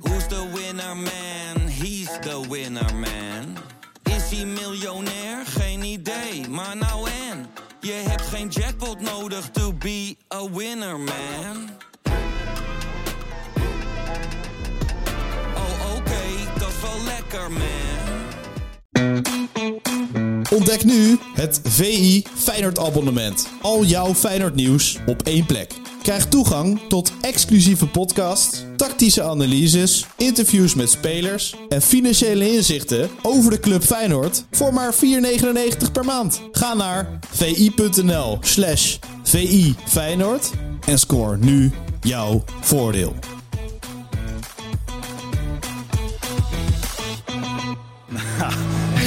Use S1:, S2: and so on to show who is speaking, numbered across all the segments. S1: Who's the winner man? He's the winner man. Is hij miljonair? Geen idee, maar nou en. Je hebt geen jackpot nodig to be a winner man. Oh oké, dat is wel lekker man.
S2: Ontdek nu het VI Feyenoord abonnement. Al jouw Feyenoord nieuws op één plek. Krijg toegang tot exclusieve podcasts, tactische analyses, interviews met spelers en financiële inzichten over de club Feyenoord voor maar 4,99 per maand. Ga naar vi.nl slash vi Feyenoord en score nu jouw voordeel.
S3: Ik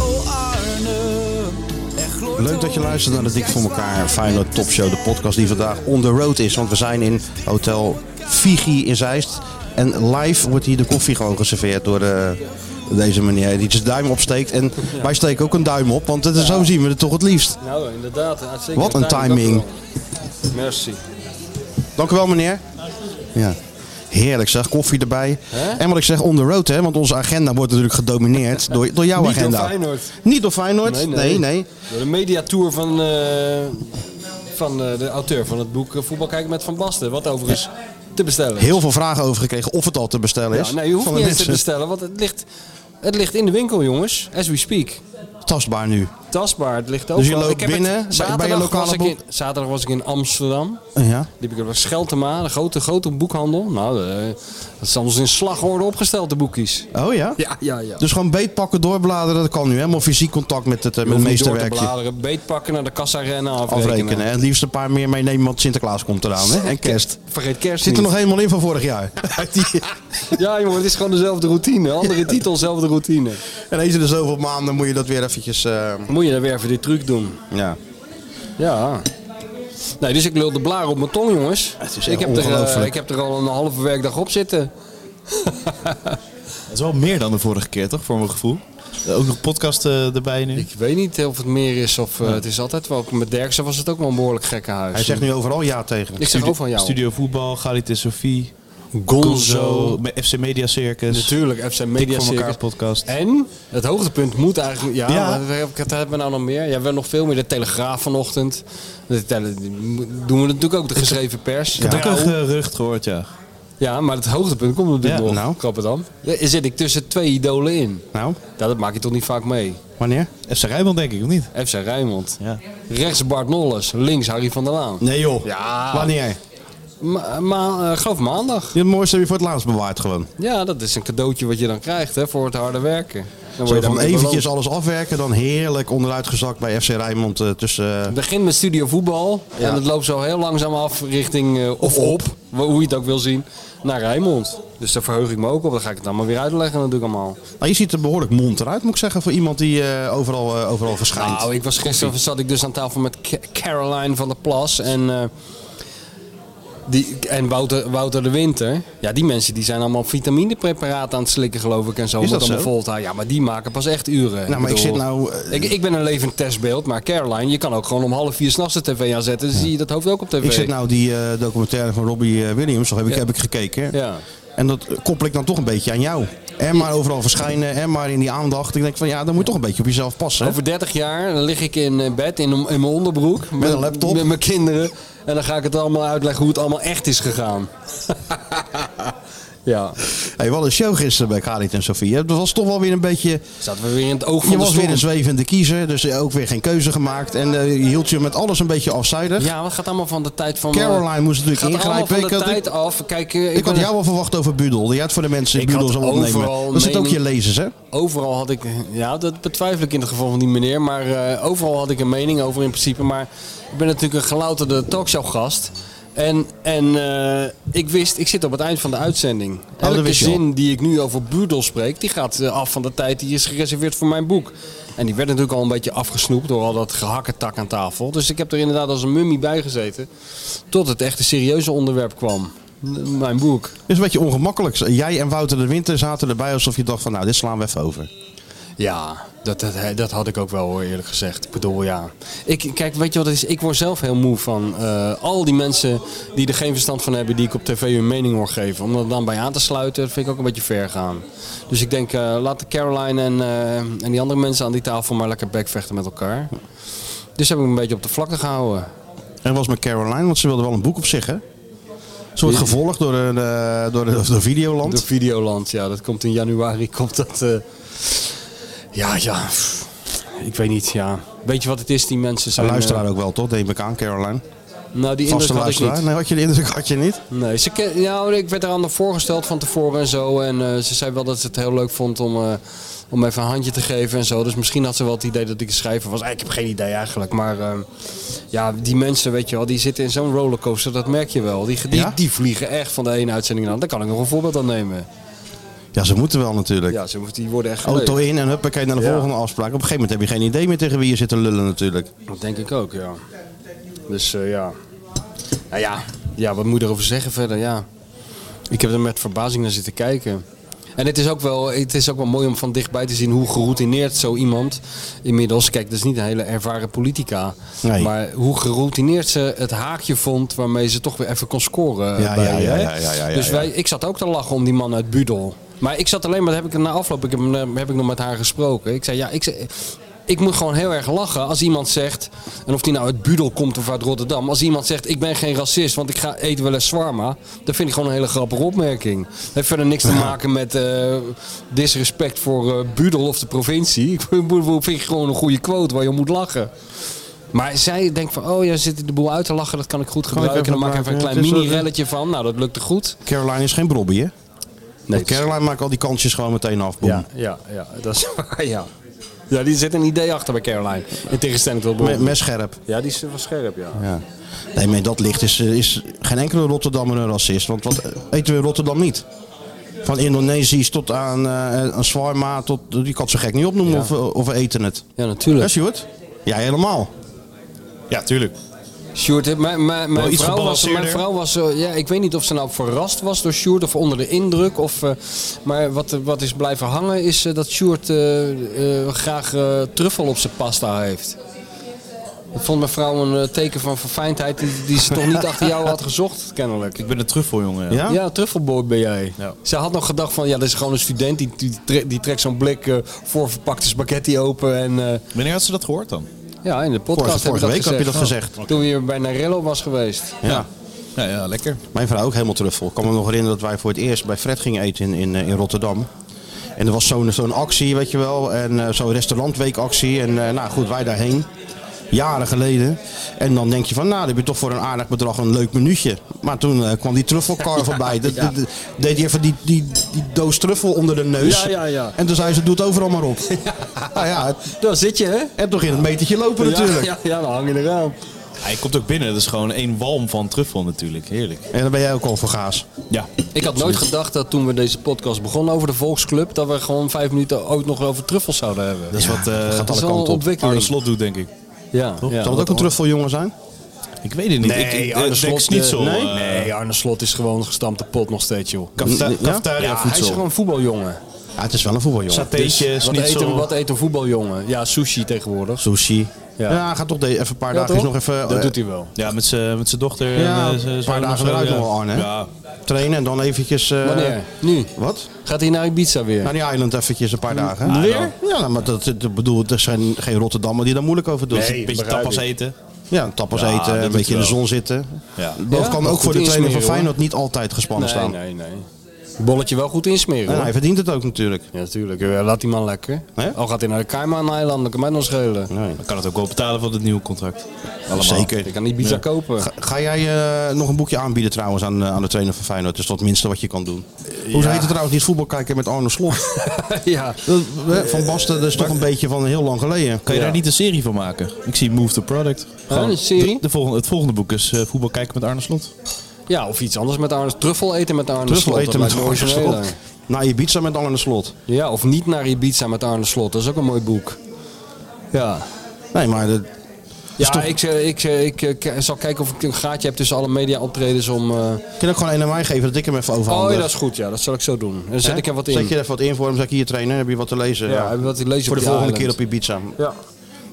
S4: Oh Arne,
S5: Leuk dat je luistert naar de Dik voor elkaar Feyenoord Top Show, de podcast die vandaag on the road is. Want we zijn in Hotel Fiji in Zeist. En live wordt hier de koffie gewoon geserveerd door eh, deze meneer die zijn duim opsteekt. En wij steken ook een duim op, want het is- zo zien we het toch het liefst.
S6: Nou, inderdaad. Uitstekend.
S5: Wat een timing.
S6: Merci.
S5: Dank u wel meneer. Ja. Heerlijk zeg, koffie erbij. En wat ik zeg, on the road hè, want onze agenda wordt natuurlijk gedomineerd door, door jouw
S6: Niet door
S5: agenda.
S6: Feyenoord.
S5: Niet door Feyenoord, nee nee.
S6: Door de mediatour van, eh, van eh, de auteur van het boek eh, Voetbal kijken met Van Basten. Wat overigens te bestellen is.
S5: Heel veel vragen over gekregen of het al te bestellen is.
S6: ja, Nee, je hoeft
S5: van
S6: niet
S5: de
S6: eens te
S5: mensen.
S6: bestellen, want het ligt, het ligt in de winkel, jongens. As we speak.
S5: Tastbaar nu.
S6: Tastbaar, het ligt ook
S5: Dus je loopt binnen bij- bij je lokale
S6: was ik in,
S5: boek?
S6: Zaterdag was ik in Amsterdam.
S5: Ja.
S6: Die heb ik op Scheltema, de grote, grote boekhandel. Nou, eh, dat is anders in slagorde opgesteld, de boekjes.
S5: Oh ja?
S6: Ja, ja, ja.
S5: Dus gewoon beetpakken, doorbladeren, dat kan nu. Helemaal fysiek contact met het, eh, met
S6: Hoef
S5: het
S6: niet door te
S5: meesterwerkje.
S6: bladeren, beetpakken, naar de kassa rennen, afrekenen.
S5: Afrekenen. hè. Het liefst een paar meer meenemen, want Sinterklaas komt eraan. Hè? En kerst.
S6: Vergeet kerst
S5: Zit er
S6: niet.
S5: nog helemaal in van vorig jaar. Die-
S6: Ja jongen, het is gewoon dezelfde routine. Andere titel, zelfde routine.
S5: en eens in de zoveel maanden moet je dat weer eventjes... eh,
S6: Moet je dan weer even die truc doen.
S5: ja.
S6: Ja. Nee, dus ik lul de blaar op mijn tong, jongens.
S5: Het is
S6: ik,
S5: echt
S6: heb er, eh,
S5: ongelooflijk.
S6: ik heb er al een halve werkdag op zitten.
S2: Dat is wel meer dan de vorige keer, toch? Voor mijn gevoel. Ook nog podcast eh, erbij nu.
S6: Ik weet niet of het meer is of eh, het is altijd wel. Met Derksen was het ook wel een behoorlijk gekke huis.
S5: Hij zegt nu overal ja tegen.
S6: ik zeg ook van jou.
S2: Studio Voetbal, Galit en Sofie. Gonzo. me- FC Media Circus.
S6: Natuurlijk, FC Media
S2: voor elkaar
S6: Circus.
S2: podcast.
S6: En het hoogtepunt moet eigenlijk. Ja,
S2: Ja.
S6: Wat, heb ik- wat hebben we nou nog meer? Ja, we hebben nog veel meer. De Telegraaf vanochtend. De tele- die mo- doen we natuurlijk ook de geschreven pers.
S2: Ik heb ook
S6: Trouw.
S2: een gerucht gehoord, ja.
S6: Ja, maar het hoogtepunt komt natuurlijk
S5: Ja,
S6: nog.
S5: nou.
S6: Grappig dan. Daar zit ik tussen twee idolen in.
S5: Nou,
S6: Ja, dat maak je toch niet vaak mee.
S5: wanneer?
S2: FC Rijnmond denk ik, of niet?
S6: FC Rijnmond.
S2: Ja.
S6: Rechts Bart Nolles, links Harry van der Laan.
S5: Nee joh.
S6: Ja.
S5: Wanneer?
S6: Ma ma eh, geloof maandag.
S5: Het mooiste heb je voor het laatst bewaard gewoon.
S6: Ja, dat is een cadeautje wat je dan krijgt hè, voor het harde werken. Dan
S5: Zo
S6: je
S5: van
S6: daarmee
S5: eventjes
S6: beloond.
S5: alles afwerken, dan heerlijk onderuitgezakt bij FC Rijnmond eh, tussen... eh,
S6: Het begint met studio voetbal. En het loopt zo heel langzaam af richting, eh, of op, wa- hoe je het ook wil zien, naar Rijnmond. Dus daar verheug ik me ook op. Dan ga ik het allemaal weer uitleggen natuurlijk allemaal.
S5: Nou, je ziet er behoorlijk monter uit, moet ik zeggen, voor iemand die eh, overal, eh, overal verschijnt.
S6: Nou, ik was gisteren zat ik dus aan tafel met Ca- Caroline van der Plas en, eh, die, en Wouter, Wouter de Winter. Ja, die mensen die zijn allemaal vitaminepreparaten aan het slikken, geloof ik, en zo.
S5: Is dat
S6: Met allemaal
S5: zo?
S6: Volta. Ja, maar die maken pas echt uren.
S5: Nou, maar ik
S6: bedoel,
S5: zit nou, eh,
S6: ik, ik ben een levend testbeeld, maar Caroline, je kan ook gewoon om half vier s'nachts de tv aanzetten. Dan zie je dat hoofd ook op tv.
S5: Ik zit nou die eh, documentaire van Robbie eh, Williams, nog heb ik,
S6: Ja.
S5: heb ik gekeken.
S6: Ja.
S5: En dat koppel ik dan toch een beetje aan jou. En maar overal verschijnen, en maar in die aandacht. Ik denk van ja, dan moet je toch een beetje op jezelf passen. hè?
S6: Over 30 jaar dan lig ik in eh, bed in, in mijn onderbroek. Met,
S5: een laptop.
S6: Met mijn kinderen. En dan ga ik het allemaal uitleggen hoe het allemaal echt is gegaan. Ja.
S5: Hey, wat een show gisteren bij Karit en Sofie. hè? Dat was toch wel weer een beetje...
S6: Zaten we weer in het oog van
S5: Je
S6: de
S5: was
S6: storm.
S5: weer een zwevende kiezer, dus ook weer geen keuze gemaakt. En eh, je hield je met alles een beetje afzijdig.
S6: Ja, wat gaat allemaal van de tijd van... eh,
S5: Caroline moest
S6: Het
S5: natuurlijk
S6: gaat allemaal
S5: ingrijpen.
S6: van de
S5: Ik had,
S6: tijd
S5: ik,
S6: af. Kijk, eh, ik,
S5: ik had
S6: ben-
S5: jou al verwacht over Budel. Die had voor de mensen
S6: Ik
S5: Budel
S6: had
S5: zou opnemen.
S6: overal
S5: Dat zit ook je
S6: mening-
S5: lezers, hè?
S6: Overal had ik, ja, dat betwijfel ik in het geval van die meneer, maar eh, overal had ik een mening over in principe. Maar ik ben natuurlijk een gelouterde talkshowgast. En, en eh, ik wist, ik zit op het eind van de uitzending.
S5: Oh, dat
S6: Elke
S5: wist je al.
S6: zin die ik nu over Budel spreek, die gaat eh, af van de tijd die is gereserveerd voor mijn boek. En die werd natuurlijk al een beetje afgesnoept door al dat gehakketak aan tafel. Dus ik heb er inderdaad als een mummie bij gezeten. Tot het echte serieuze onderwerp kwam. N- Mijn boek.
S5: Het is een beetje ongemakkelijk. Jij en Wouter de Winter zaten erbij alsof je dacht van nou, dit slaan we even over.
S6: Ja, dat, dat, dat had ik ook wel hoor, eerlijk gezegd. Ik bedoel, ja. Ik, kijk, weet je wat het is? Ik word zelf heel moe van eh, al die mensen die er geen verstand van hebben, die ik op tv hun mening hoor geven. Om dat dan bij aan te sluiten, dat vind ik ook een beetje ver gaan. Dus ik denk, eh, laat de Caroline en, eh, en die andere mensen aan die tafel maar lekker bekvechten met elkaar. Dus heb ik me een beetje op de vlakte gehouden.
S5: En was met Caroline, want ze wilde wel een boek op zich, hè? Ze wordt gevolgd door, een, eh, door, de, door Videoland.
S6: Door Videoland, ja, dat komt in januari. Komt dat, eh, Ja, ja. pff, Ik weet niet, ja. Weet je wat het is, die mensen
S5: Een
S6: zijn...
S5: luisteraar
S6: eh,
S5: ook wel, toch? Neem ik aan, Caroline.
S6: nou, die
S5: Vaste
S6: indruk had ik niet.
S5: luisteraar. Nee, had je de indruk had je niet?
S6: Nee, ze ken, ja, ik werd eraan voorgesteld van tevoren en zo. En eh, ze zei wel dat ze het heel leuk vond om, eh, om even een handje te geven en zo. Dus misschien had ze wel het idee dat ik een schrijver was. Eh, Ik heb geen idee eigenlijk. Maar eh, ja, die mensen, weet je wel, die zitten in zo'n rollercoaster. Dat merk je wel. Die, die,
S5: Ja?
S6: die vliegen echt van de ene uitzending naar de andere. Daar kan ik nog een voorbeeld aan nemen.
S5: Ja, ze moeten wel natuurlijk.
S6: Ja, ze, die worden echt
S5: Auto
S6: geleefd.
S5: in en huppakee naar de
S6: Ja.
S5: volgende afspraak. Op een gegeven moment heb je geen idee meer tegen wie je zit te lullen natuurlijk.
S6: Dat denk ik ook, ja. Dus eh, ja. Nou ja. ja, wat moet je erover zeggen verder? Ja. Ik heb er met verbazing naar zitten kijken. En het is, ook wel, het is ook wel mooi om van dichtbij te zien hoe geroutineerd zo iemand inmiddels. Kijk, dat is niet een hele ervaren politica.
S5: Nee.
S6: Maar hoe geroutineerd ze het haakje vond waarmee ze toch weer even kon scoren. eh,
S5: Ja,
S6: bij,
S5: ja, ja,
S6: hè?
S5: ja, ja, ja, ja,
S6: dus
S5: ja.
S6: wij, ik zat ook te lachen om die man uit Budel. Maar ik zat alleen maar, dat heb ik na afloop, ik heb, eh, heb ik nog met haar gesproken. Ik zei, ja, ik, zei- ik moet gewoon heel erg lachen als iemand zegt, en of die nou uit Budel komt of uit Rotterdam, als iemand zegt, ik ben geen racist, want ik ga eten wel eens zwarma, dat vind ik gewoon een hele grappige opmerking. Het heeft verder niks te maken met eh, disrespect voor eh, Budel of de provincie. Ik bedoel, vind ik gewoon een goede quote waar je om moet lachen. Maar zij denkt van, oh ja, zit de boel uit te lachen, dat kan ik goed gebruiken. En
S5: even
S6: dan maak ik even een klein
S5: gebruiken, ja. Het is wel-
S6: mini-relletje van. Nou, dat lukte goed.
S5: Caroline is geen brobby, hè?
S6: Nee,
S5: Want Caroline maakt al die kansjes gewoon meteen af. boem.
S6: ja, ja, ja, dat is waar, ja. Ja, die zit een idee achter bij Caroline. In tegenstelling tot
S5: Me-
S6: Bobby.
S5: mes scherp.
S6: Ja, die is wel scherp, ja.
S5: Ja. Nee, maar in dat licht is, eh, is geen enkele Rotterdammer een racist. Want wat eh, eten we in Rotterdam niet? Van Indonesisch tot aan, eh aan shawarma, tot, je kan het zo gek niet opnoemen of, we- of we eten het.
S6: Ja,
S5: Ja,
S6: natuurlijk.
S5: Sjoerd? Jij helemaal.
S2: Ja, tuurlijk.
S6: Sjoerd, hè, mijn, mijn, mijn,
S2: iets
S6: vrouw was, mijn
S2: gebalanceerder.
S6: vrouw was... eh, ja, ik weet niet of ze nou verrast was door Sjoerd of onder de indruk. Of, eh, maar wat, eh, wat is blijven hangen is eh, dat Sjoerd eh, eh, graag eh, truffel op zijn pasta heeft. Dat vond mijn vrouw een eh, teken van verfijndheid die, die ze toch niet achter jou had gezocht, kennelijk.
S2: Ik ben een truffeljongen.
S5: Ja?
S6: Ja, truffelboy ben jij.
S2: Ja.
S6: Ze had nog gedacht van, ja, dat is gewoon een student die, die, tre- die trekt zo'n blik eh, voorverpakte spaghetti open. En, eh,
S2: Wanneer had ze dat gehoord dan?
S6: ja, in de podcast
S5: Vorige,
S6: heb
S5: vorige
S6: ik
S5: week
S6: dat
S5: heb je dat
S6: gezegd. Oh.
S5: gezegd.
S6: Toen je bij Narello was geweest.
S5: Ja.
S2: Ja, ja lekker.
S5: Mijn vrouw ook helemaal truffel. Ik kan me nog herinneren dat wij voor het eerst bij Fred gingen eten in, in, eh, in Rotterdam. En er was zo'n zo'n actie, weet je wel. En eh, zo'n restaurantweekactie. En eh, nou goed, wij daarheen. Jaren geleden. En dan denk je van, nou, dan heb je toch voor een aardig bedrag een leuk minuutje. Maar toen eh, kwam die truffelkar voorbij. Dat- dat- dat- Deed hij even die, die, die doos truffel onder de neus.
S6: Ja, ja, ja.
S5: En toen zei ze, doe het overal maar op. Nou ja, het-
S6: Ah, Daar zit je, hè?
S5: en toch in het metertje lopen natuurlijk.
S6: Ja, ja, ja, dan hang je eraan.
S2: Hij komt ook binnen. Dat is gewoon één walm van truffel natuurlijk. Heerlijk.
S5: En dan ben jij ook al voor gaas.
S2: Ja.
S6: Ik had nooit gedacht dat toen we deze podcast begonnen over de Volksclub... dat we gewoon vijf minuten ook nog over truffels zouden hebben.
S2: Dat is wat eh
S5: gaat
S6: dat is
S5: alle
S6: wel een
S5: kanten op.
S2: Arne
S6: ontwikkeling.
S2: Slot doet, denk ik.
S6: ja, ja.
S5: Zal het ook een truffeljongen zijn?
S2: Ik weet het niet. ik, ik, eh, denk het niet zo.
S6: Nee?
S2: eh,
S6: nee, Arne Slot is gewoon een gestampte pot nog steeds, joh.
S2: Kafta-
S5: Ja? Dus
S2: Cafetaria
S6: Ja, hij is
S2: voedsel.
S6: gewoon een voetbaljongen. Dus
S5: Ja, het is wel een voetbaljongen.
S2: Satéetje,
S6: Wat eet, een,
S2: schnitzel.
S6: wat eet een voetbaljongen? Ja, sushi tegenwoordig.
S5: Sushi. Ja,
S6: Ja.
S5: hij gaat toch de- even een paar dagen
S6: toch?
S5: nog even
S6: Dat
S5: eh,
S6: doet hij wel.
S2: Ja, met zijn dochter.
S5: Ja,
S2: en, eh,
S5: een
S2: z'n
S5: paar
S2: zoon
S5: dagen
S2: of zo,
S5: eruit
S2: ja.
S5: nog wel, Arne.
S2: Ja.
S5: trainen en dan eventjes... eh,
S6: Wanneer? Nu.
S5: Wat?
S6: Gaat hij naar Ibiza weer?
S5: Naar die island eventjes een paar dagen.
S2: Weer?
S5: Ja, nou, maar dat, dat bedoel, er zijn geen Rotterdammer die daar moeilijk over doen.
S2: Een beetje
S6: begrijp
S2: tapas
S6: ik.
S2: eten.
S5: Ja, tappers
S2: Ja, dat
S5: eten, een
S2: doet
S5: beetje in de
S2: hij wel.
S5: zon zitten.
S2: Ja.
S5: Dat
S6: Ja,
S5: kan
S6: maar
S5: ook
S6: goed
S5: voor de trainer
S6: insmeren,
S5: van
S6: hoor.
S5: Feyenoord niet altijd gespannen
S6: Nee,
S5: staan.
S6: nee, nee. Bolletje wel goed insmeren.
S5: En
S6: hoor.
S5: hij verdient het ook natuurlijk.
S6: Ja, natuurlijk. Eh, Laat die man lekker.
S5: Hè?
S6: Al gaat hij naar de Cayman-eilanden, dat kan mij nog schelen.
S2: Dan kan het ook wel betalen van het nieuwe contract.
S5: Zeker.
S6: Ik kan niet pizza
S5: Ja.
S6: kopen.
S5: Ga, ga jij eh, nog een boekje aanbieden trouwens aan, eh, aan de trainer van Feyenoord? Dat is dat het minste wat je kan doen. Hoe heet het trouwens niet voetbal kijken met Arno Slot?
S6: ja.
S5: Dat- eh, van Basten, dat is toch een beetje van heel lang geleden.
S2: Kan je
S6: Ja.
S2: daar niet een serie van maken? Ik zie Move the Product.
S6: een serie?
S2: De, de volgende, het volgende boek is eh, Voetbal kijken met Arne Slot.
S6: ja, of iets anders met Arne. Truffel eten met Arne
S5: Truffel
S6: Slot,
S5: eten
S6: dat
S5: met
S6: lijkt me
S5: Arno Slot.
S6: origineler.
S5: Naar Ibiza met Arno Slot.
S6: Ja, of niet naar Ibiza met Arne Slot. Dat is ook een mooi boek. Ja.
S5: Nee, maar dat, Dus
S6: Ja, ik, eh, ik, eh, ik, eh, k- zal kijken of ik een gaatje heb tussen alle media-optredens om... eh,
S5: kun je ook gewoon een aan mij geven dat ik hem even
S6: Oh,
S5: overhandig.
S6: ja, dat is goed. Ja, dat zal ik zo doen. En dan zet
S5: Hè?
S6: ik er wat in.
S5: Zet je er even wat in voor hem, zeg ik hier trainen, heb je wat te lezen.
S6: ja, en wat ik lees
S5: Voor
S6: op
S5: de
S6: die
S5: volgende keer
S6: island.
S5: op Ibiza.
S6: Ja.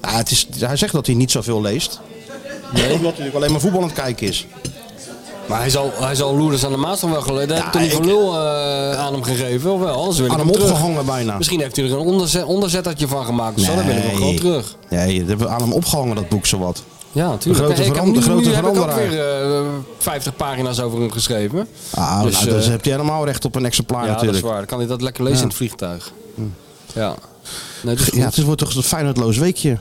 S5: Ja, het is, hij zegt dat hij niet zoveel leest. Nee. Omdat hij natuurlijk alleen maar voetbal aan het kijken is.
S6: Maar hij zal, hij zal Loerders aan de Maas nog wel geleden. Daar
S5: Ja,
S6: heb je toch niet
S5: ik-
S6: van lul eh, aan hem gegeven? Of wel? Anders wil ik
S5: Aan hem
S6: hem terug.
S5: opgehangen bijna.
S6: Misschien heeft hij er een onderzet, onderzettertje van gemaakt. of Zo, dan wil ik hem
S5: Nee.
S6: gewoon terug.
S5: Nee, dat hebben we aan hem opgehangen, dat boek zowat.
S6: Ja, natuurlijk.
S5: grote
S6: Ik heb
S5: veran- de
S6: nu-
S5: grote
S6: nu heb ik ook
S5: veranderaar.
S6: weer eh, 50 pagina's over hem geschreven.
S5: Ah,
S6: Dus,
S5: nou,
S6: eh,
S5: dan heb je helemaal recht op een exemplaar
S6: ja, dat is
S5: natuurlijk. Hm.
S6: waar. Dan kan hij dat lekker lezen in het vliegtuig. Ja. Nee, dat is
S5: Ja, het
S6: goed.
S5: is- wordt toch een Feyenoordloos weekje.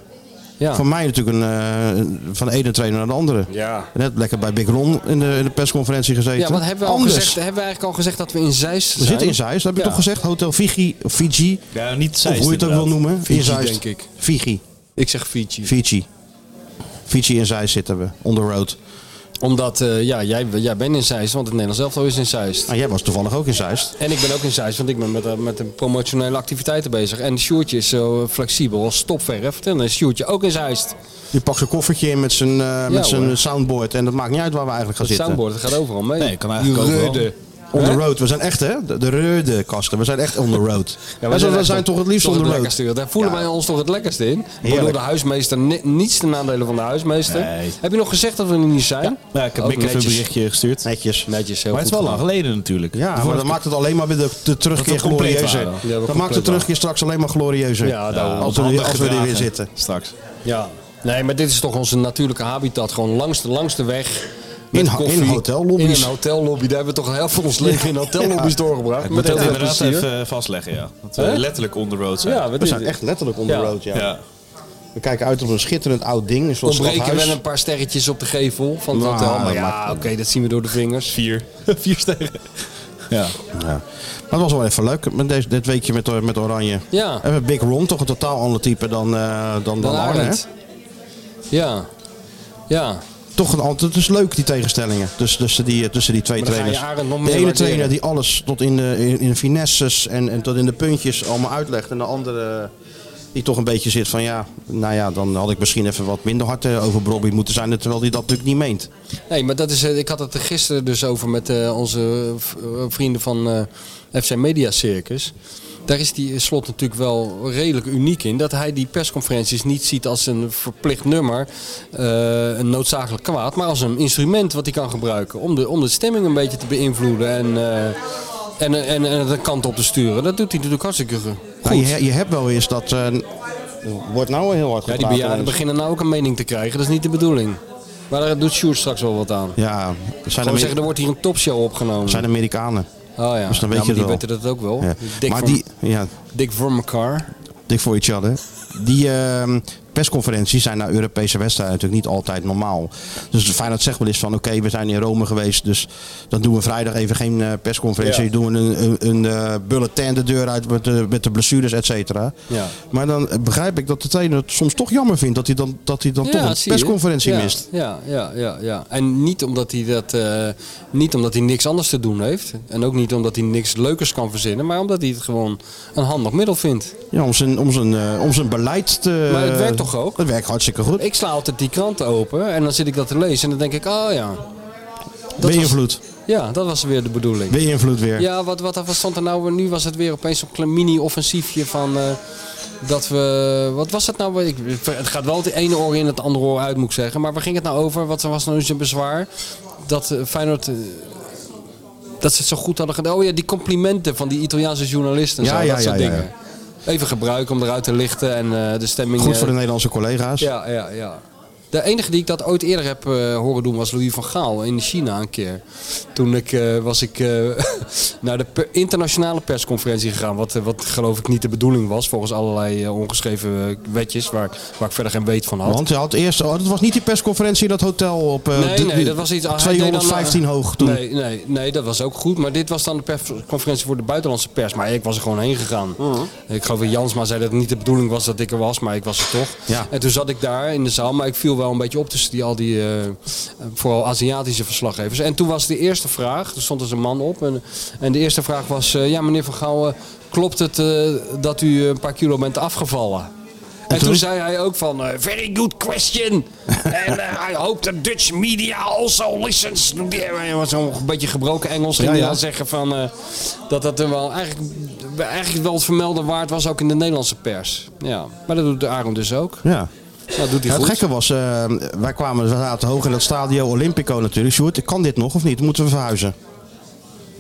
S6: ja.
S5: Van mij natuurlijk een, eh, van de ene trainer naar de andere.
S6: Ja.
S5: Net lekker bij Big Ron in de, in de persconferentie gezeten.
S6: Ja, wat hebben we, al
S5: Anders.
S6: gezegd, hebben we eigenlijk al gezegd dat we in Zeist
S5: We
S6: zijn?
S5: zitten in Zeist, dat heb je
S6: Ja.
S5: toch gezegd? Hotel Fiji, of Fiji,
S2: Ja, niet
S5: of hoe je het ook wil noemen.
S6: Fiji,
S5: in Zeist.
S6: denk ik.
S5: Fiji,
S6: Ik zeg Fiji.
S5: Fiji. Fiji in Zeist zitten we, on the road.
S6: Omdat, eh, ja, jij, jij bent in Zeist, want het Nederlands elftal is in Zeist.
S5: Nou, jij was toevallig ook in Zeist.
S6: En ik ben ook in Zeist, want ik ben met, eh, met de promotionele activiteiten bezig. En Sjoertje is zo eh, flexibel als stopverf. En dan is Sjoertje ook in Zeist.
S5: Je pakt zijn koffertje in met zijn, eh, met
S6: hoor.
S5: zijn soundboard en dat maakt niet uit waar we eigenlijk gaan
S6: Het
S5: zitten.
S6: soundboard dat gaat overal mee.
S2: Nee, kan eigenlijk
S6: Die
S2: ook wel.
S6: rudde.
S5: On the
S6: Hè?
S5: road, we zijn echt hè, de, de rode kasten, we zijn echt on the road.
S6: Ja,
S5: we zijn, we zijn
S6: echt
S5: toch het liefst on the road.
S6: lekkerste. Daar voelen wij ons toch het lekkerste in. Waardoor de huismeester ni- niets ten nadele van de huismeester.
S2: Nee.
S6: Heb je nog gezegd dat we er niet zijn?
S2: Ja, ik heb
S6: Ook
S2: Mick even een
S6: netjes.
S2: berichtje gestuurd.
S5: Netjes.
S6: Netjes, heel
S2: maar het
S6: goed
S2: is wel lang
S6: gedaan.
S2: geleden natuurlijk.
S5: Ja, maar dat maakt het alleen maar weer de, de terugkeer
S2: Dat we compleet
S5: glorieuzer.
S2: waren.
S6: Ja, we
S5: dat maakt de
S6: compleet
S5: terugkeer straks alleen maar glorieuzer.
S6: Ja, daarom.
S5: als, we,
S2: Handig
S5: als we er weer
S2: gedragen
S5: zitten.
S2: Straks.
S6: Ja. Nee, maar dit is toch onze natuurlijke habitat. Gewoon langs de, langs de weg. met
S5: In ho- in
S6: koffie.
S5: hotellobby's.
S6: In een hotellobby. Daar hebben we toch heel veel ons leven in hotellobby's doorgebracht.
S2: Ik moet
S6: Met heel
S2: dat
S6: veel
S2: inderdaad
S6: plezier.
S2: even eh, vastleggen, ja. Dat we
S6: Hè?
S2: letterlijk on the road zijn.
S6: Ja, we,
S5: eh, We
S6: dit-
S5: zijn echt letterlijk on the
S6: Ja.
S5: road, ja.
S2: Ja.
S5: We kijken uit op een schitterend oud ding. Een soort
S6: ontbreken
S5: stadhuis.
S6: wel een paar sterretjes op de gevel van het
S5: Nou,
S6: hotel. Maar
S5: dat
S6: ja,
S5: maakt-
S6: oké, dat zien we door de vingers.
S2: Vier. Vier sterren. Ja.
S5: Ja. Maar het was wel even leuk met deze, dit weekje met, eh, met Oranje.
S6: Ja.
S5: En met Big Ron toch een totaal ander type dan, eh, dan, dan
S6: Dan
S5: Arne. hè?
S6: Arend. Ja. Ja.
S5: Toch een, ander- het is leuk die tegenstellingen tussen, tussen, die, eh, tussen die twee
S6: Maar dan ga je
S5: trainers.
S6: Arend nog
S5: de
S6: meer
S5: ene
S6: waarderen.
S5: trainer die alles tot in de in, in finesses en, en tot in de puntjes allemaal uitlegt. En de andere eh, die toch een beetje zit van ja, nou ja, dan had ik misschien even wat minder hard eh, over Bobby moeten zijn. Terwijl hij dat natuurlijk niet meent.
S6: Nee, maar dat is, eh, ik had het er gisteren dus over met eh, onze v- eh, vrienden van eh, FC Media Circus. Daar is die slot natuurlijk wel redelijk uniek in. Dat hij die persconferenties niet ziet als een verplicht nummer, eh, een noodzakelijk kwaad, maar als een instrument wat hij kan gebruiken om de, om de stemming een beetje te beïnvloeden en, eh, en, en, en het een kant op te sturen. Dat doet hij natuurlijk hartstikke goed.
S5: Nou, je, je hebt wel eens dat. eh, wordt nou wel heel hard
S6: Ja, die
S5: gepraat
S6: bejaarden
S5: ineens.
S6: beginnen nou ook een mening te krijgen. Dat is niet de bedoeling. Maar daar doet Sjoerd straks wel wat aan.
S5: Ja, dat zijn,
S6: Gewoon
S5: Ameri-
S6: zeggen, er wordt hier een topshow opgenomen.
S5: zijn Amerikanen.
S6: Oh ja,
S5: Dus dan weet je
S6: ja, maar
S5: het
S6: die
S5: wel.
S6: weten dat ook wel.
S5: Ja.
S6: Dick,
S5: Maar
S6: voor,
S5: die, ja,
S6: Dick voor elkaar.
S5: dik voor each other. Die ehm, persconferenties zijn naar Europese wedstrijden natuurlijk niet altijd normaal. Dus Feyenoord zegt wel eens van oké, we zijn in Rome geweest, dus dan doen we vrijdag even geen eh, persconferentie.
S6: Ja.
S5: Doen we een, een, een eh, bulletin de deur uit met de, met de blessures, et cetera.
S6: Ja.
S5: Maar dan begrijp ik dat de trainer het soms toch jammer vindt dat hij dan, dat hij dan toch een
S6: zie je.
S5: persconferentie
S6: Ja,
S5: mist.
S6: Ja, ja, ja, ja. En niet omdat, hij dat, eh, niet omdat hij niks anders te doen heeft. En ook niet omdat hij niks leukers kan verzinnen. Maar omdat hij het gewoon een handig middel vindt.
S5: Ja, om, zijn, om, zijn, eh, om zijn beleid te...
S6: Maar het werkt toch ook?
S5: Het werkt hartstikke goed.
S6: Ik sla altijd die krant open en dan zit ik dat te lezen. En dan denk ik, oh ja. Dat was,
S5: Beïnvloed.
S6: ja, dat was weer de bedoeling.
S5: Beïnvloed weer.
S6: Ja, wat, wat, wat stond er nou? Nu was het weer opeens zo'n klein mini-offensiefje van... eh, dat we... Wat was het nou? Ik, het gaat wel het ene oor in het andere oor uit, moet ik zeggen. Maar waar ging het nou over? Wat was nou zijn bezwaar? Dat eh, Feyenoord... eh, dat ze het zo goed hadden gedaan. Oh ja, die complimenten van die Italiaanse journalisten. en
S5: Ja,
S6: zo,
S5: ja,
S6: dat soort
S5: ja, ja,
S6: dingen. Even gebruiken om eruit te lichten en eh, de stemming...
S5: Goed
S6: eh,
S5: voor de Nederlandse collega's.
S6: Ja, ja, ja. De enige die ik dat ooit eerder heb eh, horen doen was Louis van Gaal in China een keer. Toen ik, eh, was ik eh, naar de per- internationale persconferentie gegaan. Wat, eh, wat geloof ik niet de bedoeling was. Volgens allerlei eh, ongeschreven eh, wetjes waar, waar ik verder geen weet van had.
S5: Want je had eerst, oh, dat was niet die persconferentie in dat hotel op eh,
S6: Nee,
S5: de-
S6: nee, dat was iets... hij deed dan, eh,
S5: 215 hoog toen.
S6: Nee, nee, nee, dat was ook goed. Maar dit was dan de persconferentie voor de buitenlandse pers. Maar ik was er gewoon heen gegaan.
S5: Mhm.
S6: Ik geloof dat Jansma zei dat het niet de bedoeling was dat ik er was. Maar ik was er toch.
S5: Ja.
S6: En toen zat ik daar in de zaal. Maar ik viel wel een beetje op tussen die, al die... eh, vooral Aziatische verslaggevers. En toen was de eerste vraag... Er stond dus een man op. En, en de eerste vraag was... eh, ja, meneer Van Gaal, eh, klopt het eh, dat u een paar kilo bent afgevallen? En toen
S5: toen?
S6: zei hij ook van, eh, very good question. En eh, I hope the Dutch media also listens. Hij was zo'n beetje gebroken Engels. Ging
S5: Ja,
S6: hij
S5: ja.
S6: dan zeggen van, eh, dat dat er wel eigenlijk, eigenlijk wel het vermelden waard was ook in de Nederlandse pers. Ja, maar dat doet de Aaron dus ook.
S5: Ja.
S6: Ja, dat doet hij
S5: Ja, het
S6: goed.
S5: gekke was, eh, wij kwamen, we zaten hoog in dat stadio Olympico natuurlijk. Sjoerd, kan dit nog of niet? Moeten we verhuizen?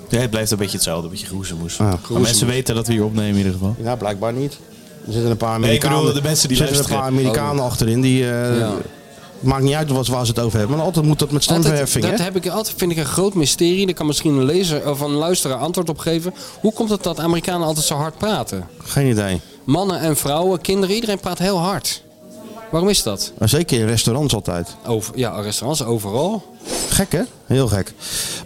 S2: Ja, het blijft een beetje hetzelfde, een beetje groezemoes.
S5: Ah.
S2: Maar mensen weten dat we hier opnemen in ieder geval.
S5: Ja, blijkbaar niet. Er zitten een paar
S2: Nee, ik
S5: Amerikanen,
S2: bedoel, de mensen die
S5: er zitten een paar
S2: luisteren. Oh.
S5: Amerikanen achterin. Die, eh,
S6: Ja.
S5: Maakt niet uit wat, waar ze het over hebben. Maar altijd moet dat met
S6: Altijd,
S5: stemverheffing.
S6: dat
S5: hè?
S6: heb ik altijd, vind ik een groot mysterie. Daar kan misschien een lezer of een luisteraar antwoord op geven. Hoe komt het dat Amerikanen altijd zo hard praten?
S5: Geen idee.
S6: Mannen en vrouwen, kinderen, iedereen praat heel hard. Waarom is dat?
S5: Maar zeker in restaurants altijd.
S6: Over, ja, restaurants overal.
S5: Gek hè? Heel gek.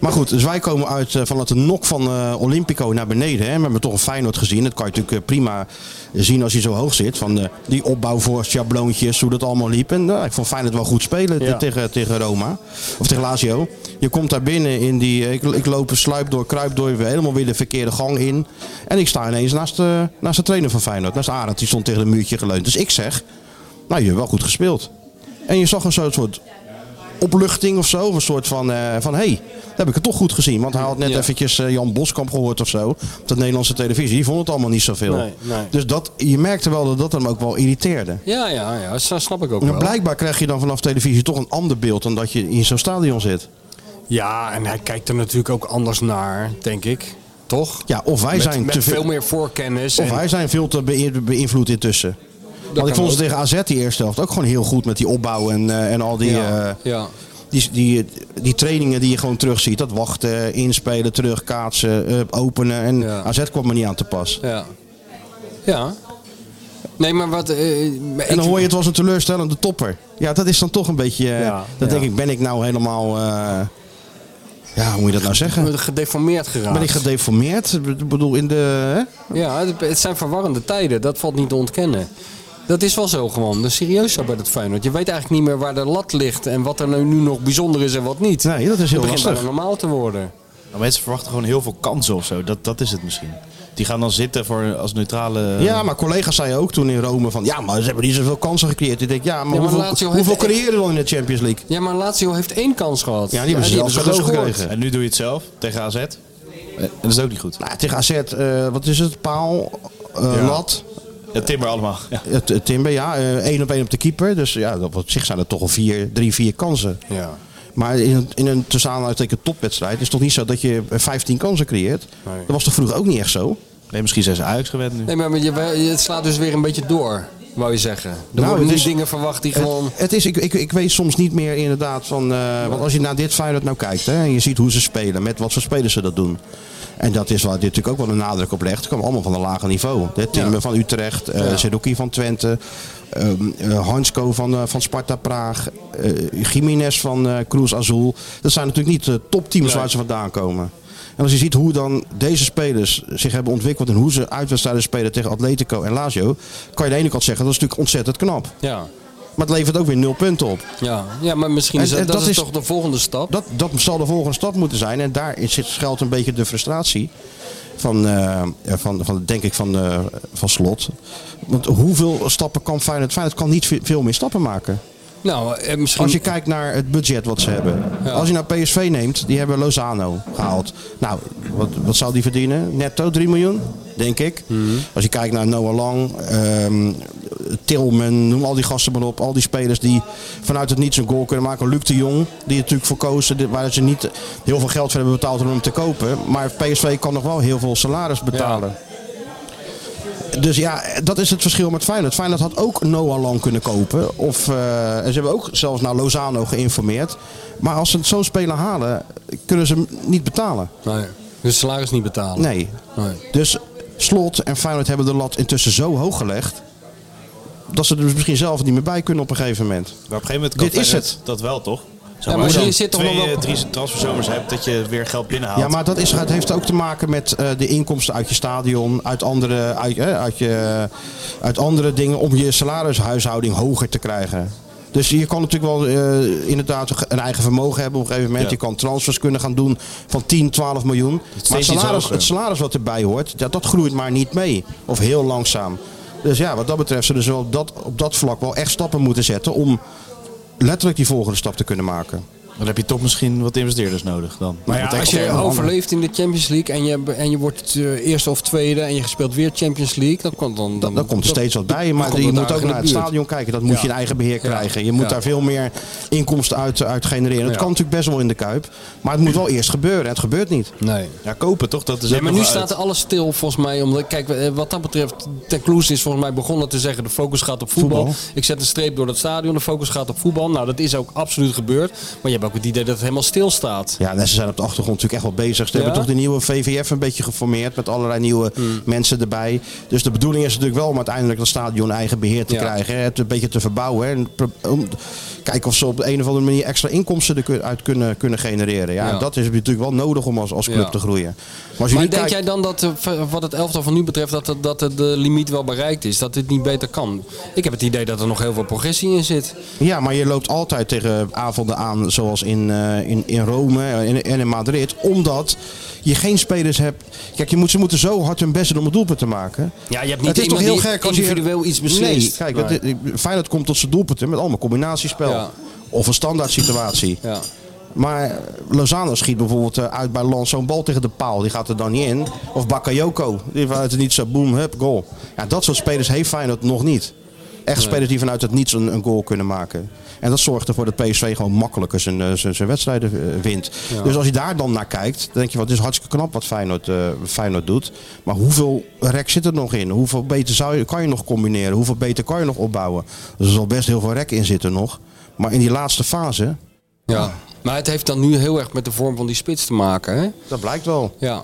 S5: Maar goed, dus wij komen uit eh, van het nok van eh, Olympico naar beneden. Hè. We hebben toch een Feyenoord gezien. Dat kan je natuurlijk eh, prima zien als je zo hoog zit. Van eh, die opbouw voor schabloontjes, hoe dat allemaal liep. En nou, ik vond Feyenoord wel goed spelen te- tegen, tegen Roma. Of tegen Lazio. Je komt daar binnen in die... eh, ik, ik loop een sluip door, kruip door, weer helemaal weer de verkeerde gang in. En ik sta ineens naast, eh, naast de trainer van Feyenoord. Naast Arend, die stond tegen een muurtje geleund. Dus ik zeg, nou je hebt wel goed gespeeld. En je zag een soort- soort opluchting of zo. Of een soort van, eh, van hé, hey, dat heb ik het toch goed gezien. Want hij had net
S6: Ja.
S5: eventjes eh, Jan Boskamp gehoord of zo. Op de Nederlandse televisie. Die vond het allemaal niet zoveel.
S6: Nee, nee.
S5: Dus dat, je merkte wel dat dat hem ook wel irriteerde.
S6: Ja, ja, ja, dat sna- snap ik ook
S5: Maar
S6: wel.
S5: blijkbaar krijg je dan vanaf televisie toch een ander beeld dan dat je in zo'n stadion zit.
S6: Ja, en hij kijkt er natuurlijk ook anders naar, denk ik. Toch?
S5: Ja, of wij
S6: Met-
S5: zijn
S6: met
S5: te veel.
S6: veel meer voorkennis.
S5: Of
S6: en-
S5: wij zijn veel te beï- beïnvloed intussen.
S6: kan
S5: Want ik vond ze
S6: ook.
S5: tegen AZ die eerste helft ook gewoon heel goed met die opbouw en, eh, en al die,
S6: Ja,
S5: eh,
S6: ja.
S5: die, die, die trainingen die je gewoon terugziet. Dat wachten, inspelen, terugkaatsen, eh, openen. En
S6: Ja.
S5: AZ kwam er niet aan te pas.
S6: ja. Ja. Nee, maar wat... eh, maar
S5: En dan
S6: ik-
S5: hoor je het was een teleurstellende topper. Ja, dat is dan toch een beetje... eh,
S6: Ja,
S5: dan
S6: ja.
S5: denk ik, ben ik nou helemaal... eh, ja, hoe moet je dat nou zeggen?
S6: Gedeformeerd geraakt.
S5: Ben ik gedeformeerd? Ik bedoel, in de... Hè?
S6: Ja, het- het zijn verwarrende tijden. Dat valt niet te ontkennen. Dat is wel zo gewoon. Dat is serieus zo bij dat Feyenoord. Je weet eigenlijk niet meer waar de lat ligt en wat er nou nu nog bijzonder is en wat niet.
S5: Nee, dat is heel
S6: het begint
S5: lastig.
S6: bijna normaal te worden.
S2: Nou, mensen verwachten gewoon heel veel kansen of zo. Dat, dat is het misschien. Die gaan dan zitten voor, als neutrale...
S5: Ja, maar collega's zeiden ook toen in Rome van... Ja, maar ze hebben niet zoveel kansen gecreëerd. Ik denk, ja, maar,
S6: Ja, maar Lazio
S5: hoeveel,
S6: heeft-
S5: hoeveel creëren we dan in de Champions League?
S6: Ja, maar Lazio heeft één kans gehad.
S5: Ja, die hebben ze zelfs
S6: hebben
S5: cadeau
S6: gescoord.
S5: gekregen.
S2: En nu doe je het zelf tegen AZ. En dat is ook niet goed.
S5: Nou, tegen AZ, eh, wat is het? Paal, eh, lat,
S2: Ja, timmer allemaal. Ja.
S5: het, het timber, ja. eh, één op één op de keeper. Dus ja, dat- op zich zijn er toch al vier, drie, vier kansen.
S6: Ja.
S5: Maar in een, in een tussen aanhalingstekens topwedstrijd is het toch niet zo dat je 15 kansen creëert? Dat was toch vroeger ook niet echt zo?
S2: Nee, misschien zijn ze Ajax gewend nu.
S6: Nee, maar je, je- het slaat dus weer een beetje door, wou je zeggen. Er worden
S5: Nou, het
S6: nu
S5: is-
S6: dingen verwacht die gewoon...
S5: Het, het is, ik, ik, ik weet soms niet meer inderdaad van... eh, want als je naar dit Feyenoord nou kijkt hè, en je ziet hoe ze spelen, met wat voor spelers ze dat doen. En dat is waar dit natuurlijk ook wel een nadruk op legt. Het kwam allemaal van een lager niveau. De Timmer van Utrecht, eh Seruki van Twente, ehm eh, Hansko van, eh, van Sparta Praag, eh Jiménez van eh Cruz Azul. Dat zijn natuurlijk niet de topteams waar ze vandaan komen. En als je ziet hoe dan deze spelers zich hebben ontwikkeld en hoe ze uitwedstrijden spelen tegen Atletico en Lazio, kan je aan de ene kant zeggen dat is natuurlijk ontzettend knap.
S6: Ja.
S5: Maar het levert ook weer nul punten op.
S6: Ja. ja, maar misschien is
S5: En-
S6: dat,
S5: en
S6: dat
S5: dat
S6: is
S5: is-
S6: toch de volgende stap.
S5: Dat, dat zal de volgende stap moeten zijn. En daar is- zit, schuilt een beetje de frustratie van, eh, van, van denk ik, van, eh, van slot. Want hoeveel stappen kan Feyenoord? Feyenoord kan niet ve- veel meer stappen maken.
S6: Nou, eh, misschien...
S5: Als je kijkt naar het budget wat ze hebben.
S6: Ja.
S5: Als je nou PSV neemt, die hebben Lozano gehaald. Nou, wat, wat zou die verdienen? Netto 3 miljoen, denk ik. Als je kijkt naar Noah Lang, ehm Tilman, noem al die gasten maar op. Al die spelers die vanuit het niets een goal kunnen maken. Luc de Jong, die er natuurlijk voor kozen, dit- waar ze niet heel veel geld voor hebben betaald om hem te kopen. Maar PSV kan nog wel heel veel salaris betalen. Dus ja, dat is het verschil met Feyenoord. Feyenoord had ook Noah Lang kunnen kopen. Of, eh, en ze hebben ook zelfs naar Lozano geïnformeerd. Maar als ze zo'n speler halen, kunnen ze hem niet betalen.
S6: Nee. Dus salaris niet betalen.
S5: Nee.
S6: Nee.
S5: Dus Slot en Feyenoord hebben de lat intussen zo hoog gelegd... dat ze er dus misschien zelf niet meer bij kunnen op een gegeven moment.
S2: Maar op een gegeven moment kan
S5: Dit is
S2: Feyenoord dat wel, toch? Zeg
S6: maar
S2: als
S6: je
S2: dan
S6: zit toch
S2: twee,
S6: nog wel-
S2: eh, drie transferzomers hebt, dat je weer geld binnenhaalt.
S5: Ja, maar dat is, het heeft ook te maken met eh, de inkomsten uit je stadion, uit andere, uit, eh, uit, je, uit andere dingen om je salarishuishouding hoger te krijgen. Dus je kan natuurlijk wel eh, inderdaad een eigen vermogen hebben op een gegeven moment.
S2: Ja.
S5: Je kan transfers kunnen gaan doen van 10, 12 miljoen. Maar het
S2: iets
S5: salaris,
S2: hoger.
S5: het salaris wat erbij hoort, dat, dat groeit maar niet mee. Of heel langzaam. Dus ja, wat dat betreft zullen ze wel op dat, op dat vlak wel echt stappen moeten zetten om letterlijk die volgende stap te kunnen maken.
S2: Dan heb je toch misschien wat investeerders nodig dan.
S6: Maar ja,
S2: Wat
S6: als je
S2: externe handen.
S6: overleeft in de Champions League en je, en je wordt eh, eerste of tweede en je speelt weer Champions League, dan komt dan.
S5: Dan, komt er steeds wat bij. Maar
S6: komt
S5: je
S6: het
S5: moet ook
S6: aardig in
S5: naar
S6: de
S5: het
S6: buurt.
S5: stadion kijken. Dat moet
S6: Ja.
S5: je in eigen beheer
S6: Ja.
S5: krijgen. Je moet
S6: Ja.
S5: daar veel meer inkomsten uit, uit genereren. Dat
S6: Ja.
S5: kan natuurlijk best wel in de kuip. Maar het moet wel eerst gebeuren. En het gebeurt niet.
S6: Nee.
S2: Ja, kopen toch? Dat is
S6: Nee,
S2: ook
S6: maar
S2: nog
S6: nu
S2: wel
S6: staat
S2: uit.
S6: alles stil volgens mij. Omdat, kijk, eh, wat dat betreft, Ten Kloes is volgens mij begonnen te zeggen... de focus gaat op voetbal.
S5: Voetbal.
S6: Ik zet een streep door dat stadion, de focus gaat op voetbal. Nou, dat is ook absoluut gebeurd. Maar je hebt ook het idee dat het helemaal stilstaat.
S5: Ja, en ze zijn op de achtergrond natuurlijk echt wel bezig. Ze
S6: Ja? Mm.
S5: hebben toch de nieuwe VVF een beetje geformeerd. Met allerlei nieuwe mensen erbij. Dus de bedoeling is natuurlijk wel om uiteindelijk dat stadion eigen beheer te
S6: Ja.
S5: krijgen. hè. Het een beetje te verbouwen. hè. En pro- om- kijken of ze op de een of andere manier extra inkomsten eruit kunnen, kunnen genereren. Ja,
S6: Ja.
S5: en dat is natuurlijk wel nodig om als, als club
S6: Ja.
S5: te groeien. Maar, als je
S6: Maar
S5: nu
S6: denk
S5: kijkt-
S6: jij dan dat, eh, ver- wat het elftal van nu betreft, dat, het- dat het de limiet wel bereikt is? Dat dit niet beter kan? Ik heb het idee dat er nog heel veel progressie in zit.
S5: Ja, maar je loopt altijd tegen avonden aan, zoals in, eh, in, in Rome en in, en in Madrid. Omdat je geen spelers hebt. Kijk, je moet, ze moeten zo hard hun best doen om een doelpunt te maken.
S6: Ja, je hebt
S5: het is toch heel gek als je
S6: individueel iets
S5: Nee,
S6: beslist.
S5: kijk, dat, Feyenoord komt tot zijn doelpunten met allemaal combinatiespel.
S6: Ja.
S5: Of een standaard situatie.
S6: Ja.
S5: Maar Lozano schiet bijvoorbeeld eh, uit bij Lans zo'n bal tegen de paal. Die gaat er dan niet in. Of Bakayoko. Die vanuit het niets zo boom, hup, goal. Ja, dat soort spelers heeft Feyenoord nog niet. Echt spelers die vanuit het niets een, een goal kunnen maken. En dat zorgt ervoor dat PSV gewoon makkelijker zijn, eh, zijn, zijn wedstrijden eh, wint. Dus als je daar dan naar kijkt, dan denk je, wat het is hartstikke knap wat Feyenoord, eh, Feyenoord doet. Maar hoeveel rek zit er nog in? Hoeveel beter zou je, kan je nog combineren? Hoeveel beter kan je nog opbouwen? Dus er zal best heel veel rek in zitten nog. Maar in die laatste fase,
S6: Ja. Maar het heeft dan nu heel erg met de vorm van die spits te maken, hè?
S5: dat blijkt wel.
S6: Ja.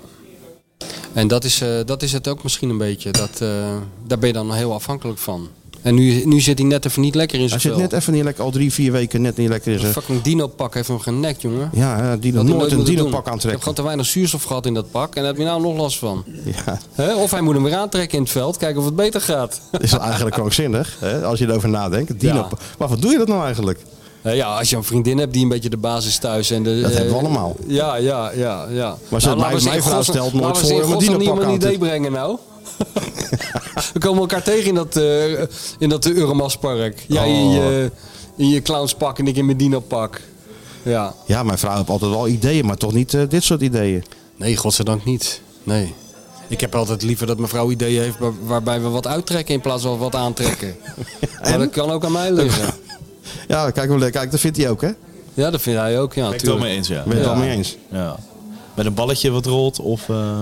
S6: En dat is, eh, dat is het ook misschien een beetje. Dat, eh, daar ben je dan heel afhankelijk van. En nu, nu zit hij net even niet lekker in
S5: Hij
S6: zijn
S5: zit
S6: vel.
S5: net even niet lekker, al drie, vier weken net niet lekker in
S6: Een
S5: zijn.
S6: fucking dino-pak heeft hem genekt, jongen.
S5: Ja, hè, die
S6: Dat
S5: nog
S6: had hij
S5: nooit een
S6: moeten doen.
S5: dino-pak
S6: Ik heb
S5: aantrekken.
S6: gewoon te weinig zuurstof gehad in dat pak. En daar heb je nou nog last van.
S5: Ja,
S6: Hè? Of hij moet hem weer aantrekken in het veld. Kijken of het beter gaat.
S5: dat is wel eigenlijk krankzinnig, hè, als je erover nadenkt. Dino
S6: Ja.
S5: Maar wat doe je dat nou eigenlijk?
S6: Eh, ja, als je een vriendin hebt die een beetje de basis thuis. En de,
S5: Dat
S6: eh,
S5: hebben we allemaal.
S6: Ja, ja, ja. ja. Nou,
S5: Maar ze- mijn- mijn vrouw stelt nooit voor om een
S6: Laten we niet
S5: dino-pak
S6: een
S5: aan te-
S6: idee brengen nou. we komen elkaar tegen in dat, eh in dat Euromaspark. Jij in, je, in je clownspak en ik in mijn dino-pak. Ja.
S5: Ja, mijn vrouw heeft altijd wel ideeën, maar toch niet eh, dit soort ideeën.
S6: Nee, godzijdank niet. Nee. Ik heb altijd liever dat mevrouw ideeën heeft waar- waarbij we wat uittrekken in plaats van wat aantrekken. Maar dat kan ook aan mij liggen.
S5: Ja, kijk, hoe le- kijk dat vindt hij ook, hè?
S6: Ja, dat vind jij ook. Ja,
S2: Ben ik het wel
S6: natuurlijk.
S2: mee eens, ja.
S5: Ben je het
S6: Ja.
S5: al mee eens?
S2: ja. Met een balletje wat rolt of eh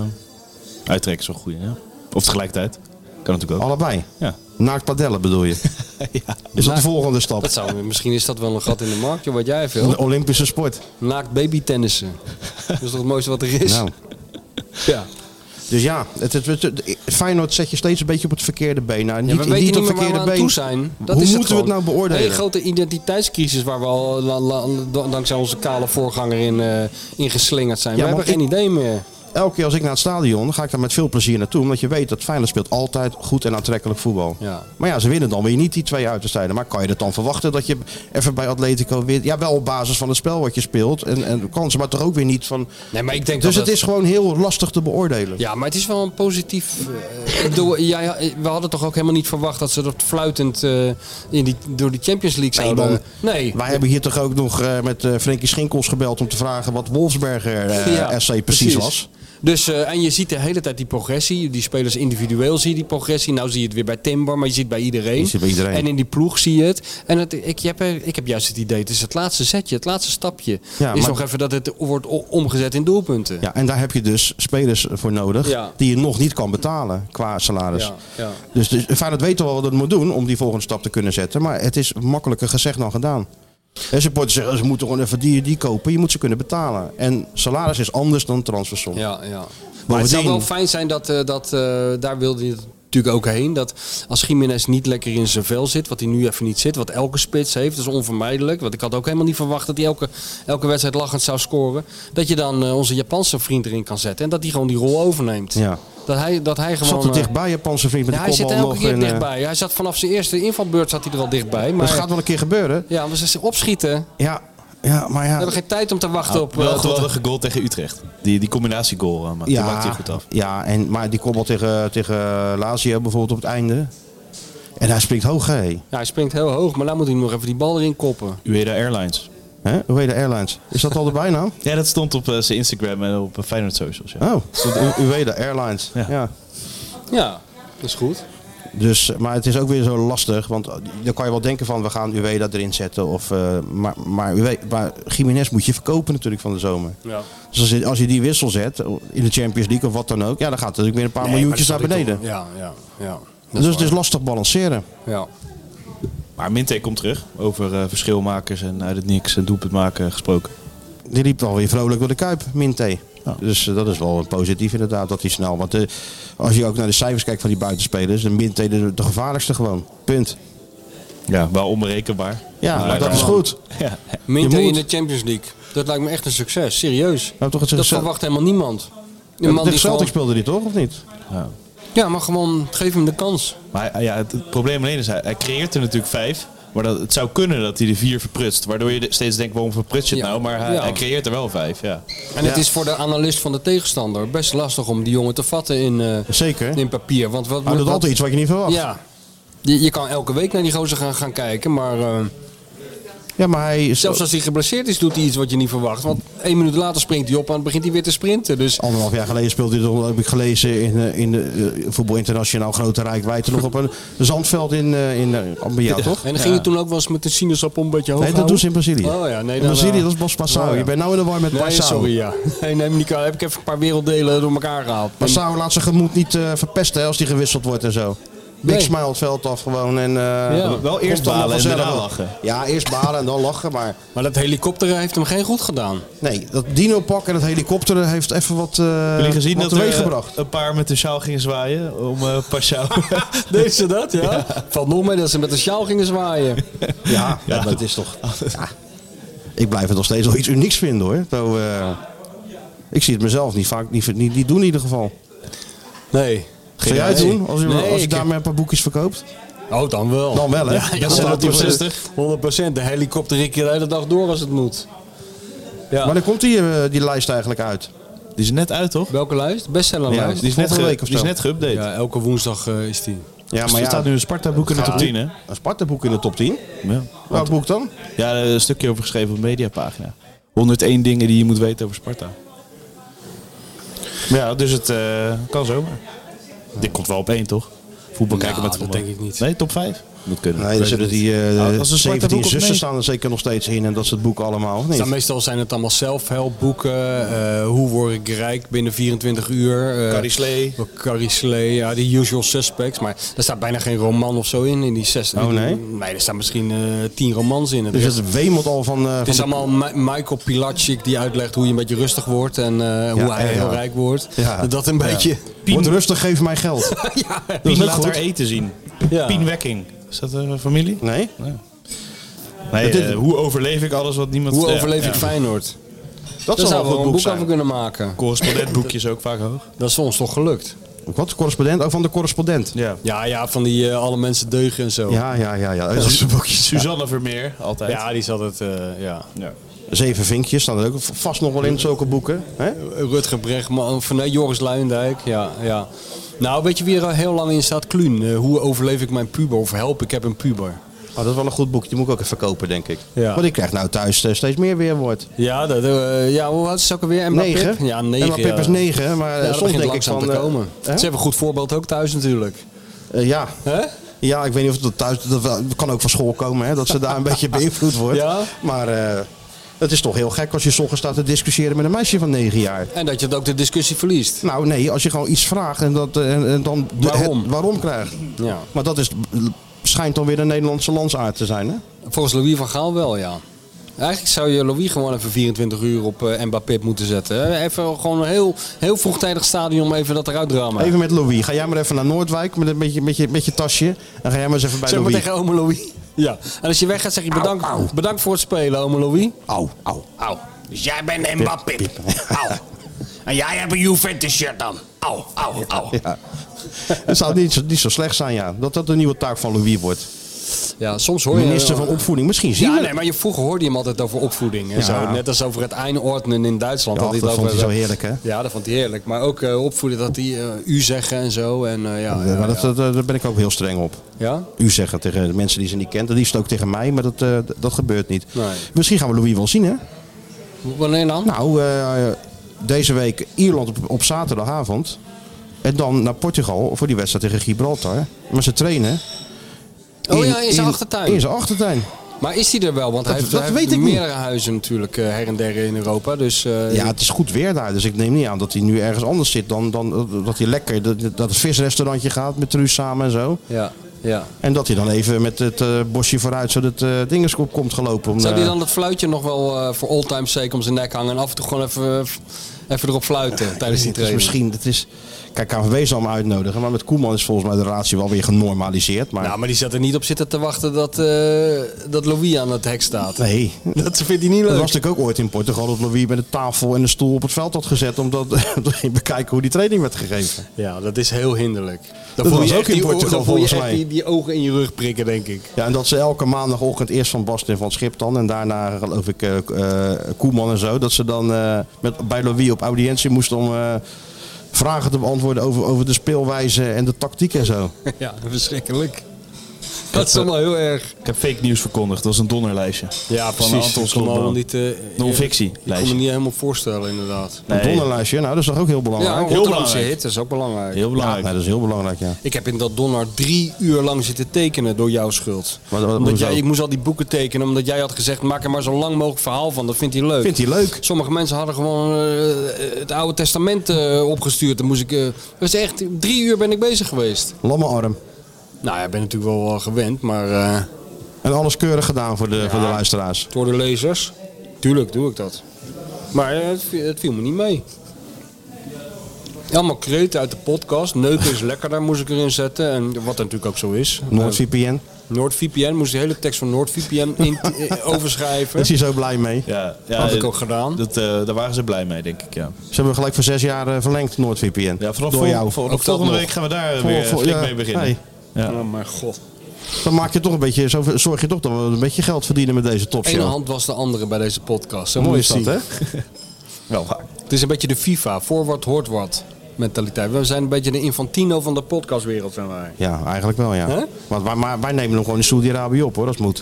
S2: uittrekken is wel goed, ja. Of tegelijkertijd. Kan natuurlijk ook.
S5: Allebei.
S2: Ja. Dus
S5: Naakt padellen bedoel je? Is dat de
S6: Naakt-
S5: volgende stap?
S6: Dat zou, misschien is dat wel een gat in de markt, joh, wat jij
S5: Een
S6: veel.
S5: Olympische sport.
S6: Naakt babytennissen. Dat is toch het mooiste wat er is?
S5: Nou.
S6: Ja.
S5: Dus ja, het, het, het- het- Feyenoord zet je steeds een beetje op het verkeerde been. Nou,
S6: Ja,
S5: niet,
S6: we
S5: niet
S6: weten niet
S5: op
S6: meer waar we
S5: verkeerde
S6: aan
S5: been.
S6: toe zijn. Dat
S5: Hoe
S6: is
S5: moeten we het
S6: gewoon.
S5: nou beoordelen?
S6: Een grote identiteitscrisis waar we al la- la- la- dankzij onze kale voorganger in, eh, in geslingerd zijn.
S5: Ja,
S6: we
S5: maar
S6: hebben geen idee meer.
S5: elke keer als ik naar het stadion ga ik daar met veel plezier naartoe. Omdat je weet dat Feyenoord speelt altijd goed en aantrekkelijk voetbal.
S6: Ja.
S5: Maar ja, ze winnen dan weer niet die twee uitwedstrijden. Maar kan je dat dan verwachten dat je even bij Atletico wint? Ja, wel op basis van het spel wat je speelt. En, en kansen, maar toch ook weer niet van...
S6: Nee, maar ik denk
S5: Dus
S6: dat
S5: het is gewoon heel lastig te beoordelen.
S6: Ja, maar het is wel een positief. eh, ik bedoel, jij, we hadden toch ook helemaal niet verwacht dat ze dat fluitend eh, in die, door de Champions League
S5: Nee,
S6: zouden. nee,
S5: Wij hebben hier toch ook nog eh, met eh Frenkie Schinkels gebeld om te vragen wat Wolfsberger eh,
S6: Ja,
S5: SC precies, was.
S6: Dus, eh, en je ziet de hele tijd die progressie. Die spelers individueel zie je die progressie. Nou zie je het weer bij Timber, maar je ziet het bij iedereen.
S5: Je ziet het bij iedereen.
S6: En in die ploeg zie je het. En het, ik, heb, ik heb juist het idee, het is het laatste zetje, het laatste stapje.
S5: Ja,
S6: is
S5: maar-
S6: nog even dat het wordt o- omgezet in doelpunten.
S5: Ja, en daar heb je dus spelers voor nodig
S6: Ja.
S5: die je nog niet kan betalen qua salaris.
S6: Ja, ja.
S5: Dus, dus Feyenoord weet wel wat het moet doen om die volgende stap te kunnen zetten. Maar het is makkelijker gezegd dan gedaan. En supporters zeggen, "Oh, ze moeten gewoon even die en die kopen. Je moet ze kunnen betalen. En salaris is anders dan transfersom.
S6: Ja, ja. Maar het
S5: Bovendien-
S6: zou wel fijn zijn dat, eh, dat eh, daar wilde hij het natuurlijk ook heen. Dat als Jiménez niet lekker in zijn vel zit, wat hij nu even niet zit, wat elke spits heeft, dat is onvermijdelijk. Want ik had ook helemaal niet verwacht dat hij elke, elke wedstrijd lachend zou scoren. Dat je dan eh, onze Japanse vriend erin kan zetten en dat hij gewoon die rol overneemt.
S5: Ja.
S6: Dat hij, dat hij gewoon.
S5: Zat er
S6: eh,
S5: dichtbij, Japanse vriend met
S6: ja,
S5: de
S6: hij zit
S5: kopbal
S6: elke
S5: nog.
S6: keer
S5: en, eh,
S6: dichtbij. Hij zat vanaf zijn eerste invalbeurt zat hij er al dichtbij. Maar
S5: Dat gaat wel een keer gebeuren.
S6: ja, maar ze opschieten.
S5: Ja, ja maar
S6: We
S5: ja.
S6: hebben geen tijd om te wachten op. eh,
S2: Wel een
S6: God-
S2: geweldige goal tegen Utrecht. Die, die combinatiegoal, eh, maar die maakt hij goed af.
S5: Ja, en, maar die kopbal tegen, tegen Lazio bijvoorbeeld op het einde. En hij springt hoog, hè?
S6: ja, hij springt heel hoog, maar nou moet hij nog even die bal erin koppen.
S2: Ueda Airlines.
S5: hè? Hoe heet de Airlines? Is dat al de bijnaam?
S2: Ja, dat stond op eh, zijn Instagram en op eh, Feyenoord Socials. Ja.
S5: Oh, U- Ueda Airlines. Ja.
S2: Ja.
S6: Ja, dat is goed.
S5: Dus, maar het is ook weer zo lastig, want eh, dan kan je wel denken van we gaan Ueda erin zetten. Of, eh, maar, maar, Uwe- maar Jiménez moet je verkopen natuurlijk van de zomer.
S6: Ja.
S5: Dus als je, als je die wissel zet in de Champions League of wat dan ook, ja, dan gaat er natuurlijk weer een paar miljoentjes naar beneden.
S6: Ja, ja, ja.
S5: Dus het is lastig balanceren.
S6: Ja.
S2: Maar Minte komt terug. Over eh, verschilmakers en uit het niks en doelpunt maken gesproken.
S5: Die liep alweer vrolijk door de Kuip, Minté. Dus eh, dat is wel een positief inderdaad, dat hij snel. Want eh, als je ook naar de cijfers kijkt van die buitenspelers, dan Minté de, de gevaarlijkste gewoon. Punt.
S2: Ja, wel onberekenbaar. eh,
S5: Ja, maar dat is
S2: ja.
S5: goed.
S2: Ja.
S6: Minter
S5: Je
S6: in
S5: moet-
S6: de Champions League. Dat lijkt me echt een succes, serieus.
S5: Nou, toch, het is
S6: dat
S5: zo-
S6: verwacht helemaal niemand. De
S5: De
S6: man die
S5: Celtic
S6: gewoon,
S5: speelde die toch, of niet?
S6: ja, maar gewoon geef hem de kans.
S2: Maar hij- ja, het, het probleem alleen is, hij, hij creëert er natuurlijk vijf. Maar dat, het zou kunnen dat hij de vier verprutst. Waardoor je de- steeds denkt, waarom verprutst je het
S6: Ja.
S2: nou? Maar hij,
S6: Ja.
S2: hij creëert er wel vijf, ja.
S5: Eh,
S6: En het is voor de analist van de tegenstander best lastig om die jongen te vatten in, eh,
S5: Zeker.
S6: in papier. Want wat,
S5: Maar dat is
S6: wat-
S5: altijd iets wat je niet verwacht. Ja,
S6: Ja. Je, je kan elke week naar die gozer gaan, gaan kijken, maar eh,
S5: maar hij is
S6: zelfs als hij geblesseerd is, doet hij iets wat je niet verwacht. Want één minuut later springt hij op en begint hij weer te sprinten. Dus
S5: anderhalf jaar geleden speelde hij toch, heb ik gelezen, in, eh, in de eh, voetbal internationaal grote rijkwijde nog op een zandveld in, eh, in eh, Ambia, toch?
S6: En dan ging je toen ook wel eens met een sinaasappel een beetje hoog
S5: Nee, dat doen ze in Brazilië.
S6: Oh ja, nee,
S5: in
S6: dan,
S5: Brazilië,
S6: eh,
S5: dat is Bas Passau.
S6: oh ja.
S5: Je bent nou in de war met
S6: Nee,
S5: Passau.
S6: sorry, ja. Nee, neem me niet kwalijk. Heb ik even een paar werelddelen door elkaar gehaald.
S5: Passau laat zijn gemoed niet eh, verpesten hè, als die gewisseld wordt en zo.
S6: Nee.
S5: Big smile het veld af gewoon en... eh, komt
S2: Wel eerst
S5: dan
S2: balen en
S5: vanzelf
S2: daarna
S5: wel.
S2: lachen.
S5: Ja, eerst balen en dan lachen, maar...
S6: Maar dat helikopter heeft hem geen goed gedaan.
S5: Nee, dat dino-pak en het helikopter heeft even wat, eh
S2: Jullie gezien
S5: wat
S2: dat er
S5: teweeg
S2: eh,
S5: gebracht.
S2: een paar met de sjaal gingen zwaaien om eh Pashao.
S6: Deed ze dat, ja? Valt nog mee dat ze met een sjaal gingen zwaaien.
S5: Ja, maar dat is toch. Ja. Ik blijf het nog steeds wel iets unieks vinden hoor. Zo, eh, ik zie het mezelf niet vaak niet, niet, niet doen in ieder geval.
S6: Nee.
S5: Ga jij het
S6: Nee.
S5: doen als je,
S6: Nee,
S5: als je
S6: ik-
S5: daarmee een paar boekjes verkoopt?
S6: Oh, dan wel.
S5: Dan wel, hè?
S6: Ja, ja,
S5: Dan staat die
S6: 100%.
S5: voor
S6: 100%. De helikopter ik je de hele dag door als het moet. Ja.
S5: Maar dan komt die, eh, die lijst eigenlijk uit.
S2: Die is er net uit, toch?
S6: Welke lijst? Bestsellerlijst?
S5: Ja,
S2: Die is net,
S5: Volgende
S2: ge-
S5: week of
S2: die is
S5: zo.
S2: net geüpdate.
S6: Ja, elke woensdag eh, is die.
S5: Ja,
S2: Dus
S5: maar
S2: er
S5: ja,
S2: staat nu een Sparta-boek in de top 10, hè?
S5: een Sparta-boek in de top 10.
S2: Ja.
S5: Welk boek dan?
S2: Ja, er is een stukje over geschreven op de mediapagina. 101 dingen die je moet weten over Sparta. Ja, dus het eh, kan zomaar. Dit komt wel op één, toch? Voetbal kijken
S6: Nou,
S2: met
S6: dat
S2: voetbal.
S6: denk ik niet.
S2: Nee, top 5. Moet kunnen.
S5: Nee, er zullen die eh,
S2: Nou, als een Sparta-boek
S5: 17
S2: op
S5: zussen
S2: mee-
S5: staan er zeker nog steeds in. En dat is het boek allemaal, of niet?
S6: Ja, meestal zijn het allemaal zelfhelpboeken. eh, hoe word ik rijk binnen 24 uur? eh,
S2: Carrie Slee.
S6: Carrie Slee, ja, die usual suspects. Maar daar staat bijna geen roman of zo in, in die zes.
S5: Oh, nee?
S6: Nee, er staan misschien eh, tien romans in.
S5: Dus het wemelt al van... eh, van
S6: het is
S5: de-
S6: allemaal Ma- Michael Pilacic die uitlegt hoe je een beetje rustig wordt en eh, hoe hij
S5: ja,
S6: heel
S5: ja.
S6: rijk wordt.
S5: Ja.
S6: Dat een beetje.
S5: Word rustig, geef mij geld.
S6: ja,
S2: Dat is
S5: ook
S2: laat
S5: goed.
S2: haar eten zien.
S6: Ja.
S2: Pien Wekking. Is dat een familie?
S5: Nee?
S2: Nee,
S5: dit-
S2: eh, hoe overleef ik alles wat niemand...
S6: Hoe
S2: ja,
S6: overleef
S2: ja.
S6: ik Feyenoord?
S5: Dat
S6: Daar
S5: zal wel
S6: zouden we
S5: een
S6: een
S5: goed boek
S6: boek
S5: zijn.
S6: over kunnen maken.
S2: Correspondentboekje is ook vaak hoog.
S6: Dat is ons toch gelukt?
S5: Wat? Correspondent? Ook van de correspondent.
S2: Ja.
S6: Ja, ja, van die eh, alle mensen deugen en zo.
S5: Ja, ja, ja. ja. Dat is een boekje.
S2: Suzanne Vermeer, altijd.
S6: Ja, die zat het, eh, ja.
S5: Zeven vinkjes staan er ook vast nog wel in zulke boeken. Hè?
S6: Rutger Bregman, van nee, Joris Luijendijk, ja, ja. Nou, weet je wie er al heel lang in staat? Kluun. Eh, hoe overleef ik mijn puber of help ik heb een puber?
S5: Maar dat is wel een goed boek. Die moet ik ook even kopen, denk ik.
S6: Ja.
S5: Want ik krijg nou thuis eh, steeds meer weerwoord.
S6: Ja, dat, eh, ja, hoe oud is het ook alweer? Emma Pip?
S5: Negen.
S6: Ja, negen.
S5: Emma Pip
S6: ja.
S5: is negen, maar eh,
S6: Ja, dat
S5: soms
S6: begint
S5: denk ik
S6: langzaam
S5: van...
S6: te
S5: eh,
S6: komen. Ze
S5: hè?
S6: hebben een goed voorbeeld ook thuis natuurlijk.
S5: Eh, ja.
S6: Hè?
S5: ja, ik weet niet of dat thuis... Dat wel- dat kan ook van school komen, hè, dat ze daar een beetje beïnvloed wordt.
S6: Ja.
S5: Maar eh, het is toch heel gek als je 's ochtends staat te discussiëren met een meisje van negen jaar.
S6: En dat je het ook de discussie verliest.
S5: Nou nee, als je gewoon iets vraagt en, dat, eh, en, en dan de-
S6: Waarom?
S5: het waarom krijgt.
S6: Ja.
S5: Maar dat is, schijnt dan weer een Nederlandse landsaard te zijn, hè?
S6: Volgens Louis van Gaal wel, ja. Eigenlijk zou je Louis gewoon even 24 uur op eh, Mbappé moeten zetten. hè. Even gewoon een heel, heel vroegtijdig stadion om even dat eruit te ramen.
S5: Even met Louis. Ga jij maar even naar Noordwijk met, een beetje, met, je, met je tasje. En ga jij maar eens even bij
S6: zeg maar
S5: Louis.
S6: tegen ome Louis. Ja. En als je weggaat zeg je bedankt, bedankt voor het spelen, ome Louis.
S5: Au, au.
S7: Au. Dus jij bent Mbappé. Au. En jij hebt een Juventus shirt aan. Au, au, au.
S5: Ja. Het zou niet zo, niet zo slecht zijn, ja. Dat dat de nieuwe taak van Louis wordt.
S6: Oh, Ja, soms hoor je...
S5: Minister van Opvoeding. Misschien zien
S6: Ja,
S5: we
S6: nee, maar je, vroeger hoorde je hem altijd over opvoeding. En zo. Net als over het einordnen in Duitsland.
S5: Ja,
S6: had hij
S5: dat
S6: het
S5: vond
S6: over-
S5: hij zo heerlijk, hè?
S6: Ja, dat vond hij heerlijk. Maar ook eh, opvoeden dat hij eh, u zeggen en zo. En, eh, ja,
S5: Ja,
S6: ja,
S5: maar dat,
S6: ja.
S5: dat- daar ben ik ook heel streng op.
S6: Ja?
S5: U zeggen tegen de mensen die ze niet kent. Het liefst ook tegen mij, maar dat, eh, d- dat gebeurt niet.
S6: Nee.
S5: Misschien gaan we Louis wel zien, hè?
S6: Wanneer dan?
S5: Nou, eh, deze week Ierland op, op zaterdagavond. En dan naar Portugal voor die wedstrijd tegen Gibraltar. Maar ze trainen.
S6: oh ja, in zijn achtertuin.
S5: In zijn achtertuin.
S6: Maar is hij er wel? Want hij
S5: Dat-
S6: heeft,
S5: dat
S6: hij
S5: weet
S6: heeft
S5: ik niet.
S6: meerdere huizen natuurlijk eh, her en der in Europa. Dus eh,
S5: Ja, het is goed weer daar. Dus ik neem niet aan dat hij nu ergens anders zit dan, dan dat hij lekker dat, dat het visrestaurantje gaat met Truus samen en zo.
S6: ja, ja.
S5: En dat hij dan even met het eh, bosje vooruit zodat eh dingenskop komt gelopen. Om,
S6: Zou
S5: eh,
S6: hij dan dat fluitje nog wel eh, voor all time sake om zijn nek hangen en af en toe gewoon even, eh, even erop fluiten tijdens die
S5: het is
S6: training?
S5: misschien, het is, kijk, KNVB zal hem uitnodigen. Maar met Koeman is volgens mij de relatie wel weer genormaliseerd. Maar,
S6: Nou, maar die zat er niet op zitten te wachten dat, eh, dat Louis aan het hek staat.
S5: nee,
S6: Dat vindt hij niet leuk.
S5: dat was natuurlijk ook ooit in Portugal dat Louis met een tafel en een stoel op het veld had gezet. Omdat omdat hij bekijken hoe die training werd gegeven.
S6: Ja, dat is heel hinderlijk. Dan
S5: Dat
S6: voel
S5: was
S6: je
S5: ook
S6: echt
S5: in
S6: die
S5: Portugal,
S6: ogen- dan voel je
S5: volgens
S6: echt
S5: mij.
S6: Die, die ogen in je rug prikken, denk ik.
S5: Ja, en dat ze elke maandagochtend eerst van Bast en van Schip dan. En daarna geloof ik eh, eh, Koeman en zo. Dat ze dan eh, met, bij Louis op audiëntie moesten om eh, vragen te beantwoorden over, over de speelwijze en de tactiek en zo.
S6: Ja, verschrikkelijk. Dat is allemaal heel erg.
S2: Ik heb fake nieuws verkondigd. Dat is een donderlijstje.
S6: Ja, van
S2: Precies,
S6: Anton
S2: dat
S6: kon
S2: klopt
S6: allemaal
S2: wel.
S6: niet... eh,
S2: Non-fictie
S6: Ik kon me
S2: lijstje.
S6: niet helemaal voorstellen, inderdaad.
S5: Een donderlijstje, nou dat is toch ook heel
S6: Ja,
S5: belangrijk?
S6: een Rotterdamse
S2: belangrijk.
S6: hit, dat is ook belangrijk.
S2: Heel
S5: Ja,
S2: belangrijk.
S5: nee, dat is heel belangrijk, ja.
S6: Ik heb in dat Donner drie uur lang zitten tekenen door jouw schuld.
S5: Wat- wat-
S6: omdat
S5: hoezo?
S6: jij, ik moest al die boeken tekenen omdat jij had gezegd, maak er maar zo lang mogelijk verhaal van. Dat vindt hij leuk.
S5: Vindt hij leuk?
S6: Sommige mensen hadden gewoon eh, het Oude Testament eh, opgestuurd. Dan moest ik, eh, dat was echt, drie uur ben ik bezig geweest.
S5: Lamme arm.
S6: Nou ja, ik ben natuurlijk wel eh, gewend, maar eh,
S5: En alles keurig gedaan voor de, voor de luisteraars.
S6: door de lezers, tuurlijk doe ik dat. Maar eh, het, viel, het viel me niet mee. Allemaal kreten uit de podcast. Neuken is lekkerder moest ik erin zetten. En wat natuurlijk ook zo is. Eh,
S5: NoordVPN.
S6: NoordVPN moest de hele tekst van NoordVPN in, eh, overschrijven.
S5: Daar is hij zo blij mee.
S2: Ja, ja,
S6: Had ik
S2: eh,
S6: ook gedaan.
S2: Dat, eh, daar waren ze blij mee, denk ik, ja.
S5: Ze hebben gelijk voor zes jaar eh, verlengd, NoordVPN.
S2: ja vanaf
S5: Door
S2: vol-
S5: jou.
S2: vol-
S6: dat
S2: volgende
S6: nog.
S2: week gaan we daar
S5: Vol-
S2: weer
S5: vol-
S2: flink
S5: ja,
S2: mee beginnen.
S5: hey.
S2: Ja.
S6: Oh mijn god.
S5: Dan maak je toch een beetje, zo zorg je toch dat we een beetje geld verdienen met deze
S6: Ene
S5: topshow.
S6: hand was de andere bij deze podcast. Zo
S5: Mooi
S6: moet
S5: is
S6: je
S5: dat,
S6: het
S5: hè?
S6: zien.
S2: Wel waar.
S6: Het is een beetje de FIFA. Voor wat hoort wat mentaliteit. We zijn een beetje de Infantino van de podcastwereld, zijn wij.
S5: Ja, eigenlijk wel, ja.
S6: Hè?
S5: Want wij, maar wij nemen hem gewoon in Saudi-Arabië op, hoor, als het moet.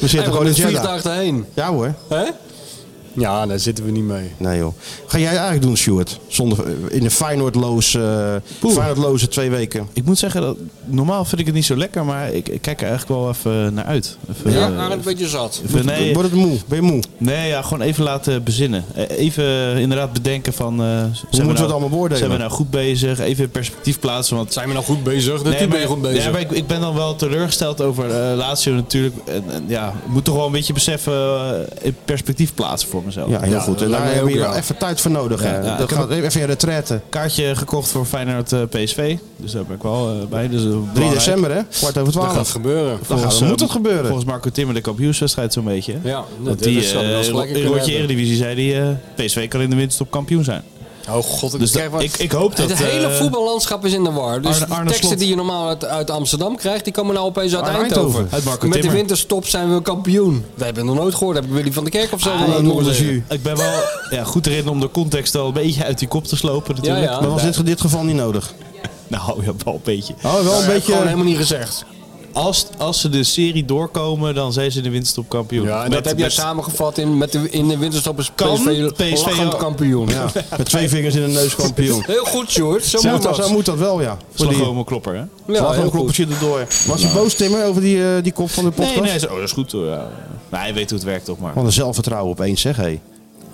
S5: We zitten gewoon in
S6: Oh. het
S5: Jeddah.
S6: vliegtuig daarheen.
S5: Ja, hoor.
S6: Hè? Ja, daar zitten we niet mee.
S5: Nee, joh. Ga jij eigenlijk doen, Stuart? Zonder, eh, in de Feyenoordloze, eh,
S2: Poeh.
S5: Feyenoordloze twee weken.
S2: Ik moet zeggen, dat, normaal vind ik het niet zo lekker, maar ik, ik kijk er eigenlijk wel even naar uit. Even,
S6: Ja,
S2: eh,
S6: maar een beetje zat.
S2: even- nee,
S5: Wordt het moe? Ben je moe?
S2: nee ja, gewoon even laten bezinnen. Eh, Even eh, inderdaad bedenken van... eh, zijn we
S5: moeten we
S2: nou-
S5: het allemaal beoordelen?
S2: Zijn we nou goed bezig? Even in perspectief plaatsen, want
S6: Zijn we nou goed bezig? Natuurlijk ben je
S2: maar-
S6: goed bezig.
S2: nee, maar ik, ik ben dan wel teleurgesteld over eh Lazio natuurlijk. En, en ja, ik moet toch wel een beetje beseffen, eh, in perspectief plaatsen voor mezelf.
S5: Ja, heel
S6: Ja,
S5: goed.
S6: dat
S5: En
S6: lijkt
S5: daar
S6: mij
S5: hebben we
S6: ook,
S5: hier wel
S6: ja.
S5: even tijd voor nodig. hè.
S2: Ja, ja, ik
S5: dat
S2: heb
S5: gaat even een retraite.
S2: Kaartje gekocht voor Feyenoord eh, PSV. Dus daar ben ik wel eh, bij. Dus, eh,
S5: 3
S2: belangrijk.
S5: december, hè? Kwart over
S6: Dat gaat
S5: twaalf.
S6: gebeuren.
S5: gaat-
S2: eh,
S5: moet het gebeuren.
S2: Volgens Marco Timmer de kampioenswedstrijd zo'n beetje. hè?
S6: Ja,
S2: Want
S6: dat
S2: die
S6: zou
S2: eh,
S6: je wel eens
S2: in
S6: lekker
S2: rondje
S6: kunnen hebben.
S2: Eredivisie zei hij, eh, PSV kan in de winst op kampioen zijn.
S6: Oh god, ik
S2: Dus
S6: krijg
S2: dat-
S6: wat-
S2: ik- ik hoop dat,
S6: Het hele
S2: eh,
S6: voetballandschap is in de war. Dus
S2: Arne-
S6: de
S2: Arne
S6: teksten
S2: Slot.
S6: die je normaal uit, uit Amsterdam krijgt, die komen nou opeens uit
S5: Arne
S6: Eindhoven.
S5: Eindhoven.
S2: Uit Marco
S6: Met de
S2: Timmer.
S6: winterstop zijn we kampioen. Dat hebben we nog nooit gehoord. Dat heb ik Willy van der Kerk of zo nog nooit
S5: Noord
S6: horen
S5: is
S6: zeggen.
S5: u.
S2: Ik ben wel ja, goed erin om de context al een beetje uit die kop te slopen natuurlijk.
S6: Ja, ja.
S5: Maar was dit, in dit geval niet nodig?
S2: Nou ja, wel een beetje.
S5: Oh, wel een
S6: Dat heb ik
S5: beetje...
S6: gewoon helemaal niet gezegd.
S2: als, als ze de serie doorkomen, dan zijn ze de winststop kampioen.
S6: Ja, en
S2: Met-
S6: dat heb jij
S2: met-
S6: samengevat in, met de, in de winterstop is
S2: Kan
S6: PSV,
S2: PSV
S6: lachend
S2: ook.
S6: kampioen. Ja.
S5: Met twee vingers in de neus kampioen.
S6: Heel goed, Sjoerd. Zo
S5: Zo
S6: moet
S5: moet,
S6: dat.
S5: zo moet dat wel, ja. Voor die,
S2: Slagroom en klopper, hè?
S6: Ja, heel goed.
S5: kloppertje erdoor. Was je boos, Timmer, over die, eh, die kop van de podcast?
S2: Nee, nee, zo, oh, dat is goed. hoor, Ja. Nou, hij weet hoe het werkt toch maar.
S5: Wat een zelfvertrouwen opeens, zeg hé.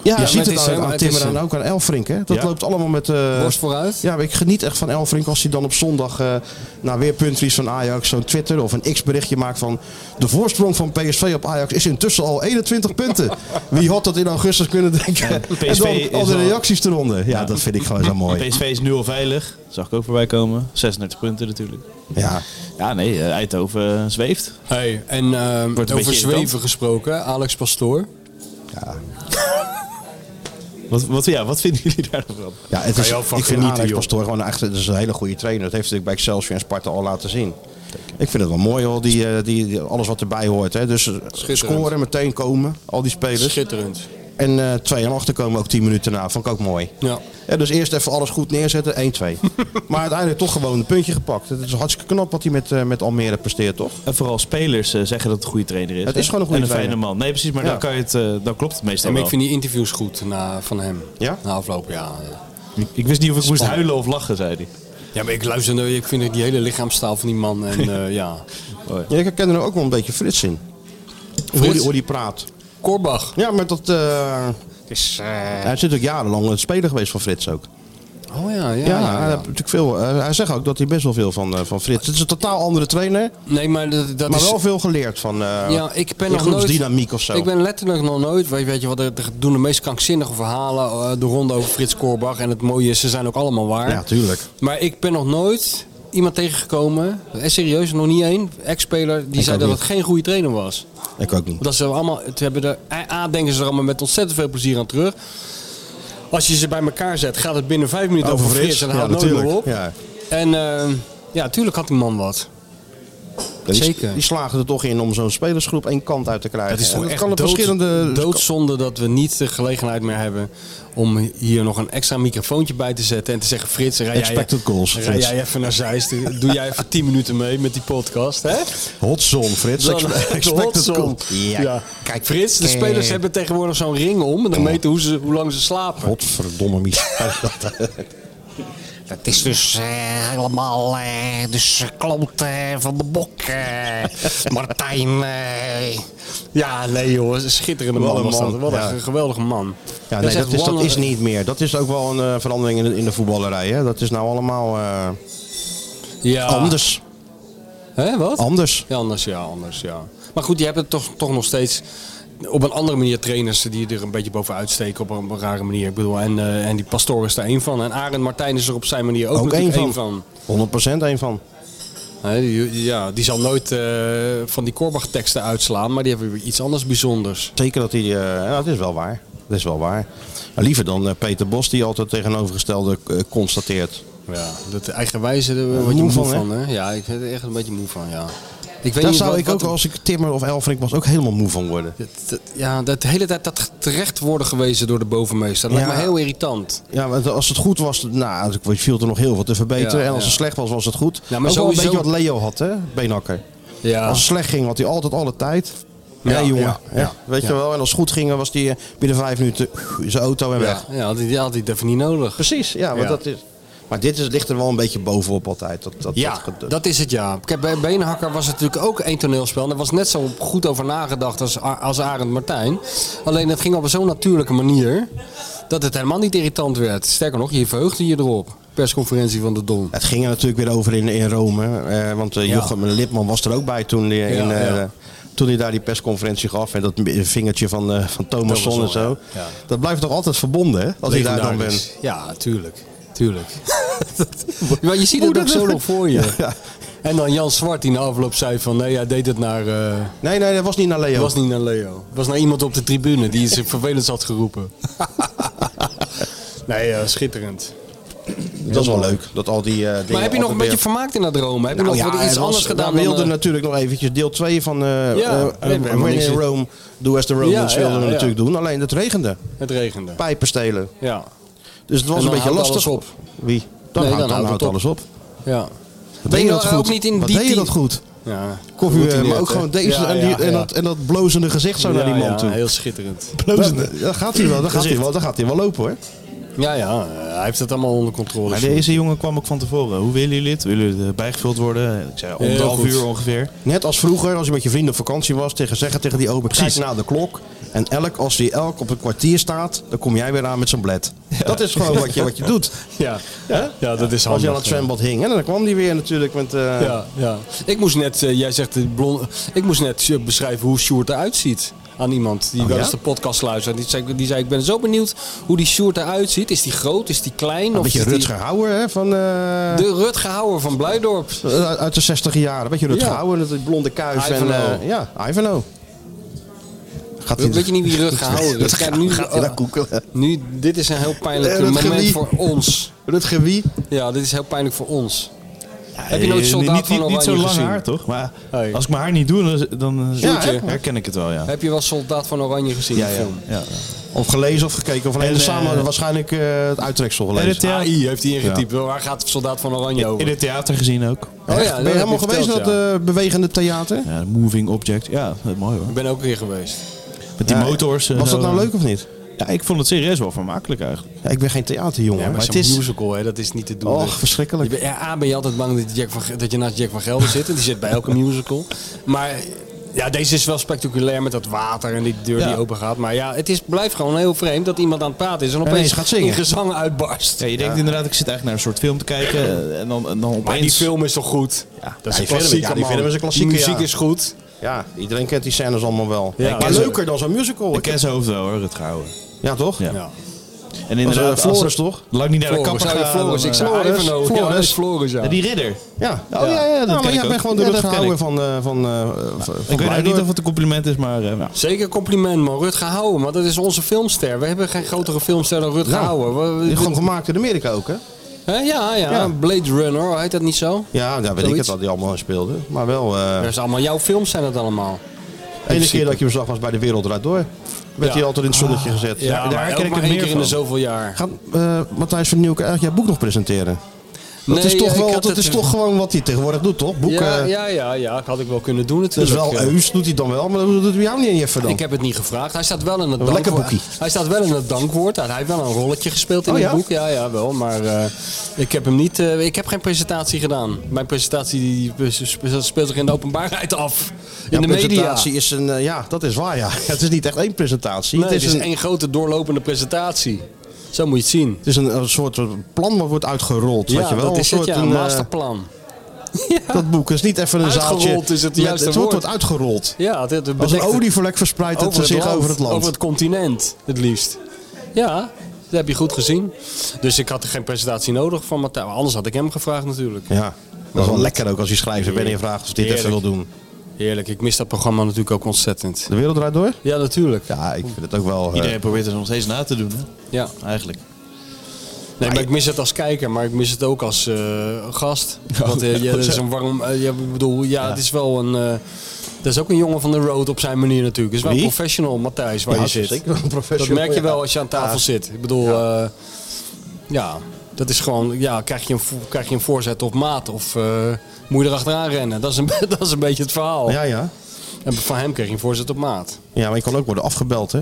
S5: Ja, je
S6: maar
S5: ziet
S6: het
S5: het
S6: is
S5: aan,
S6: helemaal-
S5: aan
S6: het is
S5: Timmer en
S6: een-
S5: ook aan Elfrink, hè? Dat
S2: Ja.
S5: loopt allemaal met... eh,
S6: Borst vooruit.
S5: Ja, maar ik geniet echt van Elfrink als hij dan op zondag eh na weer puntverlies van Ajax zo'n Twitter of een X-berichtje maakt van... De voorsprong van PSV op Ajax is intussen al 21 punten. Wie had dat in augustus kunnen denken? en
S2: PSV is
S5: dan al de
S2: al-
S5: reacties eronder. Ja, dat vind ik gewoon zo mooi.
S2: PSV is nu al veilig. Zag ik ook voorbij komen. 36 punten natuurlijk.
S5: Ja.
S2: Ja, nee, eh, Eindhoven eh, zweeft.
S6: Hey, en eh,
S2: beetje
S6: over
S2: irritant.
S6: zweven gesproken, Alex Pastoor.
S2: Wat, wat, ja, wat vinden jullie daar dan van?
S5: Ja, het is,
S3: je
S5: ik
S3: ook van
S5: vind
S3: genieten,
S5: Alex
S3: joh.
S5: Pastoor gewoon echt het is een hele goede trainer. Dat heeft hij natuurlijk bij Excelsior en Sparta al laten zien. Ik vind het wel mooi, hoor, die, eh, die, die- alles wat erbij hoort. Hè. Dus eh, scoren, meteen komen, al die spelers.
S6: Schitterend.
S5: En eh, 2 en achter komen ook 10 minuten na. Vond ik ook mooi.
S6: Ja.
S5: Ja, dus eerst even alles goed neerzetten, 1-2. maar uiteindelijk toch gewoon een puntje gepakt. Het is hartstikke knap wat hij met, eh, met Almere presteert, toch?
S2: En vooral spelers eh, zeggen dat het een goede trainer is.
S5: Het
S2: hè?
S5: is gewoon een goede
S2: En een fijne
S5: trainer.
S2: man. Nee, precies, maar
S5: Ja.
S2: dan, kan je het, eh, dan klopt het meestal
S6: En
S2: wel. Ik,
S6: ik vind die interviews goed na, van hem.
S5: Ja?
S6: Na afloop, ja.
S2: ik wist niet of ik moest huilen of lachen, zei hij.
S6: Ja, maar ik luister, naar- ik vind die hele lichaamstaal van die man. En eh, ja.
S5: Ja, ik herken er ook wel een beetje Frits in. Hoe die, hoe die praat.
S6: Korbach.
S5: Ja, maar dat... eh, Hij is natuurlijk jarenlang een speler geweest van Frits ook.
S6: Oh ja, ja.
S5: Ja,
S6: ja,
S5: hij
S6: ja.
S5: heeft natuurlijk veel. eh, hij zegt ook dat hij best wel veel van, eh, van Frits. Het is een totaal andere trainer,
S6: Nee, maar dat, dat
S5: maar
S6: is...
S5: wel veel geleerd van. eh
S6: Ja, ik ben
S5: de
S6: nog nooit...
S5: groepsdynamiek of zo.
S6: Ik ben letterlijk nog nooit... Weet, weet je wat, er er doen de meest krankzinnige verhalen eh, de ronde over Frits Korbach. En het mooie is, ze zijn ook allemaal waar.
S5: Ja, tuurlijk.
S6: Maar ik ben nog nooit iemand tegengekomen... eh, Serieus, nog niet één ex-speler... die zei
S5: ook
S6: dat
S5: niet.
S6: het geen goede trainer was.
S5: Ik ook niet.
S6: Dat ze allemaal, het hebben er, A, denken ze er allemaal met ontzettend veel plezier aan terug. Als je ze bij elkaar zet, gaat het binnen vijf minuten over, Frits. en
S5: ja,
S6: houdt nooit meer
S5: natuurlijk.
S6: op.
S5: Ja.
S6: En eh, ja, tuurlijk had die man wat.
S5: Die,
S6: Zeker.
S5: Die slagen er toch in om zo'n spelersgroep één kant uit te krijgen.
S6: Het is
S5: En
S6: toch
S5: dat
S6: echt
S5: kan op
S6: dood-
S5: verschillende.
S6: doodzonde dat we niet de gelegenheid meer hebben om hier nog een extra microfoontje bij te zetten en te zeggen Frits, rij jij,
S5: Expected goals,
S6: rij
S5: Frits.
S6: jij even naar Zeist, doe jij even 10 minuten mee met die podcast, hè?
S5: Hot zone, Frits.
S6: Dan-
S5: Expe-
S6: de
S5: Expected
S6: hotzone.
S5: goals.
S6: Ja. Kijk, eh, Frits, de spelers hebben tegenwoordig zo'n ring om en dan meten hoe, ze, hoe lang ze slapen.
S5: Godverdomme mies.
S7: Dat is dus eh, helemaal eh, dus eh, kloot eh, van de bok, eh, Martijn. eh.
S6: Ja, nee joh, een schitterende
S5: Wat
S6: man,
S5: een
S6: was dat.
S5: man,
S6: Wat
S5: ja.
S6: een geweldige man.
S5: Ja, nee,
S6: echt
S5: dat, is, dat
S6: one-
S5: is niet meer. Dat is ook wel een eh, verandering in de, in de voetballerij. Hè? Dat is nou allemaal eh,
S6: ja.
S5: anders.
S6: Hè, wat?
S5: Anders.
S6: Ja, anders, ja, anders, ja. Maar goed, je hebt het toch, toch nog steeds op een andere manier trainers die er een beetje bovenuit steken op een rare manier. Ik bedoel, en, eh, en die pastoor is daar één van. En Arend Martijn is er op zijn manier ook,
S5: Ook één
S6: natuurlijk
S5: van.
S6: één van.
S5: 100% één van.
S6: Hè, die, ja, die zal nooit eh, van die Korbach-teksten uitslaan, maar die hebben weer iets anders bijzonders.
S5: Zeker dat hij. eh ja, dat is wel waar. Dat is wel waar. Nou, liever dan eh, Peter Bos, die altijd tegenovergestelde eh, constateert.
S6: Ja, dat eigenwijze, daar word
S5: moe
S6: je moe van,
S5: van, hè?
S6: hè? Ja, ik ben er echt een beetje moe van, ja. Ik weet
S5: Daar
S6: niet
S5: zou
S6: wat-
S5: ik
S6: wat
S5: ook,
S6: het-
S5: als ik Timmer of Elfrink was, ook helemaal moe van worden.
S6: dat- dat- Ja, dat de hele tijd dat terecht worden gewezen door de bovenmeester. Dat lijkt
S5: Ja.
S6: me heel irritant.
S5: Ja, want als het goed was, nou, er viel er nog heel veel te verbeteren.
S6: Ja,
S5: en als
S6: ja.
S5: het slecht was, was het goed.
S6: Ja, maar
S5: ook wel een
S6: sowieso-
S5: beetje wat Leo had, hè, Beenakker.
S6: Ja.
S5: Als het slecht ging, had hij altijd alle tijd. Ja,
S6: Ja,
S5: jongen.
S6: ja,
S5: Ja,
S6: ja.
S5: Weet je wel, en als het goed ging, was hij eh, binnen vijf minuten in zijn auto en weg.
S6: Ja, ja had hij, die had hij even niet nodig.
S5: Precies, ja, want
S6: Ja.
S5: dat is... Maar dit is, ligt er wel een beetje bovenop altijd. Dat, dat,
S6: Ja,
S5: dat-
S6: dat is het ja. Kijk, bij Beenhakker was het natuurlijk ook één toneelspel. En daar was net zo goed over nagedacht als, A- als Arend Martijn. Alleen het ging op zo'n natuurlijke manier dat het helemaal niet irritant werd. Sterker nog, je verheugde je erop. Persconferentie van de Don.
S5: Het ging er natuurlijk weer over in, in Rome. eh, want eh,
S6: Ja.
S5: Jochem Lipman was er ook bij toen hij, in,
S6: Ja, ja.
S5: eh, toen hij daar die persconferentie gaf. En dat mi- vingertje van, eh van Thomasson en
S6: Thomasson,
S5: zo.
S6: ja. Ja.
S5: Dat blijft toch altijd verbonden, hè? Als je daar dan
S6: Legendarisch.
S5: bent.
S6: Ja, tuurlijk. Tuurlijk. maar je ziet het ook zo nog voor je.
S5: Ja.
S6: En dan Jan Zwart die in de afloop zei van nee, hij deed het naar... eh,
S5: Nee, nee, dat was niet naar Leo.
S6: Het was niet naar Leo. Het was naar iemand op de tribune die zich vervelend had geroepen. nee, eh, schitterend.
S5: dat is wel leuk. Dat al die, eh, dingen
S6: Maar heb je nog een
S5: altijd
S6: beetje
S5: weer-
S6: vermaakt in dat droom? Heb je
S5: Nou
S6: nog
S5: ja,
S6: wat iets
S5: er was-
S6: anders gedaan
S5: We
S6: dan...
S5: wilden
S6: eh,
S5: natuurlijk nog eventjes deel 2 van eh
S6: Ja,
S5: eh,
S6: nee, maar
S5: eh,
S6: helemaal
S5: When
S6: niks
S5: in
S6: in.
S5: Rome, Do As The Romans
S6: Ja,
S5: wilden
S6: ja,
S5: we
S6: ja.
S5: natuurlijk doen. Alleen het regende.
S6: Het regende.
S5: Pijpen stelen.
S6: Ja.
S5: Dus het was
S6: En
S5: een
S6: dan
S5: beetje
S6: houdt
S5: lastig.
S6: alles
S5: Wie? Dan,
S6: Nee,
S5: houdt,
S6: dan
S5: dan
S6: houdt
S5: houdt
S6: het
S5: alles op.
S6: ja.
S5: Wat
S6: Ben
S5: deed
S6: je
S5: je nou dat
S6: ook
S5: goed?
S6: niet in
S5: Wat
S6: die
S5: deed je dat
S6: team?
S5: goed?
S6: Ja.
S5: Koffie,
S6: Doet hij
S5: eh, maar
S6: net,
S5: ook
S6: hè?
S5: gewoon deze
S6: Ja,
S5: en, die-
S6: ja,
S5: en
S6: ja.
S5: dat, en dat blozende gezicht zo naar die
S6: Ja,
S5: man
S6: ja,
S5: toe.
S6: Heel schitterend.
S5: Blozende. Daar gaat hij wel, daar gaat hij wel, daar gaat hij wel lopen hoor.
S6: Ja, ja. eh, Hij heeft het allemaal onder controle.
S2: Maar deze jongen kwam ook van tevoren. Hoe willen jullie dit? Willen jullie erbij gevuld worden? Ik zei om een
S6: Heel
S2: half
S6: goed.
S2: uur ongeveer.
S5: Net als vroeger, als je met je vrienden op vakantie was, tegen zeggen tegen die ober, kijk naar de klok. En elk, als die elk op een kwartier staat, dan kom jij weer aan met zijn bled. Dat is gewoon wat je, wat je doet.
S6: Ja. Ja? dat is handig.
S5: Als je aan het
S6: ja.
S5: zwembad hing, en dan kwam die weer natuurlijk met... eh,
S6: Ja, ja. Ik moest net, eh, jij zegt eh, blond, ik moest net eh, beschrijven hoe Sjoerd eruit ziet. Aan iemand die wel eens
S5: Oh, ja?
S6: de podcast luistert. Die zei, die zei, ik ben zo benieuwd hoe die Sjoerd eruit ziet. Is die groot? Is die klein?
S5: Een beetje
S6: is die-
S5: Rutger Hauer, hè, van, eh,
S6: De Rutger Hauer van Blijdorp.
S5: eh, uit de 60 jaren. Een beetje Rutger
S6: Ja.
S5: Hauer, met die blonde kuif. En,
S6: Ivanhoe.
S5: eh, ja, Ivanhoe. Gaat hij-
S6: Weet je niet wie Rutger Hauer is? Kijk, nu, eh,
S5: gaat hij dat googelen?
S6: nu, dit is een heel pijnlijk
S5: Eh, Rutger
S6: moment
S5: wie?
S6: voor ons.
S5: Rutger wie?
S6: Ja, dit is heel pijnlijk voor ons. Heb je nooit
S2: Eh,
S6: soldaat
S2: niet,
S6: van
S2: niet, niet zo
S6: Oranje
S2: lang
S6: gezien?
S2: haar, toch? Maar
S6: Hey.
S2: als ik mijn haar niet doe, dan, dan eh,
S5: Ja, hè?
S2: herken ik het wel, ja.
S6: Heb je wel Soldaat van Oranje gezien?
S5: Ja,
S6: die
S5: ja.
S6: film?
S2: ja.
S5: Of gelezen of gekeken. Of alleen
S2: En,
S5: de
S2: eh,
S5: samen waarschijnlijk eh, het uittreksel
S2: En
S5: gelezen.
S2: het thea-
S6: AI heeft hij ingetypt. Waar gaat Soldaat van Oranje over?
S2: in het theater gezien ook.
S6: Oh ja,
S5: Echt? ben
S6: dat heb
S5: je helemaal
S6: je
S5: geweest
S6: verteld,
S5: naar
S6: ja.
S5: dat eh, bewegende theater?
S2: Ja, moving object. Ja, dat is mooi hoor.
S6: Ik ben ook een keer geweest.
S2: Met die
S5: Ja,
S2: motors. en
S5: Was
S2: zo.
S5: dat nou leuk of niet?
S2: Ja, ik vond het serieus wel vermakelijk eigenlijk.
S5: Ja, ik ben geen theaterjongen.
S6: Ja, maar
S5: maar
S6: zo'n
S5: het is...
S6: musical, hè, dat is niet te doen.
S5: Och,
S6: Dus
S5: verschrikkelijk.
S6: je bent- ja, A, ben je altijd bang dat, Jack van, dat je naast Jack van Gelder zit. en Die zit bij elke musical. Maar ja, deze is wel spectaculair met dat water en die deur
S2: Ja.
S6: die open gaat. Maar ja, het is, blijft gewoon heel vreemd dat iemand aan het praten is en opeens
S5: ineens gaat zingen.
S6: in gezang uitbarst.
S2: Ja, je denkt inderdaad, ik zit eigenlijk naar een soort film te kijken. eh, En dan, en dan opeens...
S6: maar die film is toch goed? dat is
S5: die
S6: een
S5: film-
S6: klassieker,
S5: ja, die
S6: man.
S5: film is een klassieker,
S6: Muziek
S5: ja.
S6: is goed.
S5: Ja, iedereen kent die scènes allemaal wel.
S6: Ja,
S5: maar
S6: ik-
S5: leuker dan zo'n musical.
S2: Ik ken zijn hoofd wel hoor, het gehouden.
S5: Ja, toch?
S2: Ja.
S6: Ja.
S2: En inderdaad,
S5: eh, Floris,
S2: als-
S5: toch?
S2: Lang niet naar de
S6: Floris,
S2: kapper
S6: oh ja,
S2: gaan.
S6: Floris.
S2: dan,
S6: Ik
S2: eh,
S6: zei
S5: Floris,
S6: Ivanhoe. Ja,
S5: Floris.
S6: dat is Floris, ja.
S2: ja, Die ridder.
S5: Ja.
S2: Oh, ja, ja, dat
S5: maar
S2: ken
S5: jij
S2: ik
S5: bent
S2: ook.
S5: gewoon door
S2: Ja,
S5: het
S2: dat ken
S5: gehouden
S2: ik.
S5: van... eh, van, eh, van
S2: Ik weet
S5: Blijdorp.
S2: eigenlijk niet of het een compliment is, maar... eh, nou.
S6: Zeker compliment, man. Rutger Hauer, maar dat is onze filmster. We hebben geen grotere filmster dan Rutger
S5: Nou,
S6: Hauer. We-
S5: Die
S6: we-
S5: is Gewoon gemaakt in Amerika ook, hè?
S6: Hè? Ja, ja,
S5: Ja.
S6: Blade Runner, hoor, heet dat niet zo?
S5: Ja, daar weet ik
S6: Zoiets.
S5: het al, die allemaal speelde. Maar wel, eh
S6: Dat
S5: de
S6: is allemaal jouw films zijn het allemaal.
S5: ene keer dat ik hem zag was bij De Wereld Draait Door. Werd
S6: Ja.
S5: hij altijd in het zonnetje gezet.
S6: Ja, daar
S2: herken
S6: maar
S2: ik
S6: ook maar
S2: er
S6: één
S2: meer
S6: keer in de
S2: van.
S6: zoveel jaar.
S5: Gaat eh, Matthijs van Nieuwkerk eigenlijk jouw boek nog presenteren? Dat
S6: Nee,
S5: is toch,
S6: ik
S5: wel,
S6: had
S5: dat is
S6: het-
S5: toch gewoon wat hij tegenwoordig doet, toch? Boeken.
S6: Ja, ja, ja, ja, dat had ik wel kunnen doen
S5: Dat is
S6: natuurlijk.
S5: wel
S6: Ja.
S5: heus, doet hij dan wel, maar dat doet hij jou niet even dan.
S6: Ik heb het niet gevraagd. Hij staat wel in het
S5: Een lekker
S6: dankwoord.
S5: boekie.
S6: Hij staat wel in het dankwoord. Hij heeft wel een rolletje gespeeld in
S5: Oh,
S6: het
S5: ja?
S6: boek. Ja, ja, wel. Maar eh, ik heb hem niet. eh, ik heb geen presentatie gedaan. Mijn presentatie die speelt zich in de openbaarheid af. In
S5: Ja,
S6: de media.
S5: presentatie is een, eh, ja, dat is waar ja. Het is niet echt één presentatie.
S6: Nee,
S5: het is, een,
S6: één grote doorlopende presentatie. Zo moet je het zien.
S5: het is een, een soort plan wat wordt uitgerold, weet je wel.
S6: dat
S5: een
S6: is
S5: soort
S6: het, ja, een
S5: een, eh,
S6: masterplan.
S5: Dat boek is niet even een
S6: Uitgerold
S5: zaaltje.
S6: is het
S5: met-
S6: juiste
S5: het wordt
S6: woord.
S5: wordt uitgerold.
S6: Ja, dit, dit
S5: Als een
S6: bedekt-
S5: olieverlek verspreidt het zich over het land.
S6: Over het continent, het liefst. Ja, dat heb je goed gezien. Dus ik had geen presentatie nodig van Matthijs. Anders had ik hem gevraagd natuurlijk.
S5: Ja, dat is wel lekker ook als je schrijver bent en je vraagt of dit even wil
S6: Heerlijk.
S5: doen.
S6: Heerlijk, ik mis dat programma natuurlijk ook ontzettend.
S5: De wereld draait door?
S6: Ja, natuurlijk. Ja.
S5: Ja, ik vind het ook wel... eh,
S2: Iedereen probeert het nog steeds na te doen, hè? eigenlijk.
S6: Nee, maar ik mis het als kijker, maar ik mis het ook als eh, gast. Want eh, ja, dat is een warm... eh, ja, ik bedoel, ja, het is wel een... eh, dat is ook een jongen van de road op zijn manier natuurlijk. Het is wel
S5: Wie?
S6: professional, Matthijs, waar
S5: ja,
S6: je
S5: het is
S6: zit.
S5: Zeker wel een
S6: Dat
S5: professional.
S6: merk je wel
S5: ja.
S6: als je aan tafel
S5: Ja.
S6: zit. Ik bedoel, ja. ja, dat is gewoon, ja, krijg je een, vo- krijg je een voorzet op maat of eh, moet je erachteraan rennen? Dat is, een, be- dat is een beetje het verhaal.
S5: Ja, ja.
S6: En van hem kreeg je een voorzet op maat.
S5: Ja, maar je kan ook worden afgebeld, hè?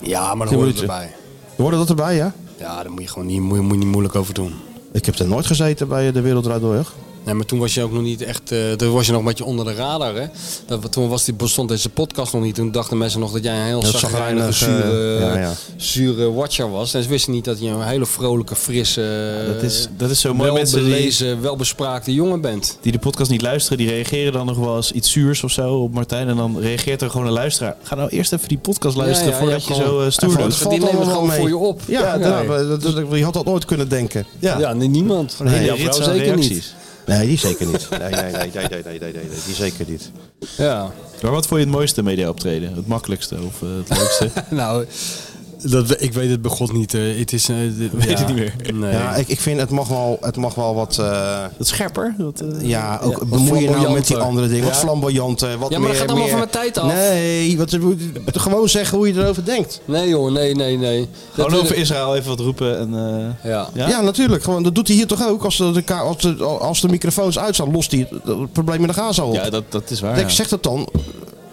S6: Ja, maar
S5: Die
S6: dan hoort het
S5: moet je-
S6: erbij.
S5: Hoorde dat erbij, ja?
S6: Ja, daar moet je gewoon niet, moet, je- moet je niet moeilijk over doen.
S5: Ik heb er nooit gezeten bij eh, De Wereld Draait Door, echt.
S6: Nee, maar toen was je ook nog niet echt, eh, toen was je nog een beetje onder de radar, hè? Dat, toen was die, bestond deze podcast nog niet. Toen dachten mensen nog dat jij een heel
S5: Heel
S6: zagrijnige,
S5: chagrijnig, eh,
S6: zure,
S5: ja, ja.
S6: zure watcher was. En ze wisten niet dat je een hele vrolijke, frisse,
S2: Dat is, dat is zo mooi.
S6: wel
S2: Mensen die,
S6: belezen, welbespraakte jongen bent.
S2: die de podcast niet luisteren, die reageren dan nog wel eens iets zuurs of zo op Martijn. En dan reageert er gewoon een luisteraar. Ga nou eerst even die podcast luisteren
S6: ja,
S2: voordat
S6: ja,
S2: je
S6: gewoon.
S2: zo eh,
S5: En
S2: stoer
S5: van-
S2: doet.
S5: valt
S6: dus Die nemen
S5: allemaal
S6: het gewoon
S5: mee.
S6: voor je op.
S5: Ja,
S6: ja,
S5: ja,
S6: ja.
S5: dat- dat- je had dat nooit kunnen denken.
S2: Ja.
S6: Ja, nee, niemand.
S2: Een hele
S6: jouw
S2: rits
S6: vrouw
S2: aan
S6: zeker
S2: reacties.
S6: niet.
S5: Nee, die zeker niet. Nee, nee, nee, nee, nee, nee, nee, nee, nee, die zeker niet.
S6: Ja.
S2: Maar wat vond je het mooiste media optreden? Het makkelijkste of eh, het leukste?
S6: Nou, Dat, ik weet het bij God niet. eh, Het is, weet
S2: het niet meer.
S6: Nee.
S5: Ja, ik, ik vind het mag wel, het mag wel wat. eh,
S2: Dat scherper? Dat, eh,
S5: ja, ook
S6: wat
S5: bemoei je nou met die
S6: flamboyanter.
S5: andere dingen. Wat
S6: Ja.
S5: flamboyanter, wat
S6: Ja, maar
S5: meer.
S6: dat gaat
S5: meer-
S6: allemaal van mijn tijd af.
S5: Nee, wat, gewoon zeggen hoe je erover denkt.
S6: Nee joh, nee, nee, nee. Dat eh,
S2: Gewoon over
S6: wil ik-
S2: Israël even wat roepen. En, eh,
S6: Ja.
S2: Ja?
S5: Ja, natuurlijk. Gewoon, dat doet hij hier toch ook. Als de, ka- als de, als de microfoons uitstaan, lost hij het, het probleem in de Gaza op.
S2: ja, dat, dat is waar.
S5: Denk,
S2: ja.
S5: Zeg dat dan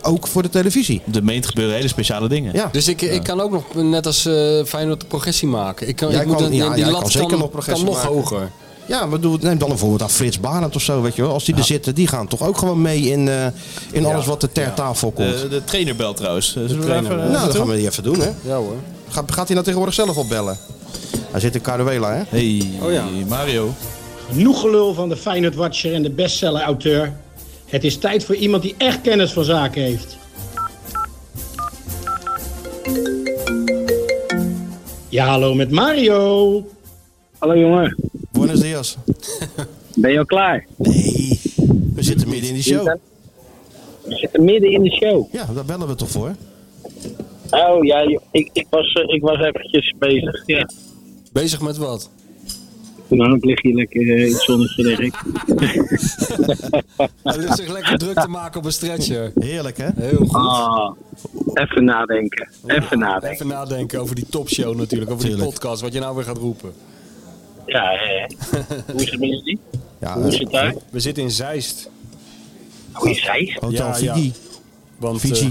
S5: ook voor de televisie.
S2: De meent gebeuren hele speciale dingen.
S5: Ja.
S6: Dus ik, ik kan ook nog net als eh Feyenoord progressie maken. Ik kan,
S5: Jij
S6: ik moet
S5: kan-
S6: een-
S5: ja,
S6: die
S5: jij
S6: lat
S5: kan zeker
S6: kan,
S5: nog progressie
S6: kan nog
S5: maken.
S6: hoger.
S5: Ja, maar doe, neem dan een voorbeeld aan Frits Barend of zo, weet je wel. Als die er zitten, die gaan toch ook gewoon mee in, eh, in alles wat er ter tafel komt.
S2: De, de trainer belt trouwens. Zullen Eh, we
S6: trainer
S2: even, eh,
S5: nou, dat
S2: naartoe?
S5: gaan we die even doen, hè.
S6: Ja hoor.
S5: Gaat, gaat hij nou tegenwoordig zelf opbellen? Hij zit in Caruela, hè?
S2: Hey,
S6: Oh ja.
S2: Mario.
S8: Genoeg gelul van de Feyenoord-watcher en de bestseller-auteur. Het is tijd voor iemand die echt kennis van zaken heeft. Ja, hallo met Mario.
S9: Hallo jongen,
S5: Buenos dias.
S9: ben je al klaar?
S5: Nee, we zitten midden in die show.
S9: We zitten midden in de show.
S5: Ja, daar bellen we toch voor?
S9: Oh ja, joh, ik, ik, was, eh, ik was eventjes bezig. Ja.
S6: Bezig met wat?
S9: Nou, ik lig hier lekker eh, in het zonnetje, denk ik.
S6: Hij ligt zich lekker druk te maken op een stretcher.
S5: Heerlijk, hè?
S6: Heel goed.
S9: Ah, even nadenken, even nadenken.
S6: Even nadenken over die topshow natuurlijk. Over die
S5: Tuurlijk.
S6: podcast. Wat je nou weer gaat roepen.
S9: Ja, hè. Hoe is het met jullie?
S5: Ja,
S9: Hoe is
S5: eh,
S9: het daar?
S6: We zitten in Zeist.
S9: Hoe is hij?
S5: Hotel
S6: Ja, ja.
S5: Fiji.
S6: Want
S5: Fiji.
S6: eh,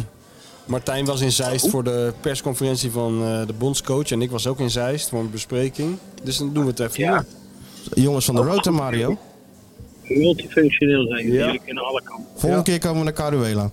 S6: Martijn was in Zeist voor de persconferentie van eh, de bondscoach. En ik was ook in Zeist voor een bespreking. Dus dan doen we het even.
S9: Ja.
S5: Jongens van de road, hè, Mario.
S9: Multifunctioneel zijn jullie,
S6: Ja.
S9: jullie kunnen alle kanten.
S5: Volgende keer komen we naar Caruela.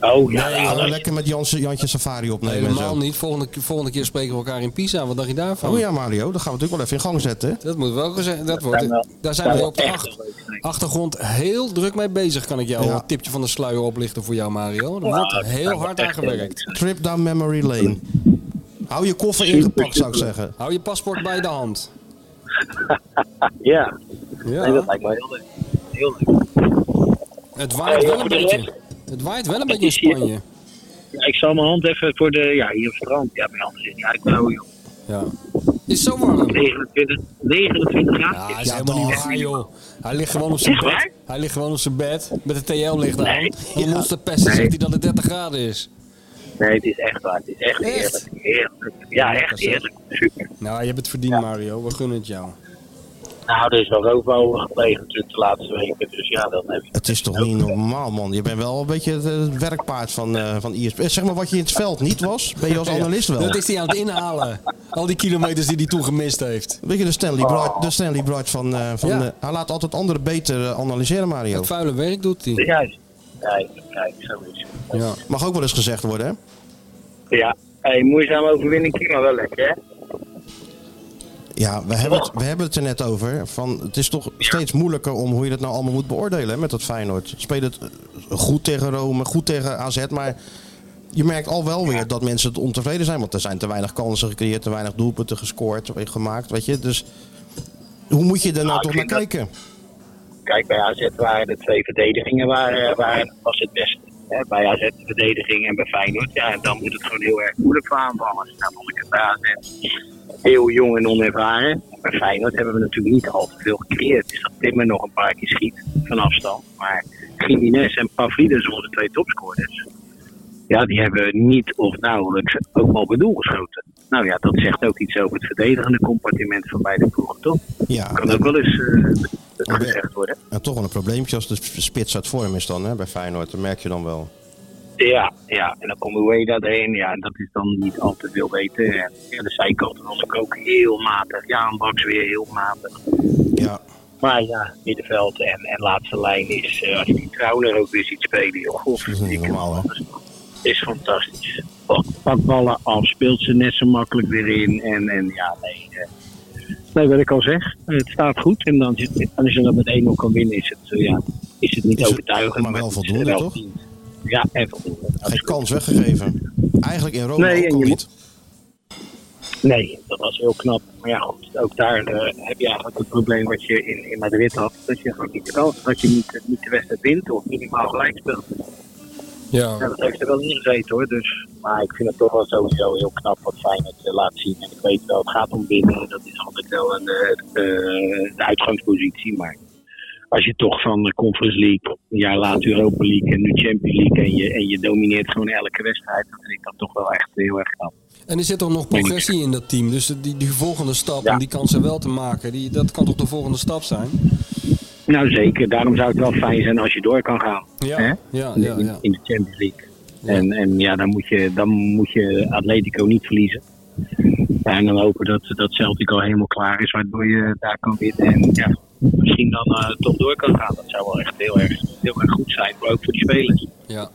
S9: Oh ja,
S5: Gaan we
S9: ja,
S5: lekker met Jantje, Jantje Safari
S6: Nee,
S5: opnemen en
S6: helemaal
S5: zo.
S6: niet. Volgende, keer- volgende keer spreken we elkaar in Pisa. Wat dacht je daarvan?
S5: Oh ja, Mario, dat gaan we natuurlijk wel even in gang zetten. hè?
S6: Dat moet wel gezegd. Dat
S9: zijn
S6: wordt,
S9: wel-
S6: daar zijn
S9: zijn
S6: we
S9: wel
S6: op de
S9: echt
S6: ach-
S9: wel leuk, nee.
S6: achtergrond heel druk mee bezig. Kan ik jou
S5: Ja.
S6: al een tipje van de sluier oplichten voor jou, Mario? Er wordt heel hard aan gewerkt.
S5: Trip down memory lane. Hou je koffer ingepakt, zou ik zeggen.
S6: Hou je paspoort bij de hand.
S9: ja. Nee, dat
S6: Ja.
S9: lijkt me heel leuk. Heel leuk.
S6: Het waait wel een
S9: Voor de
S6: beetje. Het waait wel een beetje in
S9: is hier-
S6: Spanje.
S9: Ja, ik zal mijn hand even voor de, ja, hier verbrand. Ja, mijn hand zit niet uitblauwen, joh.
S6: Ja. Is zo warm.
S9: 29, 29 graden.
S6: Ja, is helemaal niet waar, joh. Hij ligt gewoon op zijn
S9: Echt
S6: bed.
S9: waar?
S6: Hij ligt gewoon op zijn bed met de TL-licht aan.
S9: Nee.
S6: En om ons te pesten
S9: Nee.
S6: zegt hij dat het 30 graden is.
S9: Nee, het is echt waar. Het is echt,
S6: Echt?
S9: heerlijk. Heerlijk. Ja, echt heerlijk. Super.
S6: Nou, je hebt het verdiend, Mario. We gunnen het jou.
S9: Nou, er is wel roof over gepleegd natuurlijk de laatste weken. Dus ja, dan heb je...
S5: Het is toch niet normaal, man. Je bent wel een beetje het, het werkpaard van, eh van ISP. Eh, Zeg maar wat je in het veld niet was, ben je als analist wel.
S6: Dat is hij aan het inhalen. Al die kilometers die hij toen gemist heeft.
S5: Weet je, de Stanley Bright, de Stanley Bright van... eh, van
S6: Ah. Ja.
S5: eh, hij laat altijd anderen beter eh, analyseren, Mario.
S6: Het vuile werk doet hij.
S9: Juist. Kijk, kijk, zo is het.
S6: Ja.
S5: Mag ook wel eens gezegd worden, hè?
S9: Ja, hey, moeizame overwinning ging maar wel lekker, hè?
S5: Ja, we hebben, het, we hebben het er net over. Van, het is toch steeds moeilijker om hoe je dat nou allemaal moet beoordelen hè, met dat Feyenoord. Speelt het eh, goed tegen Rome, goed tegen AZ, maar je merkt al wel weer dat mensen het ontevreden zijn. Want er zijn te weinig kansen gecreëerd, te weinig doelpunten gescoord, eh, gemaakt, weet je. Dus hoe moet je er nou
S9: Nou,
S5: toch
S9: ik
S5: naar
S9: vind dat-
S5: kijken?
S9: Kijk, bij AZ waren de twee verdedigingen waren, waren, was het beste. Hè? Bij AZ de verdediging en bij Feyenoord. Ja, en dan moet het gewoon heel erg moeilijk voor aanvallers. Nou, vond ik het bij AZ heel jong en onervaren. Bij Feyenoord hebben we natuurlijk niet al te veel gecreëerd. Dus dat Timmer nog een paar keer schiet van afstand. Maar Gimenez en Pavlidis, onze twee topscorers. Ja, die hebben niet of nauwelijks ook maar op het doel geschoten. Nou ja, dat zegt ook iets over het verdedigende compartiment van beide ploegen, toch?
S5: Ja,
S9: Kan ook wel eens eh,
S5: Maar ben-
S9: gezegd worden.
S5: en toch wel een probleempje als de sp- spits uit vorm is dan hè, bij Feyenoord. Dat merk je dan wel.
S9: Ja, ja, en dan komt Ueda erin. Ja, en dat is dan niet al te veel weten. En ja, de zijkanten was ik ook heel matig. Ja, een baks weer heel matig.
S5: Ja,
S9: Maar ja, middenveld en, en laatste lijn is, eh, als je die Trouwner ook weer ziet spelen, joh. God,
S5: dat is niet normaal, hè?
S9: is fantastisch. Pak, pak ballen af, speelt ze net zo makkelijk weer in. En, en ja, nee. eh, nee, wat ik al zeg, het staat goed. En dan, zit- en als je dan met 1-0 kan winnen, is het, eh, ja, is het niet
S5: Is het-
S9: overtuigend.
S5: maar wel
S9: het is eh,
S5: voldoende,
S9: wel
S5: toch?
S9: verdiend. Ja, en voldoende.
S5: Geen
S9: absoluut.
S5: kans weggegeven. Eigenlijk in Rome
S9: Nee, en
S5: ook al
S9: je
S5: niet.
S9: Nee, dat was heel knap. Maar ja, goed, ook daar eh, heb je eigenlijk het probleem wat je in, in eh, Madrid had. Dat je gewoon niet de kans, dat je niet, niet de wedstrijd wint of minimaal gelijk speelt.
S6: Ja.
S9: Ja, dat heeft er wel in gezeten hoor. Dus, maar ik vind het toch wel sowieso heel knap wat Feyenoord eh, laat zien. En ik weet wel, het gaat om winnen. Dat is altijd wel een, eh, eh, de uitgangspositie. Maar als je toch van de Conference League, een jaar later Europa League en nu Champions League. En je, en je domineert gewoon elke wedstrijd. Dan vind ik dat toch wel echt heel erg knap.
S6: En er zit toch nog progressie in dat team. Dus die, die volgende stap, om die kansen wel te maken, die, dat kan toch de volgende stap zijn?
S9: Nou zeker, daarom zou het wel fijn zijn als je door kan gaan.
S6: Ja,
S9: hè?
S6: ja,
S9: In-
S6: ja,
S9: in-
S6: ja.
S9: in de Champions League. En, en ja, dan moet, je, dan moet je Atletico niet verliezen. Ja, en dan hopen dat, dat Celtic al helemaal klaar is, waardoor je daar kan winnen. En ja, misschien dan eh, toch door kan gaan. Dat zou wel echt heel erg, heel erg goed zijn, maar ook voor de spelers.
S6: Ja.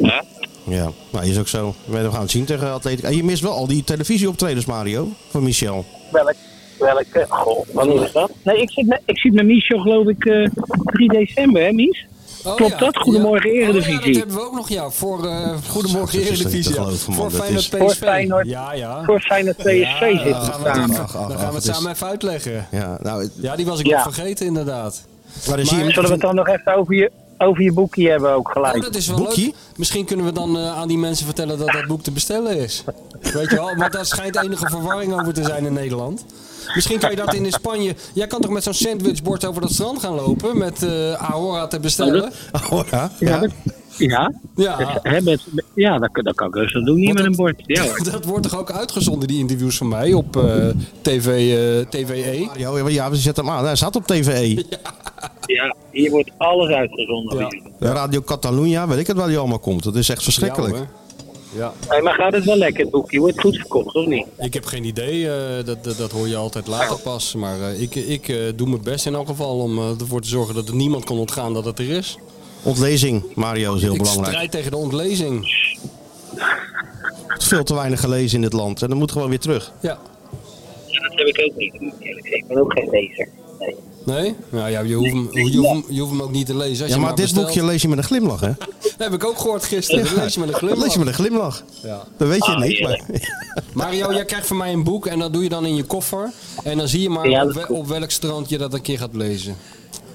S9: Ja?
S5: Ja, nou, is ook zo. We gaan het zien tegen Atletico. En je mist wel al die televisieoptredens, Mario, van Michel.
S9: Welk? Welke? Goh, wanneer is dat? Nee, ik zit met, ik zit met Michel geloof ik eh, 3 december, hè Mies? Klopt
S6: Oh ja,
S9: dat? Goedemorgen Eredivisie.
S6: Ja, dat hebben we ook nog, ja. Voor eh, Goedemorgen
S9: Zo, dat is
S6: Eredivisie.
S9: niet
S6: ja.
S9: te geloven, man.
S6: Voor
S9: Dat
S6: Feyenoord
S9: is-
S6: PSV.
S9: Voor Feyenoord-
S6: ja, ja.
S9: voor Feyenoord
S6: ja,
S9: PSV zit te
S6: dan gaan we het
S9: staan.
S6: even-
S9: Ach, ach,
S6: Dan
S9: ach,
S6: gaan we het
S9: dat
S6: samen even uitleggen.
S5: Ja, nou,
S6: Ja, die was ik
S9: Ja.
S6: nog vergeten inderdaad.
S5: Maar,
S9: Zullen we het dan nog even over je, over je boekje hebben ook gelijk?
S6: Oh, dat is wel leuk. Misschien kunnen we dan eh, aan die mensen vertellen dat dat boek te bestellen is. Weet je wel, want daar schijnt enige verwarring over te zijn in Nederland. Misschien kan je dat in Spanje... Jij kan toch met zo'n sandwichbord over dat strand gaan lopen met eh Ahora te bestellen?
S5: Ahora?
S9: Ja. dat- Ja?
S6: Ja.
S9: Dat, hè, met- ja, dat, dat kan ik rustig doen. Niet met een bord. Ja, hoor.
S6: Dat wordt toch ook uitgezonden, die interviews van mij, op eh, TV, eh, TVE?
S5: Mario, ja, ja, we zetten hem aan. Hij staat op E. TVE.
S9: ja, hier wordt alles uitgezonden.
S5: Radio Catalunya, weet ik het waar die allemaal komt. Dat is echt verschrikkelijk.
S6: Ja, Ja.
S9: Hey, maar gaat het wel lekker, het boekje? Wordt goed verkocht, of niet?
S6: Ik heb geen idee, eh, dat, dat, dat hoor je altijd later pas. Maar eh, ik, ik eh, doe mijn best in elk geval om eh, ervoor te zorgen dat er niemand kan ontgaan dat het er is.
S5: Ontlezing, Mario, is heel
S6: ik
S5: belangrijk.
S6: strijd tegen de ontlezing.
S5: Het is veel te weinig gelezen in dit land. En dat moet gewoon weer terug.
S6: Ja.
S9: Ja, dat heb ik ook niet. Ik ben ook geen lezer. Nee.
S6: Nee? Nou ja, je hoeft hem, je hoeft hem, je hoeft hem ook niet te lezen. Als
S5: Ja,
S6: je
S5: maar dit
S6: bestelt.
S5: boekje lees je met een glimlach, hè?
S6: Dat heb ik ook gehoord gisteren. Dat lees je met een glimlach.
S5: Lees je met een glimlach.
S6: Ja.
S5: Dat weet je
S6: Ah,
S5: niet, maar...
S6: heerlijk. Mario, jij krijgt van mij een boek en dat doe je dan in je koffer. En dan zie je maar
S5: Ja, dat
S6: op,
S5: is
S6: wel-
S5: goed.
S6: op welk strand je dat een keer gaat lezen.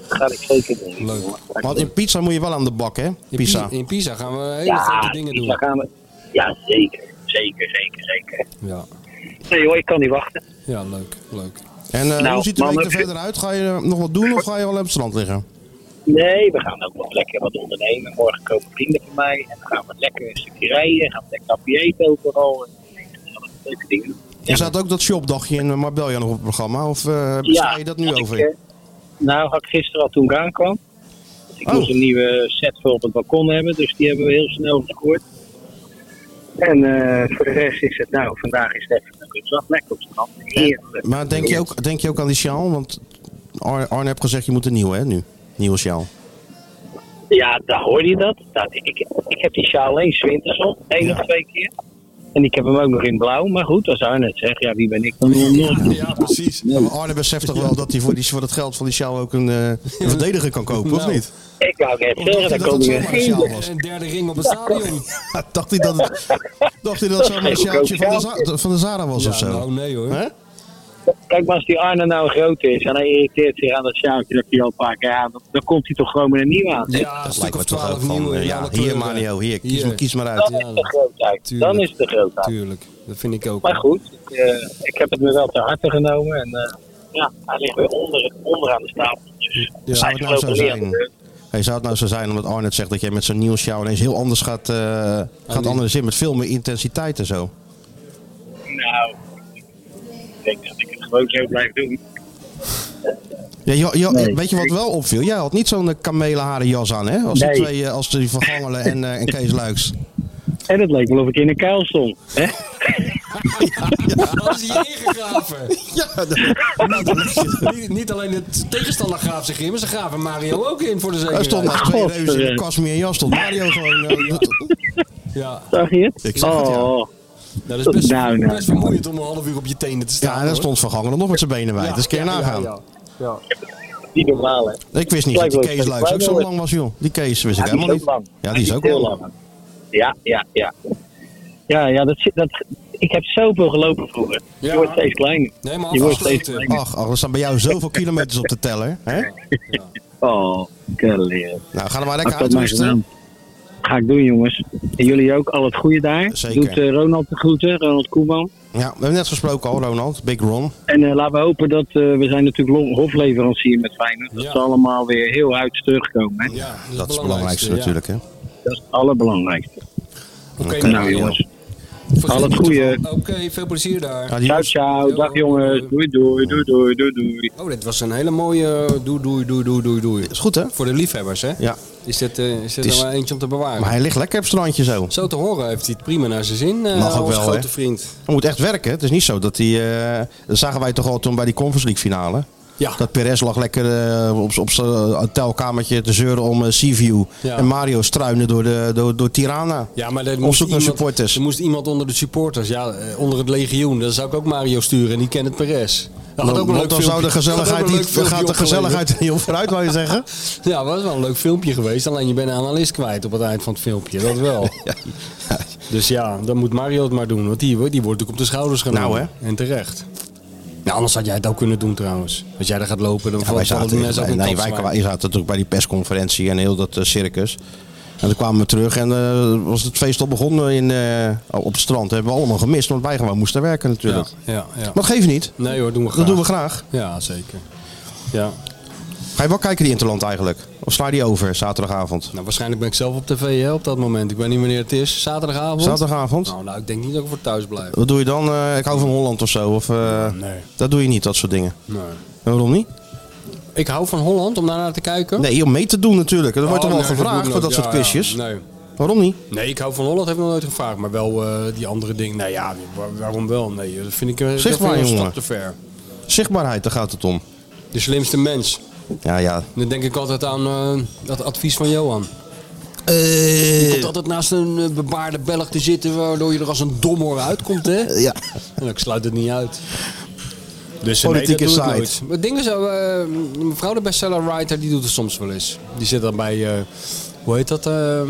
S9: Ga ik zeker doen.
S6: Leuk.
S5: Want in pizza moet je wel aan de bak, hè? Pizza.
S6: In Pisa gaan we hele
S9: Ja,
S6: grote dingen doen.
S9: Pisa gaan we... Ja, zeker. Zeker, zeker, zeker.
S6: Ja.
S9: Nee hoor, ik kan niet wachten.
S6: Ja, leuk, leuk.
S5: En eh,
S9: Nou,
S5: hoe ziet de week
S9: mannen,
S5: er verder uit? Ga je eh, nog wat doen of ga je al op het strand liggen?
S9: Nee, we gaan ook nog lekker wat ondernemen. Morgen komen vrienden van mij en dan gaan we lekker een stukje rijden. Gaan we lekker appie eten overal. En dat zijn leuke dingen.
S5: Er staat ook dat shopdagje in eh, Marbella nog op het programma. Of eh sta je dat nu
S9: had ik,
S5: over?
S9: eh, nou, had ik gisteren al toen ik aankwam. Want
S5: Oh.
S9: Ik moest een nieuwe set voor op het balkon hebben, dus die hebben we heel snel gescoord. En eh, voor de rest is het nou, vandaag is het even een rustdag, lekker op strand. Heerlijk.
S5: Maar denk je, ook, denk je ook aan die sjaal? Want Ar- Arne heeft gezegd, je moet een nieuwe, hè, nu? Nieuwe sjaal.
S9: Ja, daar hoor je dat. Dat- ik, ik heb die sjaal alleen zwinters op, één of twee keer. En ik heb hem ook nog in blauw, maar goed, als Arne het zegt, ja, wie ben ik dan?
S6: Ja, precies.
S5: Ja, maar Arne beseft toch wel dat hij voor, die, voor het geld van die sjaal ook een eh, een verdediger kan kopen, of
S6: Nou.
S5: niet?
S9: Ik wou net
S5: Of dacht je
S9: zeggen, daar
S5: dat
S9: kom
S5: het
S9: je
S5: zomaar een sjaal was?
S6: Een derde ring op het stadion.
S5: Dacht hij dat het, dacht hij dat het zomaar een sjaaltje van de, Za- van de Zara was
S6: Ja,
S5: of zo?
S6: nou, nee hoor.
S9: Kijk, maar als die Arne nou groot is en hij irriteert zich aan dat sjaaltje dat hij al een paar keer aan, dan komt hij toch gewoon met een nieuw aan.
S6: Ja, een stuk of twaalf
S5: van,
S6: nieuwe.
S5: eh,
S6: in
S5: ja,
S6: alle
S5: hier,
S6: kleuren.
S5: Mario, hier, kies maar- kies maar uit.
S9: Dan is de grootheid. Dan is de grootheid.
S6: Tuurlijk, dat vind ik ook.
S9: Maar goed, ik, eh, ik heb het me wel ter harte genomen en eh, ja, hij ligt weer onder, onderaan de stapel. Dus
S5: Ja, zou het nou zo zijn? Hey, zou het nou zo zijn, omdat Arne het zegt, dat jij met zo'n nieuw sjaal ineens heel anders gaat, eh gaat analyseren, met veel meer intensiteit en zo?
S9: Nou, ik denk dat ik het gewoon zo blijf doen.
S5: Ja, jo- jo-
S9: Nee.
S5: weet je wat wel opviel? Jij had niet zo'n eh, kamelenharen jas aan, hè? Als,
S9: Nee.
S5: die, twee, eh, als die Van Gangelen en, eh, en Kees Luiks.
S9: En het leek wel of ik in een kuil stond. Hè?
S6: Dat is je ingegraven.
S5: Ja,
S6: niet, niet alleen de tegenstander graaft zich in, maar ze graven Mario ook in voor de zekerheid.
S5: Hij stond naast twee reuzen
S9: eh.
S5: in de Casimir en jas, stond Mario gewoon... eh,
S6: Ja.
S9: Zag je het?
S5: Ik zag het, ja.
S6: Nou,
S9: Oh.
S6: dat is best,
S9: Nou,
S6: best
S9: nou, nou.
S6: vermoeiend om een half uur op je tenen te staan.
S5: ja, en dan
S6: hoor.
S5: stond Van Gangelen nog met zijn benen wijd.
S6: Ja,
S5: dus kun je
S6: ja,
S5: nagaan.
S6: Ja, ja,
S9: Niet normaal, hè?
S5: Ik wist niet dat die Kees Luiks ook zo lang was, joh. Die Kees wist ik
S9: Ja, die is
S5: helemaal niet.
S9: ook lang.
S5: Ja, die is ook
S9: heel
S5: lang.
S9: lang. Ja, ja, ja. Ja, ja dat, zit- dat, ik heb zoveel gelopen vroeger. Je wordt steeds kleiner.
S6: Nee,
S9: je wordt steeds
S6: eh,
S9: kleiner.
S5: Ach, ach, er staan bij jou zoveel kilometers op de teller. Hè?
S9: Oh, kellen.
S5: Nou, ga er maar lekker
S9: Had dat maar
S5: uitrusten.
S9: gedaan. Ga ik doen, jongens. En jullie ook al het goede daar.
S5: Zeker.
S9: Doet eh, Ronald de groeten, Ronald Koeman.
S5: Ja, we hebben net gesproken al, Ronald. Big Ron.
S9: En eh, laten we hopen dat eh, we zijn natuurlijk lo- hofleverancier met Feyenoord. Dat ze allemaal weer heel uit terugkomen. Hè?
S5: Dat is het belangrijkste natuurlijk, hè?
S9: Dat is het allerbelangrijkste.
S5: Oké,
S9: nou jongens. Al het goede.
S6: eh, Oké, veel plezier daar.
S9: Ciao, ciao. Nou, Dag jongens. Doei, doei, doei, doei, doei, doei.
S6: Oh, dit was een hele mooie eh, doei, doei, doei, doei, doei, doei. Is
S5: goed, hè?
S6: Voor de liefhebbers, hè?
S5: Ja.
S6: Is dit, eh, is dit
S5: Het is-
S6: nou eentje om te bewaren?
S5: Maar hij ligt lekker op het strandje zo.
S6: Zo te horen heeft hij het prima naar zijn zin, eh
S5: Mag ook
S6: onze
S5: wel,
S6: grote
S5: hè?
S6: vriend.
S5: Hij moet echt werken. Het is niet zo dat hij... eh, dat zagen wij toch al toen bij die Conference League finale.
S6: Ja.
S5: Dat Perez lag lekker eh, op, op zijn hotelkamertje te zeuren om eh Siviu.
S6: Ja.
S5: En Mario struinen door, de, door, door Tirana.
S6: Ja, maar er
S5: op
S6: moest,
S5: zoek naar
S6: iemand,
S5: supporters.
S6: er moest iemand onder de supporters, ja, eh, onder het legioen. Dan zou ik ook Mario sturen en die kent het Perez. Dat had ook een
S5: Want
S6: leuk
S5: Nou, dan zou de
S6: filmpje- had ook
S5: gezelligheid
S6: een
S5: niet,
S6: leuk filmpje
S5: gaat de
S6: opgeleverd.
S5: gezelligheid er niet op vooruit, wou je zeggen?
S6: Ja, dat was wel een leuk filmpje geweest. Alleen je bent een analist kwijt op het eind van het filmpje. Dat wel. Dus ja, dan moet Mario het maar doen. Want die, die wordt natuurlijk op de schouders genomen.
S5: Nou,
S6: En terecht. Nou, anders had jij het ook kunnen doen trouwens. Als jij daar gaat lopen, dan
S5: Ja, wij
S6: vallen
S5: zaten,
S6: die mensen ook
S5: wij,
S6: een
S5: nee,
S6: kans
S5: wij,
S6: kwijt.
S5: wij zaten natuurlijk bij die persconferentie en heel dat eh, circus. En toen kwamen we terug en eh, was het feest al begonnen in, eh, op het strand. Dat hebben we allemaal gemist, want wij gewoon moesten werken natuurlijk.
S6: Ja, ja.
S5: Maar dat geeft niet.
S6: Nee hoor, doen we
S5: Dat
S6: graag.
S5: doen we graag.
S6: Ja, zeker. Ja.
S5: Ga je wel kijken die Interland eigenlijk? Of sla je die over zaterdagavond?
S6: Nou, waarschijnlijk ben ik zelf op tv hè, op dat moment. Ik weet niet wanneer het is. Zaterdagavond?
S5: Zaterdagavond?
S6: Nou, nou ik denk niet dat ik voor thuis blijf.
S5: Wat doe je dan? Eh, ik hou van Holland of zo? Of, eh,
S6: nee.
S5: Dat doe je niet, dat soort dingen.
S6: Nee.
S5: En waarom niet?
S6: Ik hou van Holland om daarnaar te kijken.
S5: Nee, om mee te doen natuurlijk. Er wordt
S6: Oh,
S5: toch wel
S6: nee, dat
S5: gevraagd
S6: doe ik
S5: voor dat soort
S6: nooit. Ja, ja.
S5: quizjes?
S6: Nee.
S5: Waarom niet?
S6: Nee, ik hou van Holland, heeft nog nooit gevraagd. Maar wel eh, die andere dingen. Nou ja, waar- waarom wel? Nee, dat vind ik eh, dat
S5: Zeg
S6: vind ik
S5: maar,
S6: een stap
S5: jongen.
S6: te ver.
S5: Zichtbaarheid, daar gaat het om.
S6: De slimste mens.
S5: Ja, ja.
S6: Dan denk ik altijd aan eh, dat advies van Johan. Je komt altijd naast een eh, bebaarde Belg te zitten, waardoor je er als een domhoor uitkomt, hè?
S5: Ja.
S6: En ik sluit het niet uit. Dus eh,
S5: Politiek
S6: nee, dat doe ik
S5: aside.
S6: nooit. Maar dingen zo, eh, mevrouw de bestseller-writer, die doet het soms wel eens. Die zit dan bij, eh, hoe heet dat? eh,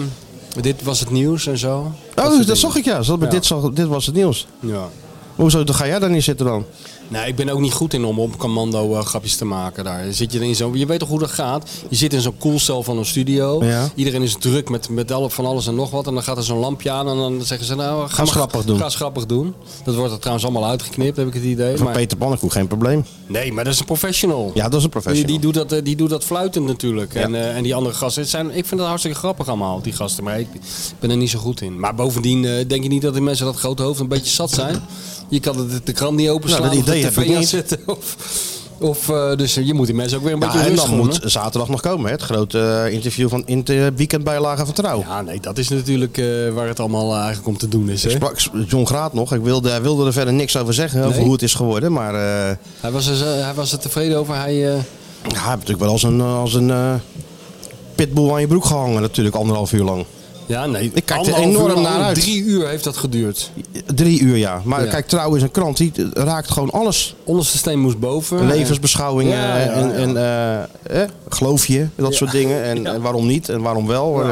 S6: dit was het nieuws en zo.
S5: Oh,
S6: soort
S5: dat,
S6: dingen.
S5: zag ik ja. Ze had met
S6: Ja.
S5: Dit, zag- dit was het nieuws.
S6: Ja.
S5: Hoezo dan ga jij daar niet zitten dan?
S6: Nee, Nou, ik ben ook niet goed in om op commando eh, grapjes te maken daar. Zit je, in zo, je weet toch hoe dat gaat? Je zit in zo'n koelcel van een studio.
S5: Ja.
S6: Iedereen is druk met, met al- van alles en nog wat. En dan gaat er zo'n lampje aan en dan zeggen ze... Nou,
S5: Ga eens
S6: maar-
S5: grappig doen.
S6: Ga eens grappig doen. Dat wordt er trouwens allemaal uitgeknipt, heb ik het idee.
S5: Van
S6: Maar,
S5: Peter Pannenkoek, geen probleem.
S6: nee, maar dat is een professional.
S5: Ja, dat is een
S6: Die,
S5: professional.
S6: die, doet dat, eh, die doet dat fluitend natuurlijk.
S5: Ja.
S6: En, eh, en die andere gasten. Het zijn, ik vind dat hartstikke grappig allemaal, die gasten. Maar ik ben er niet zo goed in. Maar bovendien eh, denk je niet dat die mensen dat grote hoofd een beetje zat zijn. Je kan de, de krant niet openslaan
S5: Nou, dat
S6: of de
S5: idee heb ik
S6: tv
S5: niet.
S6: aanzetten. Of, of, eh, dus je moet die mensen ook weer een
S5: Ja,
S6: beetje
S5: en
S6: rust
S5: dan
S6: gunnen.
S5: moet zaterdag nog komen, hè? het grote eh, interview van Inter Weekendbijlagen van Trouw.
S6: Ja, nee, dat is natuurlijk eh, waar het allemaal eh, eigenlijk om te doen is.
S5: Ik
S6: Hè?
S5: sprak John Graat nog. Ik wilde, hij wilde er verder niks over zeggen, over
S6: Nee.
S5: hoe het is geworden. Maar eh,
S6: Hij, was er, zo- hij was er tevreden over. Hij, eh,
S5: hij heeft natuurlijk wel als een, eh, als een eh, pitbull aan je broek gehangen natuurlijk, anderhalf uur lang.
S6: ja, nee,
S5: Ik kijk er
S6: anderhalf
S5: enorm
S6: uur,
S5: naar uit.
S6: Drie uur heeft dat geduurd.
S5: Drie uur ja. Maar
S6: Ja.
S5: kijk, Trouw is een krant, die eh, raakt gewoon alles.
S6: Onderste steen moest boven.
S5: Levensbeschouwing
S6: Ja,
S5: eh,
S6: ja,
S5: en,
S6: ja.
S5: en eh, eh, geloof je, dat soort dingen. En, en waarom niet en waarom wel. eh,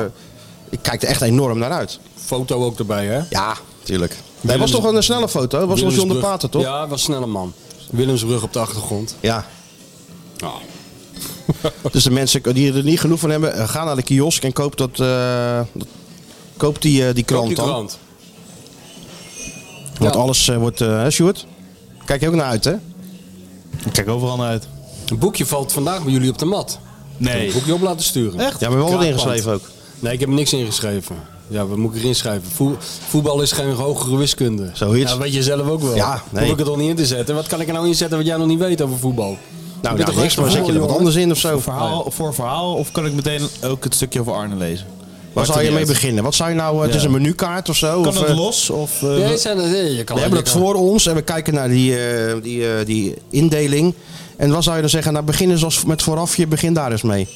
S5: ik kijk er echt enorm naar uit.
S6: Foto ook erbij, hè?
S5: Ja, tuurlijk. Nee, was toch een snelle foto? Dat was nog John de
S6: Willemsbrug.
S5: Pater, toch?
S6: Ja, hij was een snelle man. Willemsbrug op de achtergrond.
S5: Ja. dus de mensen die er niet genoeg van hebben, eh, ga naar de kiosk en koop, dat, eh, dat- koop die, eh, die krant
S6: Op die
S5: dan.
S6: krant.
S5: Want
S6: Ja.
S5: alles eh, wordt... eh hè, Sjoerd? Kijk je ook naar uit, hè?
S2: Ik kijk overal naar uit.
S6: Een boekje valt vandaag bij jullie op de mat.
S2: Nee.
S6: Een boekje op laten sturen.
S5: Echt? Ja, we hebben wel wat
S6: Kraakpand.
S5: ingeschreven ook.
S6: Nee, ik heb niks ingeschreven. Ja, wat moet ik erin schrijven? Voe- voetbal is geen hogere wiskunde.
S5: Zoiets.
S6: Ja, weet je zelf ook wel.
S5: Ja, nee.
S6: Hoef ik het nog niet in te zetten? Wat kan ik er nou inzetten wat jij nog niet weet over voetbal?
S5: Nou,
S6: ben
S5: nou
S6: toch
S5: niks,
S6: echt
S5: maar
S6: een
S5: zet je er wat
S6: voetbaljongen?
S5: anders in of zo.
S2: Verhaal, voor verhaal of kan ik meteen ook het stukje over Arne lezen?
S5: Waar
S2: Maakt
S5: zou
S2: het
S5: je
S2: niet
S5: mee
S2: uit.
S5: beginnen? Wat zou je nou... eh, Het
S2: Ja.
S5: is een menukaart of zo?
S2: Kan
S5: of,
S2: het
S5: eh,
S2: los? Of, eh,
S6: Nee, zijn er- nee, je kan
S5: We hebben dat
S6: je kan-
S5: voor ons en we kijken naar die, eh, die, eh, die indeling. En wat zou je dan zeggen? Nou, begin eens als met vooraf je begin daar eens mee.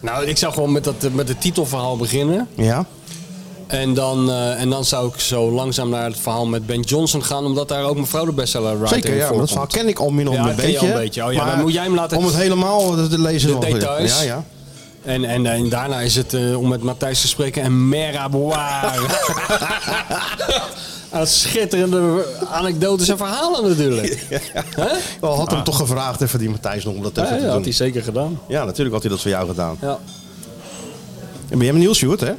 S6: Nou, ik zou gewoon met, dat, eh, met het titelverhaal beginnen.
S5: Ja?
S6: En dan, eh, en dan zou ik zo langzaam naar het verhaal met Ben Johnson gaan, omdat daar ook mevrouw de bestseller writer
S5: Zeker,
S6: in
S5: ja. maar Dat
S6: voorkomt.
S5: verhaal ken ik al min of
S6: Ja,
S5: meer een
S6: ken je al
S5: beetje.
S6: een beetje. Oh ja, dan moet jij hem laten-
S5: Om het helemaal te lezen.
S6: De
S5: wel goed.
S6: details.
S5: Ja, ja.
S6: En, en, en daarna is het eh, om met Matthijs te spreken en Meraboir. Aan schitterende anekdotes en verhalen natuurlijk. Hè?
S5: Wel, had hem toch gevraagd even die Matthijs nog om dat even
S6: Ah. Ja,
S5: te
S6: dat
S5: doen.
S6: had hij zeker gedaan.
S5: Ja, natuurlijk had hij dat voor jou gedaan.
S6: Ja.
S5: En ben jij benieuwd, Sjoerd, hè?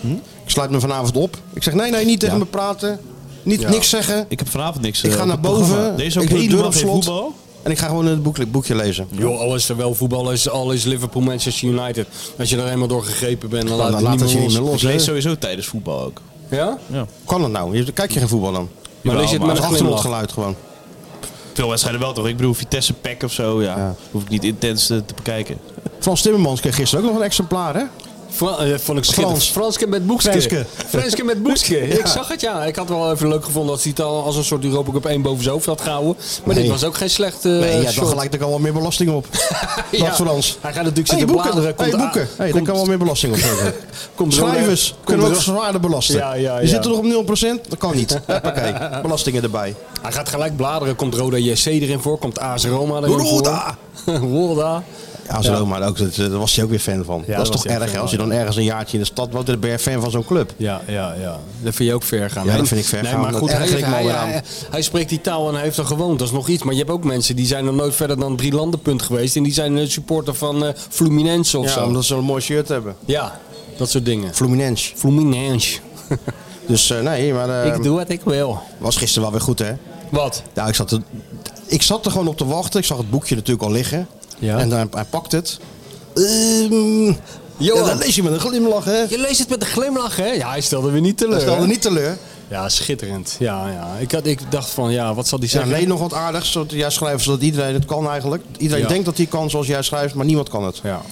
S5: Hm? Ik sluit me vanavond op. Ik zeg, nee, nee, niet tegen
S2: Ja.
S5: me praten. Niet,
S2: Ja.
S5: Niks zeggen.
S2: Ik heb vanavond niks.
S5: Ik
S2: eh,
S5: ga
S2: op
S5: naar
S2: het programma.
S5: boven.
S2: Deze ook
S5: ik doe de deur
S2: helemaal
S5: op
S2: geen
S5: slot.
S2: voetbal.
S5: En ik ga gewoon het boekje, boekje lezen. Nou,
S6: Joh, al is er wel voetbal, al is, al is Liverpool, Manchester United. Als je er eenmaal door gegrepen bent, dan
S5: Dan
S6: laat,
S5: laat
S6: het
S5: het je niet
S6: meer
S5: meer
S6: los.
S5: los, hè?
S2: Lees sowieso tijdens voetbal ook.
S6: Ja?
S2: Ja.
S5: Kan dat nou? Je- Kijk je geen voetbal dan?
S6: Maar lees je het
S2: maar
S6: met
S5: Dat
S6: een
S5: is
S6: glimlach.
S5: achtergrondgeluid gewoon.
S2: Veel wedstrijden wel toch? Ik bedoel, Vitesse Pack of zo, ja. Hoef ik niet intens eh, te bekijken.
S5: Frans Timmermans kreeg gisteren ook nog een exemplaar, hè?
S6: Fra- eh, vond ik schitterend.
S5: Frans.
S6: Franske met Boekske.
S5: Franske.
S6: Franske met Boekske.
S5: Ja.
S6: Ik zag het, ja. Ik had het wel even leuk gevonden als hij het al als een soort Europa Cup 1 boven zijn hoofd had gehouden. Maar
S5: Nee.
S6: dit was ook geen slecht eh
S5: Nee, ja, dan
S6: shot.
S5: gelijk ik al wat meer belasting op.
S6: Ja.
S5: Dat Frans.
S6: Hij gaat natuurlijk
S5: Hey,
S6: zitten bladeren.
S5: boeken.
S6: Komt
S5: Hey,
S6: aan-
S5: boeken. Hey, daar
S6: komt-
S5: kan wel meer belasting op hebben.
S6: komt er-
S5: Schrijvers
S6: komt
S5: kunnen we
S6: er-
S5: ook zwaarder belasten.
S6: Ja, ja,
S5: Je
S6: ja.
S5: zit er nog op 0%? Dat kan niet. Hoppakee. Belastingen erbij.
S6: Hij gaat gelijk bladeren. Komt Roda JC erin voor. Komt AS Roma erin
S5: Roda!
S6: voor. Roda!
S5: Ja, zo,
S6: Ja.
S5: maar ook, dat, eh, daar was hij ook weer fan van.
S6: daar
S5: dat is
S6: was
S5: toch
S6: hij ook
S5: erg, hè?
S6: fan
S5: Als je dan ergens een jaartje in de stad woont, dan ben je fan van zo'n club.
S6: Ja, ja, ja. Dat vind je ook ver gaan.
S5: Ja,
S6: hè?
S5: dat vind ik ver
S6: nee,
S5: gaan.
S6: Maar
S5: Dat
S6: goed, hij,
S5: erger ik me
S6: hij,
S5: alweer aan.
S6: hij, hij spreekt die taal en hij heeft er gewoond. Dat is nog iets. Maar je hebt ook mensen die zijn nog nooit verder dan drie landenpunt geweest. En die zijn eh, supporter van eh, Fluminense of
S5: Ja,
S6: zo.
S5: omdat ze een mooi shirt hebben.
S6: Ja, dat soort dingen.
S5: Fluminense.
S6: Fluminense.
S5: Dus eh, nee, maar... eh,
S6: ik doe wat ik wil.
S5: Was gisteren wel weer goed, hè?
S6: Wat?
S5: Ja, ik zat, er, ik zat er gewoon op te wachten. Ik zag het boekje natuurlijk al liggen.
S6: Ja.
S5: En hij, hij pakt het. Ehm
S6: Johan.
S5: ja, dan lees je met een glimlach, hè?
S6: Je leest het met een glimlach, hè? Ja, hij stelde weer niet teleur.
S5: Dat stelde
S6: hè?
S5: niet teleur.
S6: Ja, schitterend. Ja, ja. Ik, had, ik dacht van, ja, wat zal die
S5: Ja,
S6: zeggen?
S5: nee, nog wat aardigs. zodat Jij schrijft zodat iedereen het kan eigenlijk. Iedereen
S6: Ja.
S5: denkt dat hij kan zoals jij schrijft, maar niemand kan het.
S6: Ja.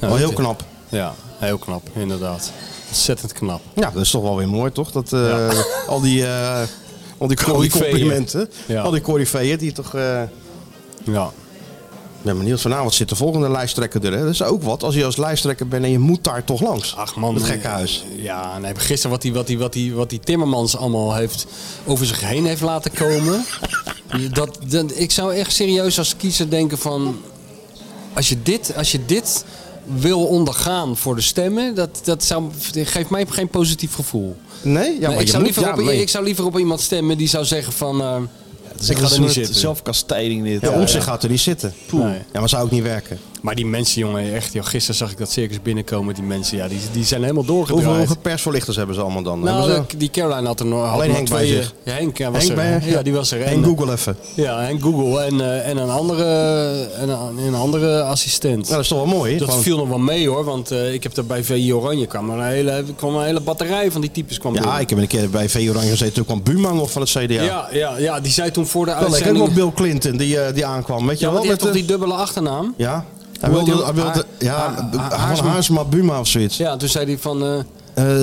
S6: Ja,
S5: Wel heel
S6: dit-
S5: knap.
S6: Ja, heel knap, inderdaad. Ontzettend knap.
S5: Ja, dat is toch wel weer mooi, toch? Dat eh, al die, eh, al die, al die
S6: Coryfeeën.
S5: complimenten,
S6: Ja.
S5: al die coryfeeën die toch... eh
S6: Ja.
S5: Ik ben benieuwd, vanavond zit de volgende lijsttrekker er. Hè? Dat is ook wat, als je als lijsttrekker bent en je moet daar toch langs.
S6: Ach man.
S5: Het gekke huis.
S6: Ja, nee, maar gisteren wat die, wat, die, wat, die, wat die Timmermans allemaal heeft over zich heen heeft laten komen. dat, dat, ik zou echt serieus als kiezer denken van... Als je dit, als je dit wil ondergaan voor de stemmen, dat, dat, zou, dat geeft mij geen positief gevoel.
S5: Nee? Ja, maar
S6: Nee, ik,
S5: je
S6: zou
S5: moet,
S6: liever
S5: ja,
S6: op,
S5: nee.
S6: ik zou liever op iemand stemmen die zou zeggen van... eh, ik ga
S2: Dat
S6: er
S2: is
S6: niet
S2: een soort
S6: zitten.
S2: Zelfkastijding dit.
S5: Ja,
S2: Ja,
S5: om zich
S2: ja.
S5: gaat er niet zitten.
S6: Nee.
S5: Ja, maar zou ook niet werken.
S6: Maar die mensen, jongen, echt, joh, gisteren zag ik dat circus binnenkomen. Die mensen, ja, die, die zijn helemaal
S5: Hoeveel
S6: doorgedraaid.
S5: hoge persvoorlichters hebben ze allemaal dan?
S6: Nou,
S5: Hebben ze-
S6: de- die Caroline had er nog had
S5: Alleen
S6: nog
S5: Henk
S6: twee,
S5: bij zich.
S6: eh, Ja, Henk, eh, was
S5: Henk
S6: er,
S5: bij-
S6: ja, die was er. eh,
S5: en Google even. Nou,
S6: Ja, en Google en, eh, en, een, andere, en een, een andere assistent.
S5: dat is toch wel mooi. hè?
S6: dat
S5: Gewoon-
S6: viel nog wel mee hoor, want eh, ik heb daar bij VI Oranje kwam er een hele, kwam een hele batterij van die types kwam
S5: Ja,
S6: door.
S5: ik heb een keer bij V Oranje gezeten. Toen kwam Buma nog van het CDA. Ja,
S6: ja, ja, ja, die zei toen voor de
S5: dat leek ook
S6: uitzending...
S5: wel Bill Clinton die, eh, die aankwam. Weet je
S6: ja, want
S5: wel?
S6: die heeft toch
S5: de-
S6: die dubbele achternaam?
S5: Ja. Hij
S6: Hoe heet
S5: wilde,
S6: die
S5: hij
S6: ook?
S5: wilde,
S6: Ha-
S5: ja,
S6: ha-
S5: B-
S6: ha-
S5: Haarsma- Haarsma Buma of zoiets.
S6: Ja, toen zei hij van... eh,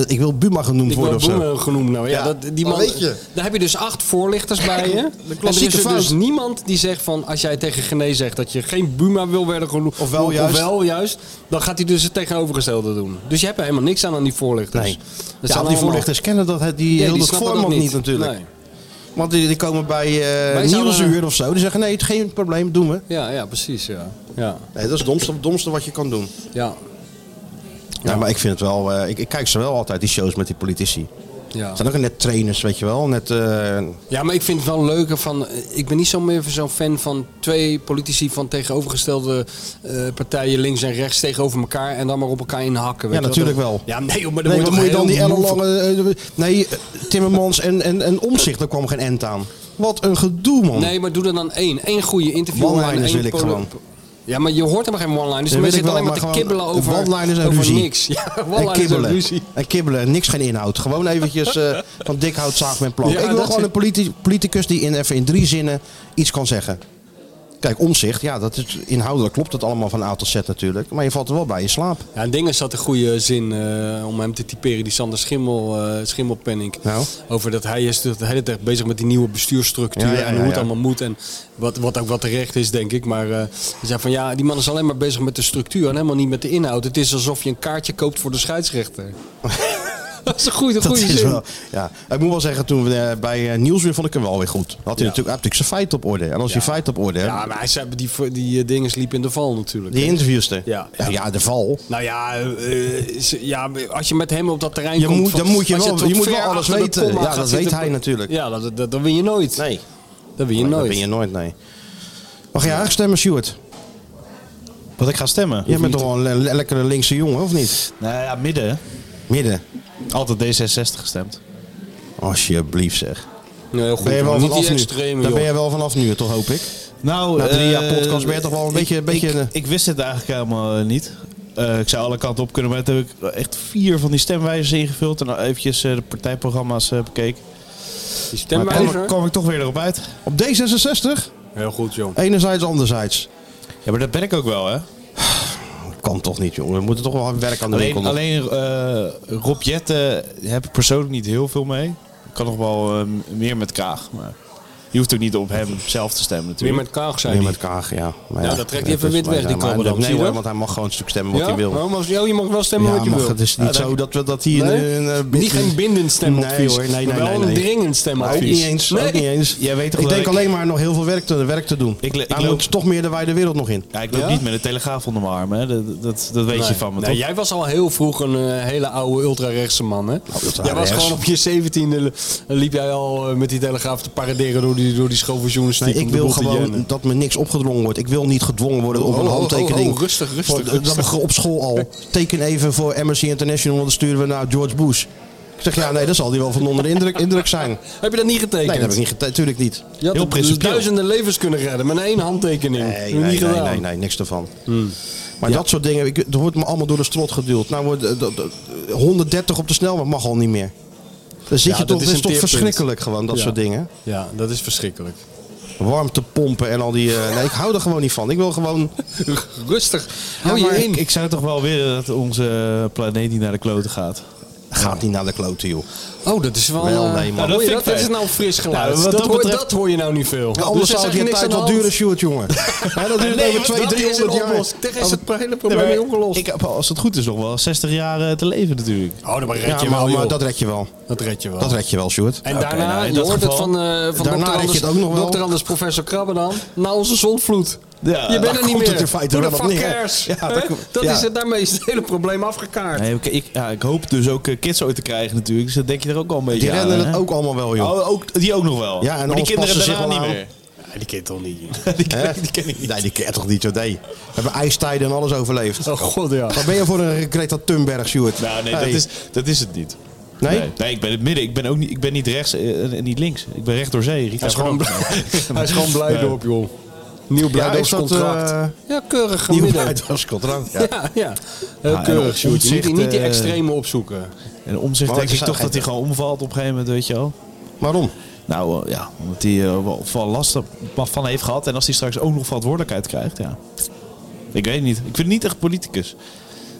S5: Eh, ik wil Buma genoemd
S6: ik
S5: worden
S6: word
S5: of zo.
S6: Boemer genoemd nou. Ja,
S5: Ja,
S6: dat, die
S5: maar
S6: man,
S5: weet je.
S6: Daar heb je dus acht voorlichters bij je. En er
S5: klassieke
S6: is er
S5: fout.
S6: dus niemand die zegt van... als jij tegen Gené zegt dat je geen Buma wil worden genoemd...
S5: Of wel juist.
S6: wel juist, dan gaat hij dus het tegenovergestelde doen. Dus je hebt er helemaal niks aan aan die voorlichters.
S5: Nee.
S6: Dat zijn
S5: Ja, want die
S6: allemaal-
S5: voorlichters kennen dat, het- die
S6: Nee,
S5: heel
S6: die
S5: dat
S6: snappen dat
S5: format niet, natuurlijk.
S6: Nee.
S5: Want die, die komen bij eh
S6: Wij zouden-
S5: Nieuwsuur of zo. Die zeggen, nee, het geen probleem, doen we.
S6: Ja, ja, precies. Ja. Ja.
S5: Nee, dat is het domste, domste wat je kan doen.
S6: Ja.
S5: Ja, maar ik vind het wel... eh, ik, ik kijk ze wel altijd, die shows met die politici.
S6: Ja.
S5: Het zijn ook net trainers, weet je wel. Net, eh,
S6: ja, maar ik vind het wel leuker van... eh, Ik ben niet zo meer zo'n fan van twee politici van tegenovergestelde eh, partijen links en rechts tegenover elkaar en dan maar op elkaar inhakken. weet
S5: ja,
S6: je wel.
S5: natuurlijk wel.
S6: Ja, nee, joh, maar dan
S5: Nee,
S6: moet
S5: wat
S6: je,
S5: moet je
S6: toch
S5: dan die
S6: heel moe
S5: ellenlange... eh, nee, eh, Timmermans en, en, en Omzicht, daar kwam geen end aan. Wat een gedoe, man.
S6: voor- Nee, maar doe er dan één. Eén goede interview. en
S5: One-liners
S6: één
S5: wil ik
S6: polo-
S5: gewoon.
S6: Ja, maar je hoort helemaal geen one-liners. Dus
S5: Dat
S6: mensen
S5: wil ik
S6: zitten
S5: wel, maar
S6: alleen maar te
S5: gewoon-
S6: kibbelen over,
S5: one-liners en
S6: over
S5: ruzie.
S6: niks. Ja,
S5: En
S6: one-liners en
S5: kibbelen.
S6: ruzie.
S5: En kibbelen. Niks geen inhoud. Gewoon eventjes eh, van dik hout zaag met plank.
S6: Ja,
S5: ik wil
S6: dat
S5: gewoon
S6: is-
S5: een politi- politicus die in, even in drie zinnen iets kan zeggen. Kijk, omzicht. Ja, dat is, inhoudelijk klopt het allemaal van A tot Z natuurlijk. Maar je valt er wel bij in slaap.
S6: Ja, en Dingen zat een goede zin eh, om hem te typeren, die Sander Schimmel, eh Schimmelpenning.
S5: Nou.
S6: Over dat hij is de hele tijd bezig met die nieuwe bestuursstructuur
S5: Ja, ja,
S6: en
S5: ja,
S6: hoe het
S5: ja.
S6: allemaal moet. En wat, wat ook wat terecht is, denk ik. Maar eh, hij zei van ja, die man is alleen maar bezig met de structuur en helemaal niet met de inhoud. Het is alsof je een kaartje koopt voor de scheidsrechter. dat is een goede,
S5: Dat
S6: goede
S5: is
S6: zin.
S5: wel, ja. Ik moet wel zeggen, toen we, eh, bij eh, Nieuwsweer vond ik hem wel weer goed. Dan Had hij
S6: Ja.
S5: natuurlijk, hij had natuurlijk zijn feit op orde. En als je feit op orde hebt,
S6: Ja, maar hij zei, die, die eh, dingen liepen in de val natuurlijk.
S5: die interviewster.
S6: Ja.
S5: ja. ja, de val.
S6: Nou ja, eh, ze- ja, als je met hem op dat terrein
S5: Je
S6: komt...
S5: moet-
S6: van-
S5: dan moet je
S6: als
S5: wel-
S6: tot
S5: je moet
S6: ver
S5: wel alles
S6: achter de
S5: weten.
S6: komma
S5: Ja,
S6: gaat
S5: dat
S6: zitten-
S5: weet hij natuurlijk.
S6: Ja, dat, dat, dat win je nooit.
S5: Nee.
S6: Dat win je
S5: Nee,
S6: nooit.
S5: Dat ben je nooit, nee. Mag je eigenlijk stemmen, Stuart?
S2: Wat ik ga stemmen?
S5: Jij bent toch wel een le- lekkere linkse jongen, of niet?
S2: Nou ja, midden. hè?
S5: Midden.
S2: Altijd D66 gestemd.
S5: Alsjeblieft zeg.
S6: Nee, heel goed.
S5: Ben je wel
S6: Niet
S5: vanaf
S6: die
S5: nu?
S6: extreme,
S5: Daar ben
S6: joh.
S5: je wel vanaf nu, toch hoop ik?
S2: Nou,
S5: Na drie jaar
S2: eh,
S5: podcast ben je toch wel een
S2: ik-
S5: beetje- een beetje
S2: Ik,
S5: een-
S2: ik wist het eigenlijk helemaal eh, niet. Eh, ik zou alle kanten op kunnen, maar toen heb ik echt vier van die stemwijzers ingevuld en eventjes eh, de partijprogramma's eh, bekeken.
S6: Die
S2: Maar kwam, kwam ik toch weer erop uit.
S5: Op D66?
S6: Heel goed, joh.
S5: Enerzijds, anderzijds.
S2: Ja, maar dat ben ik ook wel,
S5: Nou,
S2: hè?
S5: Kan toch niet, jongen. We moeten toch wel werk aan de winkel
S2: Alleen,
S5: doen.
S2: alleen eh, Rob Jetten heb ik persoonlijk niet heel veel mee. Ik kan nog wel eh, m- meer met Kaag, maar je hoeft ook niet op hem zelf te stemmen
S6: Weer
S2: natuurlijk.
S6: met Kaag, zei
S5: Nee,
S6: hij.
S5: met Kaag, ja. Maar
S6: Ja,
S5: ja,
S6: dat trekt hij even
S5: is
S6: wit weg,
S5: waar,
S6: die
S5: maar-
S6: Krabberdam,
S5: Nee
S6: zie je
S5: hoor,
S6: dat?
S5: want hij mag gewoon een stuk stemmen wat
S6: Ja?
S5: hij wil.
S6: Oh, maar- oh, je mag wel stemmen
S5: ja,
S6: wat je
S5: maar
S6: wil.
S5: Het is niet zo dat, we, dat hier eh,
S6: Nee?
S5: een... een-
S6: Niet geen bindend
S5: Nee
S6: stemadvies.
S5: hoor, nee, nee,
S6: maar
S5: nee.
S6: wel
S5: nee.
S6: een dringend
S5: Ook
S6: stemadvies.
S5: niet eens.
S6: Nee.
S5: Ook niet eens.
S2: Jij weet toch
S5: ik
S2: dat
S5: denk
S2: ik-
S5: alleen maar nog heel veel werk te, werk te doen.
S2: Ik le- ik
S5: Hij
S2: loop-
S5: moet toch meer de wijde wereld nog in.
S2: Ja, ik loop
S6: Ja?
S2: niet met een telegraaf onder mijn arm, hè? Dat, dat, dat weet je
S6: Nee.
S2: van me,
S6: Nee,
S2: toch?
S6: Jij was al heel vroeg een eh, hele oude ultrarechtse man, hè? jij was
S5: ultrarechts.
S6: gewoon op je zeventiende liep jij al eh, met die telegraaf te paraderen door die, door die school voor journalistiek.
S5: Nee, ik
S6: om de
S5: wil
S6: boel te
S5: gewoon
S6: jeunen.
S5: dat me niks opgedrongen wordt. Ik wil niet gedwongen worden op
S6: Oh,
S5: een
S6: oh, oh,
S5: handtekening.
S6: oh, rustig, rustig,
S5: Voor- Dat
S6: rustig.
S5: we op school al. Teken even voor Amnesty International, want dan sturen we naar George Bush. Ik zeg, ja, nee, dat zal die wel van onder de indruk, indruk zijn. Nee,
S6: Heb je dat niet getekend?
S5: dat heb ik niet getekend. Natuurlijk niet.
S6: Je had
S2: Heel
S6: het dus
S2: principieel.
S6: duizenden levens kunnen redden met één handtekening. Dat heb
S5: Nee,
S6: je
S5: nee,
S6: niet
S5: nee,
S6: gedaan. Hmm.
S5: nee, nee, niks ervan. Maar dat soort dingen, ik, er wordt me allemaal door de strot geduwd. Nou, wordt, eh, dat- dat- 130 op de snelweg mag al niet meer. Dan zit
S6: Ja,
S5: je
S6: dat
S5: toch,
S6: is
S5: dat is
S6: een
S5: toch
S6: teerpunt.
S5: verschrikkelijk gewoon, dat
S6: Ja.
S5: soort dingen.
S6: Ja, dat is verschrikkelijk.
S5: Warmtepompen en al die... eh, nee, ik hou er gewoon niet van. Ik wil gewoon...
S6: Rustig.
S2: Ja,
S6: Hou
S2: maar
S6: je
S2: ik,
S6: in.
S2: ik zou toch wel willen dat onze planeet niet naar de kloten gaat.
S5: Gaat niet naar de klote, joh.
S6: Oh, dat is wel...
S5: Wel,
S6: eh,
S5: nee, man.
S6: hoor
S2: Dat vind
S6: je
S2: ik
S6: dat, dat
S2: fijn.
S6: is nou fris geluid.
S2: Nou, wat
S6: dat,
S2: dat
S6: hoor,
S2: betreft-
S6: dat hoor je nou niet veel.
S5: Ja, anders
S6: Dus
S5: zou
S6: er
S5: het
S6: is
S5: je tijd
S6: eigenlijk
S5: wel
S6: niks aan de
S5: duren,
S6: hand.
S5: Sjoerd, jongen. Hè, dat duurt
S6: Nee,
S5: over
S6: maar
S5: twee,
S6: dat is een
S5: driehonderd jaar.
S6: oplossing. Daar is het hele
S2: Nee,
S6: probleem
S2: maar
S6: mee opgelost.
S2: Ik heb, als het goed is nog wel 60 jaar eh, te leven natuurlijk.
S6: Oh, dat red
S5: Ja,
S6: je
S5: maar,
S6: wel,
S2: eh,
S5: maar
S6: joh.
S5: dat red je wel.
S6: Dat red je wel.
S5: Dat red je wel, Sjoerd.
S6: En
S2: Oké,
S6: daarna,
S2: nou, in
S6: je
S2: dat
S6: hoort het
S2: geval-
S6: van, eh van
S5: Daarna red je
S6: dokter Anders,
S5: het ook nog wel.
S6: dokter Anders, professor Krabbe dan, na onze zondvloed.
S2: Ja,
S6: je
S2: daar
S6: bent er niet
S5: komt
S6: meer.
S5: het in feite
S6: Who
S5: wel
S6: the
S5: nou, op
S6: fuck
S5: neer.
S6: cares?
S5: Ja,
S6: Hè?
S5: dat
S6: dat
S5: komt- ja.
S6: is het, daarmee is het hele probleem afgekaart.
S2: Nee, ik, ik, ja, ik hoop dus ook eh, kids ooit te krijgen natuurlijk. Dus dat denk je er ook al een beetje
S5: Die
S2: aan.
S5: rennen het
S2: hè?
S5: ook allemaal wel, joh.
S2: Oh, ook, die ook nog wel.
S5: Ja,
S2: maar
S5: en
S2: die
S5: anders
S2: kinderen
S5: passen ze
S2: daarna
S5: zich wel
S2: niet
S5: aan.
S2: meer.
S6: Ja, die kind toch niet.
S2: Die ken,
S5: Hè?
S2: die ken ik niet.
S5: Nee, die ken je toch niet, joh. Nee. We hebben ijstijden en alles overleefd.
S6: Oh god, ja.
S5: Wat ben je voor een Greta Thunberg, Sjoerd?
S2: Nou, nee,
S5: Hey.
S2: dat, is, dat is het niet.
S5: Nee?
S2: Nee, nee, ik ben het midden. Ik ben ook niet, ik ben niet rechts eh, en en niet links. Ik ben recht door zee. Rita
S6: Hij is gewoon blij,
S2: Verdonk.
S6: hij is gewoon blij
S2: Nee.
S6: dorp, joh.
S5: Ja,
S6: Nieuw
S5: is dat...
S6: blijdorpscontract.
S5: eh,
S6: ja, keurig gaan
S5: Nieuw
S6: midden.
S5: blijdorpscontract, ja.
S6: Ja, ja. Heel
S2: en op
S6: keurig, Sjoerd. Je moet die-
S2: omzicht,
S6: Niet die
S2: eh,
S6: extreme opzoeken.
S2: En omzicht
S5: Maar
S2: denk
S5: het
S2: ik
S5: is
S2: toch dat hij
S5: eigenlijk-
S2: gewoon omvalt op een gegeven moment, weet je wel.
S5: Waarom?
S2: Nou eh, ja, omdat hij er wel wel last van heeft gehad. En als hij straks ook nog verantwoordelijkheid krijgt, ja. Ik weet het niet. Ik vind het niet echt politicus.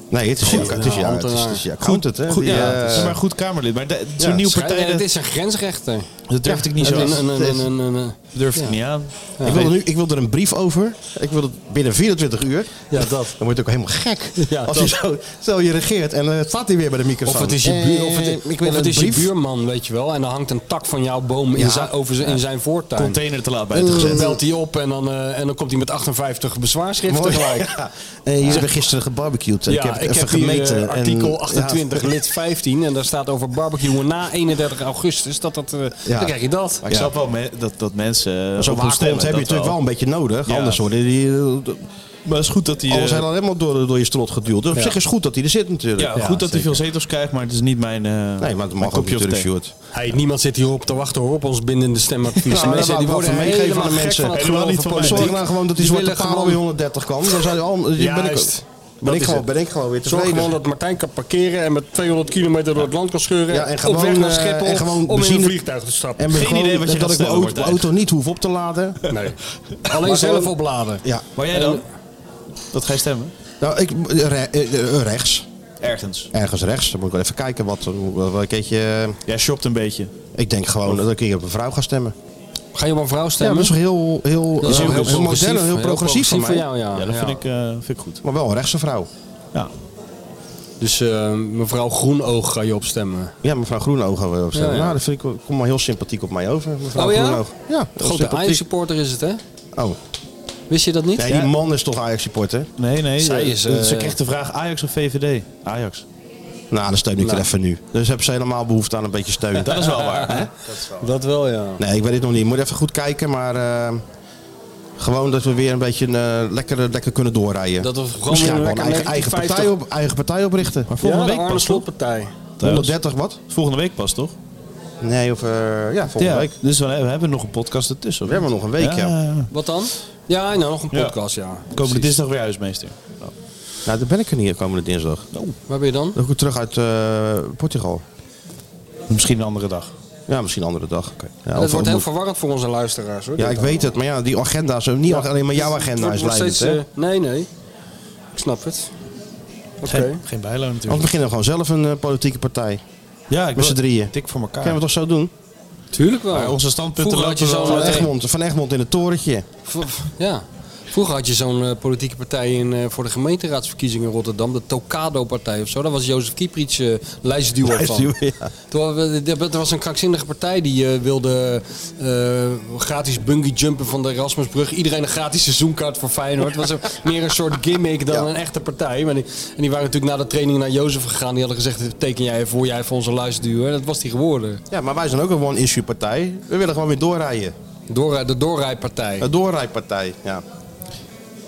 S5: Nee, het is ja, het
S6: nou,
S5: is ja, het is-
S6: ambtenaar.
S5: het is ja, goed het, hè.
S2: Goed,
S5: Die,
S2: ja,
S5: eh,
S2: het is maar goed Kamerlid. Maar de- zo'n
S5: ja,
S2: nieuwe
S6: Schrijf-
S2: partij,
S6: Het
S2: dat,
S6: is een grensrechter.
S2: dat durfde ik niet zo.
S6: Een- een-
S2: Dat
S6: een- een- een- een-
S2: durfde ik
S6: ja.
S2: niet aan.
S5: ik, wil er nu, ik wil er een brief over. Ik wil het binnen 24 uur.
S6: Ja, dat.
S5: Dan word je ook helemaal gek.
S6: Ja,
S5: Als
S6: dat.
S5: je zo, stel je regeert en eh, het staat hij weer bij de microfoon.
S6: Of het is je, buur, of het,
S5: Eh, ik wil
S6: of
S5: een
S6: het is je
S5: brief.
S6: buurman, weet je wel. En dan hangt een tak van jouw boom
S5: Ja.
S6: in zijn, over zijn, in zijn voortuin.
S2: Container te laat
S6: En
S2: buiten
S6: dan
S2: gezet.
S6: belt hij op en dan, eh, en dan komt hij met 58 bezwaarschriften
S5: Mooi.
S6: gelijk.
S5: Ja. Eh, hier hebben we gisteren gebarbecued.
S6: Ja,
S5: ik heb het even gemeten.
S6: hier, eh,
S5: en-
S6: artikel
S5: ja.
S6: 28, lid 15. En daar staat over barbecuen na 31 augustus. Dat, dat, eh, Dan krijg je dat.
S2: Maar ik snap wel me- dat, dat mensen... eh,
S5: Zo'n
S2: op hun
S5: waakhond heb
S2: stemmen,
S5: je
S2: dat
S5: natuurlijk wel een beetje nodig.
S2: Ja.
S5: Anders worden die... eh,
S2: Maar het is goed dat hij... eh,
S5: Alles helemaal helemaal door, door je strot geduwd. Dus op
S6: Ja.
S5: zich is goed dat hij er zit natuurlijk.
S2: ja, goed dat hij veel zetels krijgt, maar het is niet mijn... eh,
S5: Nee, maar het
S2: mijn
S5: mag ook
S2: kopje op
S5: natuurlijk,
S2: thee.
S5: Sjoerd.
S6: Hey, niemand zit hierop te wachten hoor, op ons bindende stemadvies.
S5: Nou,
S6: mensen
S5: dat
S6: die
S5: wou ik
S6: worden
S5: wel meegeven
S6: helemaal
S5: aan de
S6: gek
S5: mensen.
S6: van het
S2: Helemaal
S6: geloof
S2: niet
S6: van
S2: van mij.
S5: Zorg
S6: politiek.
S5: nou gewoon dat die zwarte
S6: willen
S5: paal
S6: gewoon-
S5: weer 130 kan. Dan zijn al, ben, ik,
S6: Juist.
S5: ben,
S6: Dat
S5: ik
S6: is
S5: gewoon,
S6: het.
S5: ben ik gewoon weer
S6: Zorg
S5: tevreden.
S6: gewoon dat Martijn kan parkeren en met 200 kilometer door het land kan scheuren.
S5: Ja, en
S6: op weg
S5: gewoon,
S6: naar
S5: eh,
S6: Schiphol
S5: en gewoon
S6: om in een
S5: benzine-
S6: vliegtuig te stappen.
S5: en ben
S2: Geen
S5: gewoon,
S2: idee wat je gaat
S5: dat ik mijn
S2: stellen,
S5: auto,
S2: Martijn.
S5: auto niet hoef op te laden.
S6: Nee. Alleen zelf opladen.
S5: Ja.
S2: Maar jij dan? Dat ga je stemmen?
S5: Nou, ik, re- eh, eh, rechts.
S2: Ergens.
S5: Ergens rechts. Dan moet ik wel even kijken wat, wat, wat- keetje, eh,
S2: Jij shopt een beetje.
S5: Ik denk gewoon dat ik hier op een vrouw ga stemmen.
S6: Ga je op een vrouw
S5: Ja, maar
S6: stemmen?
S5: dat is heel, heel,
S6: Dat is
S5: heel,
S6: ook
S5: heel,
S6: heel
S5: modern en heel progressief van mij.
S6: jou, ja.
S2: Ja, dat vind,
S6: Ja.
S2: Ik, eh, vind ik goed.
S5: Maar wel een rechtse vrouw.
S2: Ja.
S6: Dus eh, mevrouw Groenoog ga je opstemmen.
S5: Ja, mevrouw Groenoog gaan we opstellen.
S6: Ja, ja.
S5: Nou, dat vind ik komt wel heel sympathiek op mij over. Mevrouw
S6: Oh ja?
S5: Groenoog. Ja, heel
S6: Grote
S5: sympathiek.
S6: Ajax-supporter is het, hè?
S5: Oh,
S6: Wist je dat niet?
S5: nee, die man is toch Ajax-supporter?
S2: Nee, nee.
S6: Zij
S2: eh,
S6: is, eh,
S2: Ze kreeg de vraag Ajax of VVD? Ajax.
S5: Nou, dan steun ik
S6: Nou.
S5: er even nu. Dus hebben ze helemaal behoefte aan een beetje steun.
S2: Dat is wel waar. Hè?
S6: Dat wel, ja.
S5: Nee, ik weet het nog niet. Moet even goed kijken, maar... eh, gewoon dat we weer een beetje eh, lekker, lekker kunnen doorrijden.
S6: Dat we gewoon
S5: Misschien
S6: weer
S5: gaan we
S6: lekker
S5: gewoon een eigen, eigen,
S6: 1950
S5: partij op, eigen partij oprichten.
S6: Ja,
S2: Volgende
S6: de
S2: week
S6: Arne
S2: pas, toch?
S6: Slotpartij.
S5: 130 wat?
S2: Volgende week pas, toch?
S5: Nee, of... eh, ja, volgende
S2: Ja,
S5: week.
S2: Dus we hebben we hebben nog een podcast ertussen.
S5: We hebben nog een week, ja.
S6: Wat dan? Ja, nou, nog een podcast, ja.
S2: Komende
S6: Precies.
S2: dinsdag weer huismeester.
S5: Nou, dan ben ik er niet komende dinsdag.
S6: Waar ben je dan?
S5: Dan kom ik terug uit eh, Portugal.
S2: Misschien een andere dag.
S5: Ja, misschien een andere dag. Oké. Ja,
S6: dat
S5: of-
S6: wordt heel
S5: moet-
S6: verwarrend voor onze luisteraars. Hoor,
S5: Ja,
S6: dit
S5: ik weet het. Maar ja, die agenda's, niet alleen maar jouw
S6: Het
S5: agenda
S6: wordt-
S5: is
S6: wordt
S5: leidend,
S6: steeds,
S5: hè?
S6: eh, Nee, nee. Ik snap het. Oké.
S2: Geen bijloon
S5: Want we
S2: natuurlijk.
S5: beginnen gewoon zelf een eh, politieke partij.
S2: Ja, ik
S5: Met z'n drieën.
S2: Tik voor elkaar.
S5: Kunnen we toch zo doen?
S6: Tuurlijk wel.
S2: Maar onze standpunten
S6: Vroeger had je
S2: lopen wel
S6: zo'n...
S5: Van
S6: eh,
S5: Egmond, van Egmond in het torentje.
S6: v- Ja. Vroeger had je zo'n eh, politieke partij in, eh, voor de gemeenteraadsverkiezingen in Rotterdam. De Tocado-partij of zo. Daar was Jozef Kieprits eh lijstduwer van.
S5: Ja.
S6: Toen we- Er was een krankzinnige partij die eh, wilde eh, gratis bungee jumpen van de Erasmusbrug. Iedereen een gratis seizoenkaart voor Feyenoord. Het was een- meer een soort gimmick dan een echte partij. Maar die, en die waren natuurlijk na de training naar Jozef gegaan. Die hadden gezegd, teken jij voor, jij voor onze luisterduur. En dat was die geworden.
S5: ja, maar wij zijn ook een one-issue partij. We willen gewoon weer doorrijden.
S6: Doorrij- de doorrijpartij.
S5: Een doorrijpartij, ja.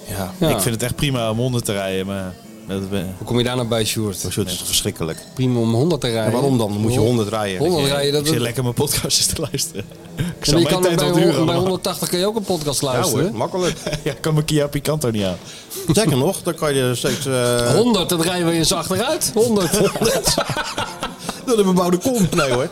S2: Ja.
S6: Ja.
S2: Ik vind het echt prima om honden te rijden, maar... Dat ben...
S6: Hoe kom je daar nou bij, Sjoerd?
S5: Maar zo, het is toch verschrikkelijk.
S6: Prima om 100 te rijden.
S5: En waarom dan? Dan moet je 100 rijden.
S6: 100 rijden, dat...
S2: Ik zit lekker mijn podcastjes te luisteren. Ik
S6: Ja, maar
S2: zal
S6: je
S2: mijn
S6: kan er
S2: tijd
S6: bij,
S2: al
S6: hon-
S2: duren.
S6: bij
S2: allemaal.
S6: 180 kan je ook een podcast
S5: Ja
S6: luisteren.
S5: hoor, makkelijk.
S2: Ja, ik kan mijn Kia Picanto niet aan.
S5: Zeker nog, dan kan je er steeds... eh,
S6: 100, dan rijden we eens achteruit. 100. 100.
S5: door de bebouwde kom. Nee hoor.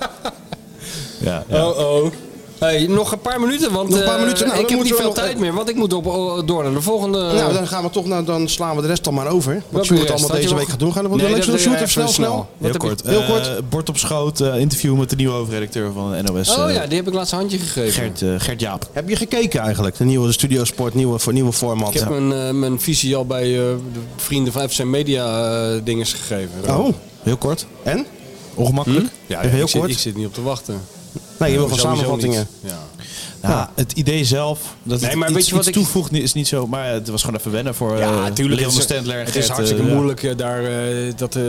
S2: Ja, ja.
S6: Oh oh. Hey, nog een paar minuten, want
S5: Nog een paar
S6: eh,
S5: minuten, nou,
S6: ik
S5: dan
S6: heb niet
S5: moeten we
S6: veel
S5: nog-
S6: tijd meer, want ik moet op, o- door naar de volgende.
S5: nou, dan gaan we toch, nou, dan slaan we de rest dan maar over. Wat
S6: Welke
S5: Sjoerd
S6: rest?
S5: allemaal
S6: Had je
S5: deze
S6: nog-
S5: week gaat doen. Gaan we
S6: Nee,
S5: nee,
S6: dat
S5: leuk
S6: doe
S5: Sjoerd
S6: je
S5: even snel,
S6: even
S5: snel.
S6: snel.
S2: Heel
S6: heb je-
S2: kort.
S5: heel kort.
S2: Eh, bord op schoot, eh, interview met de nieuwe hoofdredacteur van de NOS.
S6: oh
S2: eh,
S6: ja, die heb ik laatst een handje gegeven.
S2: Gert, eh, Gert Jaap.
S5: Heb je gekeken eigenlijk? De nieuwe Studio Sport, nieuwe, voor nieuwe format.
S6: Ik heb mijn, eh, mijn visie al bij eh, de vrienden van FC Media eh dinges gegeven.
S5: Oh,
S2: Heel kort.
S5: en?
S2: Ongemakkelijk.
S6: Hm? ja,
S5: even heel
S6: ik, Zit,
S5: kort.
S6: ik zit niet op te wachten.
S5: Nee, je wil gewoon
S6: Sowieso
S5: samenvattingen.
S6: niet. Ja.
S2: Nou, het idee zelf, dat het
S6: Nee, maar
S2: iets,
S6: weet je wat
S2: iets
S6: ik-
S2: toevoegt, is niet zo. Maar het was gewoon even wennen voor
S6: Ja,
S2: eh,
S6: natuurlijk.
S2: Leon de
S6: Het is-
S2: Stendler en
S6: Het
S2: Gert,
S6: is hartstikke
S2: eh, ja.
S6: moeilijk eh, daar, eh, dat eh,